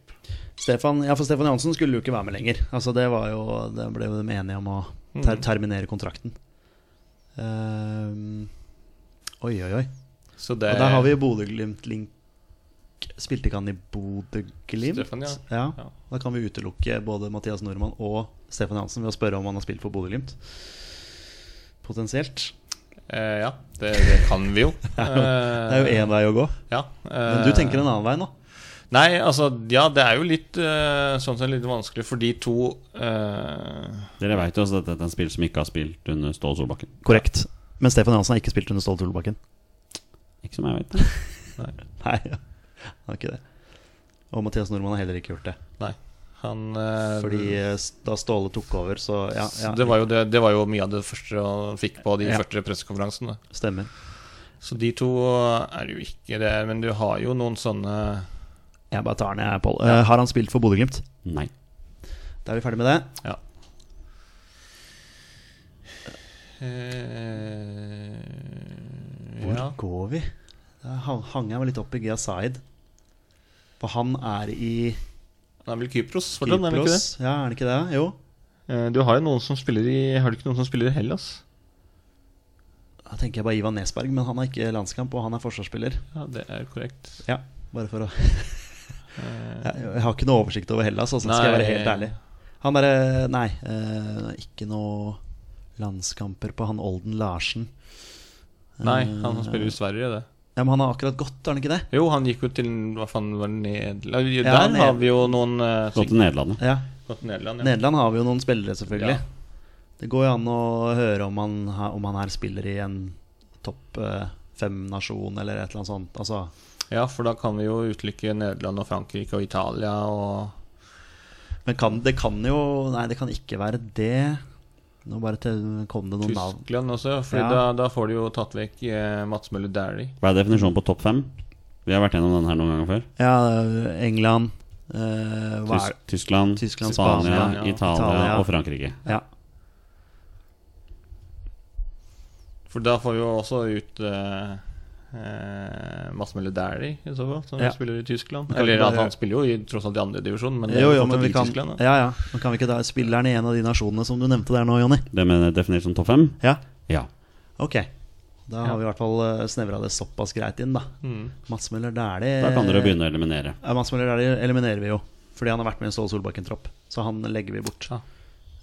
Stefan, ja, for Stefan Johansen skulle jo ikke være med lenger. Altså, det var jo Det ble jo de enige om å ter
Mm.
terminere kontrakten. Ehm, oi, oi, oi.
Så det
Og der har vi jo Bodø-Glimt-link. Spilte ikke han i Bodø-Glimt?
Stefan, ja. Ja.
Da kan vi utelukke både Mathias Nordmann og Stefan Johansen ved å spørre om han har spilt for Bodø-Glimt. Potensielt.
eh, Ja, det, det kan vi jo.
Det er jo én vei å gå.
Ja, eh,
Men du tenker en annen vei nå?
Nei, altså Ja, det er jo litt eh, sånn sett litt vanskelig for de to eh,
Dere veit jo også at dette er en spill som ikke har spilt under Ståle Solbakken.
Eh, Korrekt. Men Stefan Johansen har ikke spilt under Ståle Solbakken.
Ikke som jeg vet.
Nei, han har ikke det. Og Mathias Nordmann har heller ikke gjort det.
Nei. Han eh,
Fordi eh, s- da Ståle tok over, så ja, ja
det, var jo, det, det var jo mye av det første han fikk på de
Ja.
første pressekonferansene.
stemmer.
Så de to eh, er jo ikke det. Men du har jo noen sånne
Jeg bare tar den, jeg, Pål. Eh, har han spilt for Bodø-Glimt?
Nei.
Da er vi ferdig med det.
Ja. Eh,
Hvor
ja.
går vi? Da hang hang jeg meg litt opp i Gia Zaid. For han er i
Han er vel Kypros fortsatt, er han ikke det?
Kypros. Ja, er det ikke det? Jo.
Eh, Du har jo noen som spiller i Har du ikke noen som spiller i Hellas?
Da tenker jeg bare Ivan Nesberg, men han har ikke landskamp, og han er forsvarsspiller.
Ja, det er korrekt.
Ja, bare for å jeg, jeg har ikke noe oversikt over Hellas, altså, skal jeg være
Eh. Nei.
helt ærlig. Han derre Nei, eh, ikke noe landskamper på han Olden Larsen.
Nei, han som spiller i Sverige, det.
Ja, Men han har akkurat gått, har han ikke det?
Jo, han gikk jo til Hva faen var det Nederland Der
Ja, Ned-
har vi jo noen eh,
Gå til Nederlandet.
Ja,
Gått til Nederland, ja.
Nederland har vi jo noen spillere, selvfølgelig.
Ja.
Det går jo an å høre om han, ha- om han her spiller i en topp eh, fem-nasjon eller et eller annet sånt. Altså,
ja, for da kan vi jo utelukke Nederland og Frankrike og Italia og
men kan, det kan jo Nei, det kan ikke være det. Nå bare til, kom det noen navn.
Tyskland også, for
Ja.
da, da får du jo tatt vekk eh, Mats Møller Dæhlie.
Hva er definisjonen på topp fem? Vi har vært gjennom den her noen ganger før.
Ja, England eh, hva er,
Tysk, Tyskland,
Tyskland,
Spania,
Spania, ja.
Italia,
Italia.
og Frankrike.
ja.
For da får vi jo også ut eh, eh, Mats Møller Dæhlie, i så fall, som
Ja.
spiller i Tyskland.
kan
Eller
bare-
at han spiller jo i, tross alt i andre divisjon, men det er
Jo, jo,
fortsatt
men vi
i
kan,
Tyskland. Da.
ja, ja. men kan vi ikke da Spilleren i en av de nasjonene som du nevnte der nå, Jonny?
Det mener jeg er definert som topp fem?
Ja,
Ja.
ok. Da har vi i hvert fall eh, snevra det såpass greit inn, da.
Mm.
Mats Møller Dæhlie
Da kan dere begynne å eliminere.
Ja, Mats Møller Dæhlie eliminerer vi jo, fordi han har vært med i en Ståle Solbakken-tropp. Så han legger vi bort.
Ja.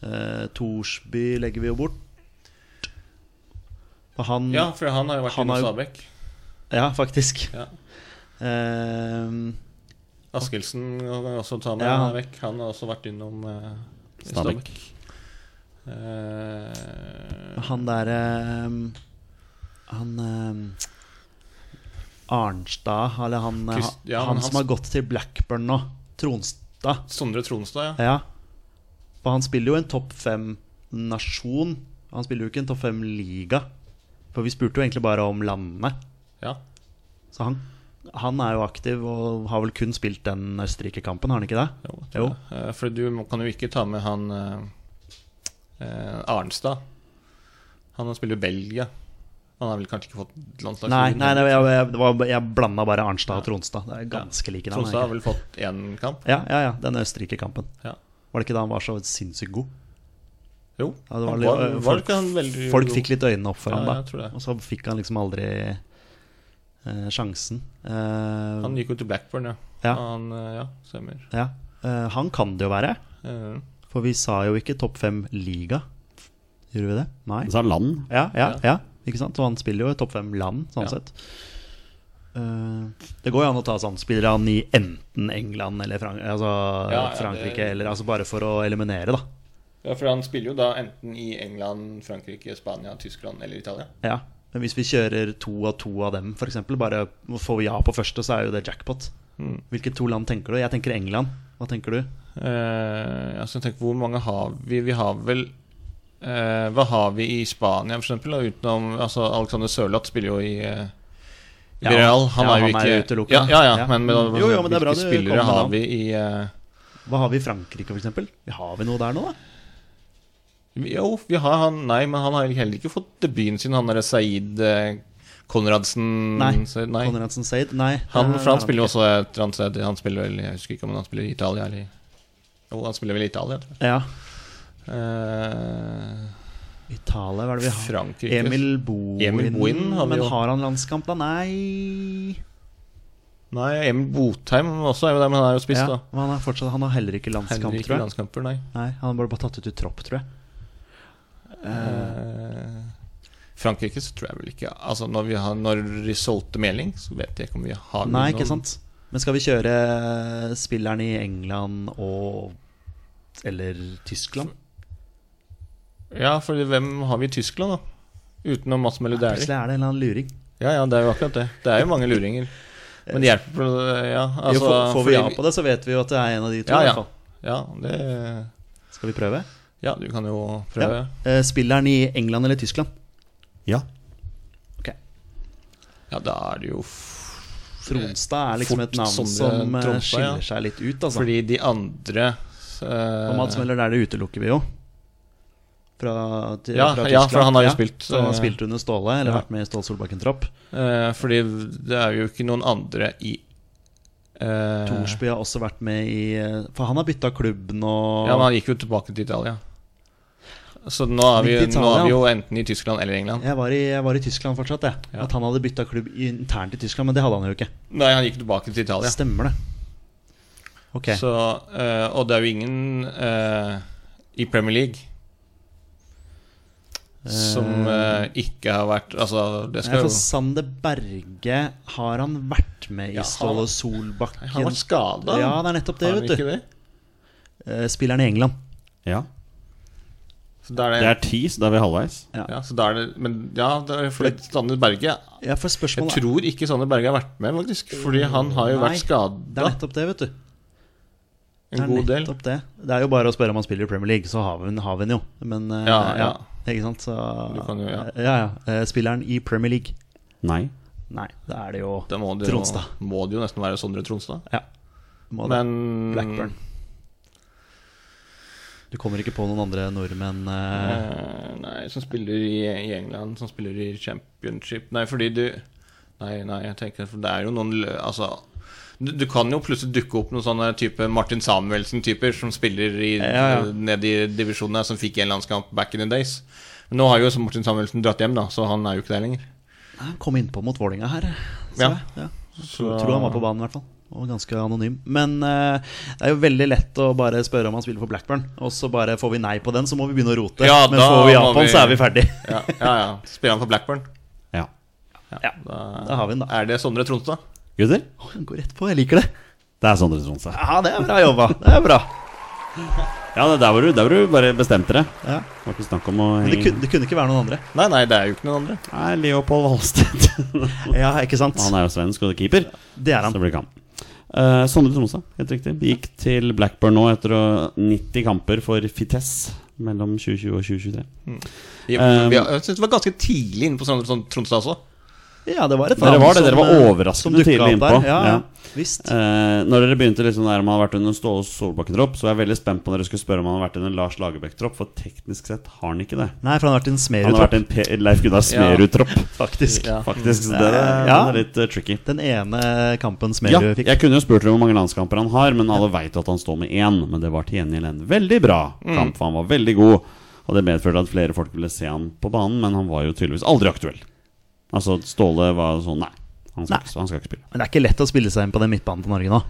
Eh, Torsby legger vi jo bort. For han
Ja, for han har jo vært
Han
inne
har
hos
jo-
Stabæk.
Ja, faktisk.
Ja.
Eh,
Askildsen kan vi også ta med
Ja.
vekk. Han har også vært innom uh,
Stabæk.
Eh,
eh, Han derre Han eh, Arnstad, eller han, eh,
Krist- ja,
han,
men
som
han-
har gått til Blackburn nå. Tronstad.
Sondre Tronstad, ja.
Ja. For han spiller jo en topp fem-nasjon. Han spiller jo ikke en topp fem-liga. For vi spurte jo egentlig bare om landene.
ja.
Så han, han er jo aktiv og har vel kun spilt den Østerrike-kampen, har han ikke det?
Jo, tror jeg. Eh, For du må- kan jo ikke ta med han eh, eh, Arnstad. Han spiller jo Belgia. Han har vel kanskje ikke fått landslagsgull?
Nei, nei, nei jeg, jeg, det var- jeg blanda bare Arnstad og Tronstad. Det er ganske like navn.
Tronstad har
egentlig.
vel fått én kamp?
Ja, ja, ja, den Østerrike-kampen.
Ja.
Var det ikke da han var så sinnssykt god?
Jo.
Ja, det var
han
litt,
var,
øh,
var
folk-
ikke han veldig
Folk fikk litt øynene opp for
Ja,
ham da,
jeg tror det.
og så fikk han liksom aldri eh, sjansen. Eh,
Han gikk jo til Blackburn, ja.
Ja.
Han, eh, ja, stemmer.
ja. Eh, han kan det jo være,
Eh,
for vi sa jo ikke topp fem liga. Gjorde vi det? Nei?
Han sa land.
Ja, ja, ja. Ikke sant? Så han spiller jo i topp fem land, sånn sett. Eh, det går jo an å ta sånn spillere han i enten England eller Frank altså,
Ja, ja,
Frankrike,
det-
eller altså bare for å eliminere, da.
ja, for han spiller jo da enten i England, Frankrike, Spania, Tyskland eller Italia.
Ja. Men hvis vi kjører to av to av dem, f.eks., bare får vi ja på første, så er jo det jackpot.
Mm.
Hvilke to land tenker du? Jeg tenker England. Hva tenker du?
Eh, altså, tenk, hvor mange har vi? Vi har vel eh, Hva har vi i Spania, for eksempel? da, Utenom altså, Alexander Sørloth spiller jo i eh, i
Ja,
Real. Han
ja,
er jo
han
ikke
er utelukket,
ja, ja, ja,
ja.
Men, men,
Jo, jo, men det er bra du
hvilke
kom
spillere
med
har
navn.
vi i eh,
Hva har vi i Frankrike, f.eks.? Har vi noe der nå, da?
Jo, vi har han Nei, men han har heller ikke fått debuten sin, han derre Saeed eh, Konradsen
Nei.
Mm, Så- nei.
Konradsen Seid? Nei.
Han,
Eh,
for han
nei,
spiller jo også et eller annet sted Han spiller vel, Jeg husker ikke om han spiller i Italia eller Jo, han spiller vel i Italia, tror jeg.
Ja.
Eh,
Italia, hva er det vi har?
Frankrike
Emil Bohin.
Emil Bohin har vi
men
jo.
har han landskamp, da? Nei.
Nei, Emil Botheim også er jo der, men han er jo spiss,
Ja,
da.
men han, er fortsatt, han har heller ikke landskamp,
Heller ikke
tror jeg.
landskamper, nei.
Nei, Han ble bare tatt ut i tropp, tror jeg.
Eh, Frankrike så tror jeg vel ikke Altså, når vi har Når de solgte Meling, så vet jeg ikke om vi har
Nei,
noen-
ikke sant. Men skal vi kjøre eh, spilleren i England og Eller Tyskland?
Ja, for hvem har vi i Tyskland, da? Utenom Mats Møller Dæhlie.
Plutselig er det en eller annen luring.
Ja, ja, det er jo akkurat det. Det er jo mange luringer. Men det hjelper på Ja, altså
jo, får, får vi ja
fordi-
på det, så vet vi jo at det er en av de to.
Ja,
i
ja.
hvert fall.
Ja, det
Skal vi prøve?
Ja, du kan jo prøve. Ja,
Eh, Spilleren i England eller Tyskland?
Ja.
Ok
da er det jo f-
Tronstad er liksom
Fort
et navn
Sondre
som eh,
Tronstad, ja.
skiller seg litt ut. Altså.
Fordi de andre eh,
og Mads Møller der, det utelukker vi jo. Fra, til,
Ja,
fra
ja, for han har jo
Tyskland.
spilt,
Så han har
eh,
spilt under Ståle, eller
ja.
vært med i Ståle Solbakken-tropp.
eh, Fordi det er jo ikke noen andre i eh,
Thorsby har også vært med i eh, For han har bytta klubb nå.
Ja, men han gikk jo tilbake til Italia. Så nå er, vi,
Gikk til
nå er vi
Italia.
jo enten i Tyskland eller England.
Jeg var, i, jeg var i Tyskland fortsatt, jeg.
Ja.
At han hadde bytta klubb internt i Tyskland, men det hadde han jo ikke.
Nei, han gikk tilbake til Italia.
Stemmer det. Ok.
Så, eh, og det er jo ingen eh, i Premier League som eh, ikke har vært Altså, det
Nei,
skal
for
jo
Sander Berge, har han vært med i
Ja, han-
Ståle Solbakken?
Han har vært skada.
Ja, det er nettopp det, vet du.
Det?
Eh, Spilleren i England.
ja.
Så da
Det
er det,
er ti, så da er vi halvveis.
ja, så da er det Men ja, det er fordi Sander Berge
Ja, for
Jeg
spørsmålet er-
tror ikke Sander Berge har vært med, faktisk. Fordi han har jo
Nei,
vært
Det er
skada
nettopp det, vet du. Det
en
er
god del.
nettopp Det. det er jo bare å spørre om han spiller i Premier League, så har vi den, har vi den jo. Men eh,
Ja, ja.
Ikke sant, så
Du kan jo, ja.
ja. Eh, Spilleren i Premier League.
Nei.
Nei, da er det jo
Da må det, jo,
Tronstad.
må det jo nesten være Sondre Tronstad.
Ja. Må det.
Men
Blackburn. Du kommer ikke på noen andre nordmenn eh,
Eh, nei, som spiller i, i England, som spiller i championship Nei, fordi du Nei, nei, jeg tenker For det er jo noen lø... Altså du, du kan jo plutselig dukke opp noen sånne type Martin Samuelsen-typer som spiller i,
Ja, ja.
nede i divisjonene, som fikk en landskamp back in the days. Men nå har jo også Martin Samuelsen dratt hjem, da, så han er jo ikke der lenger.
Han kom innpå mot Vålinga her. så
Ja.
jeg. Ja.
Så,
Jeg tror han var på banen, i hvert fall. Og ganske anonym. Men eh, det er jo veldig lett å bare spørre om han spiller for Blackburn, og så bare får vi nei på den, så må vi begynne å rote.
Ja,
Men
da
får vi ja
må
på den,
vi-
så er vi ferdig.
Ja, ja, ja. Spiller han for Blackburn?
Ja.
Ja,
Da,
Da har vi den, da.
Er det Sondre Tronstad?
Gutter,
Å, Han går rett på, jeg liker det.
det er Sondre Tronstad.
Ja, det er bra jobba. Det er bra.
Ja, det- der var du, der var du bare bestemte deg.
Ja.
Det var ikke snakk om å
Men det
henge
kunne, det kunne ikke være noen andre.
Nei, nei, det er jo ikke noen andre.
Nei, Leopold Valstedt.
Ja, ikke sant?
han er jo svensk og keeper.
Det er
Så det
han.
blir kamp. Eh, Sondre Tromsø, helt riktig. Vi gikk til Blackburn nå etter å- 90 kamper for Fites mellom 2020 og 2023.
Vi,
Um,
vi, jeg synes det var ganske tidlig inne på sånn, sånn Tromsø også.
Ja, det var et
Dere
navn
var det, dere
som,
var
eh,
overraskende
som dukket
tidlig
opp der.
innpå.
Ja,
Ja.
visst.
Eh, når dere begynte liksom der man har vært under Ståle Solbakken-tropp, så var jeg veldig spent på når dere skulle spørre om han har vært under Lars Lagerbäck-tropp, for teknisk sett har han ikke det.
Nei, for han har vært
Han
en
har
smerud,
vært en P Leif Gunnar Smerud-tropp,
faktisk.
Ja.
faktisk. Så det,
Ja.
det er litt eh, tricky.
Den ene kampen
Ja,
Smerud fikk.
jeg kunne jo spurt dere hvor mange landskamper han har, men alle veit at han står med én. Men det var til gjengjeld en veldig bra
Mm.
kamp, for han var veldig god. Og det medførte at flere folk ville se han på banen, men han var jo tydeligvis aldri aktuell. Altså, Ståle var sånn Nei, han skal,
Nei.
Ikke, han skal ikke spille.
Men det er ikke lett å spille seg inn på den midtbanen til Norge nå.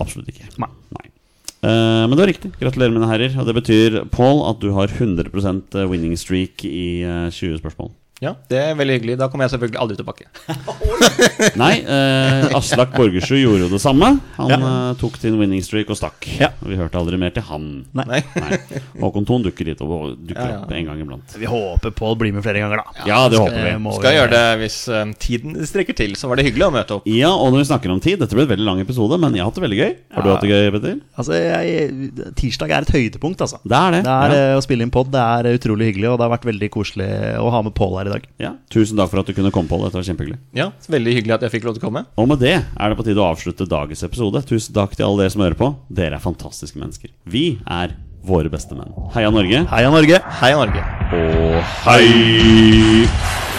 Absolutt ikke.
Nei.
Eh, men det var riktig. Gratulerer, mine herrer. Og det betyr, Paul, at du har 100 winning streak i eh, 20 spørsmål.
Ja, Det er veldig hyggelig. Da kommer jeg selvfølgelig aldri tilbake.
Nei, eh, Aslak Borgersrud gjorde jo det samme. Han eh, tok sin winning streak og stakk.
Ja.
Vi hørte aldri mer til han.
Nei.
Nei.
Håkon Thon dukker litt opp, og dukker
Ja, ja.
opp en gang iblant.
Vi håper Pål blir med flere ganger, da.
Ja, det håper vi.
må
Skal gjøre det hvis eh, tiden strekker til. Så var det hyggelig å møte opp.
Ja, og når vi snakker om tid Dette ble en veldig lang episode, men jeg har hatt det veldig gøy. Har du hatt det gøy, Petter?
Altså, jeg, tirsdag er et høydepunkt, altså.
Det er det.
Det er
ja.
eh, å spille inn pod. Det er utrolig hyggelig, og det har vært veldig koselig å ha med Pål her i dag.
Ja. Tusen takk for at du kunne komme, Pål. Dette var kjempehyggelig.
Ja, Veldig hyggelig at jeg fikk lov til å komme.
Og med det er det på tide å avslutte dagens episode. Tusen takk til alle dere som hører på. Dere er fantastiske mennesker. Vi er våre beste menn. Heia Norge.
Heia Norge!
Hei, Norge.
Og hei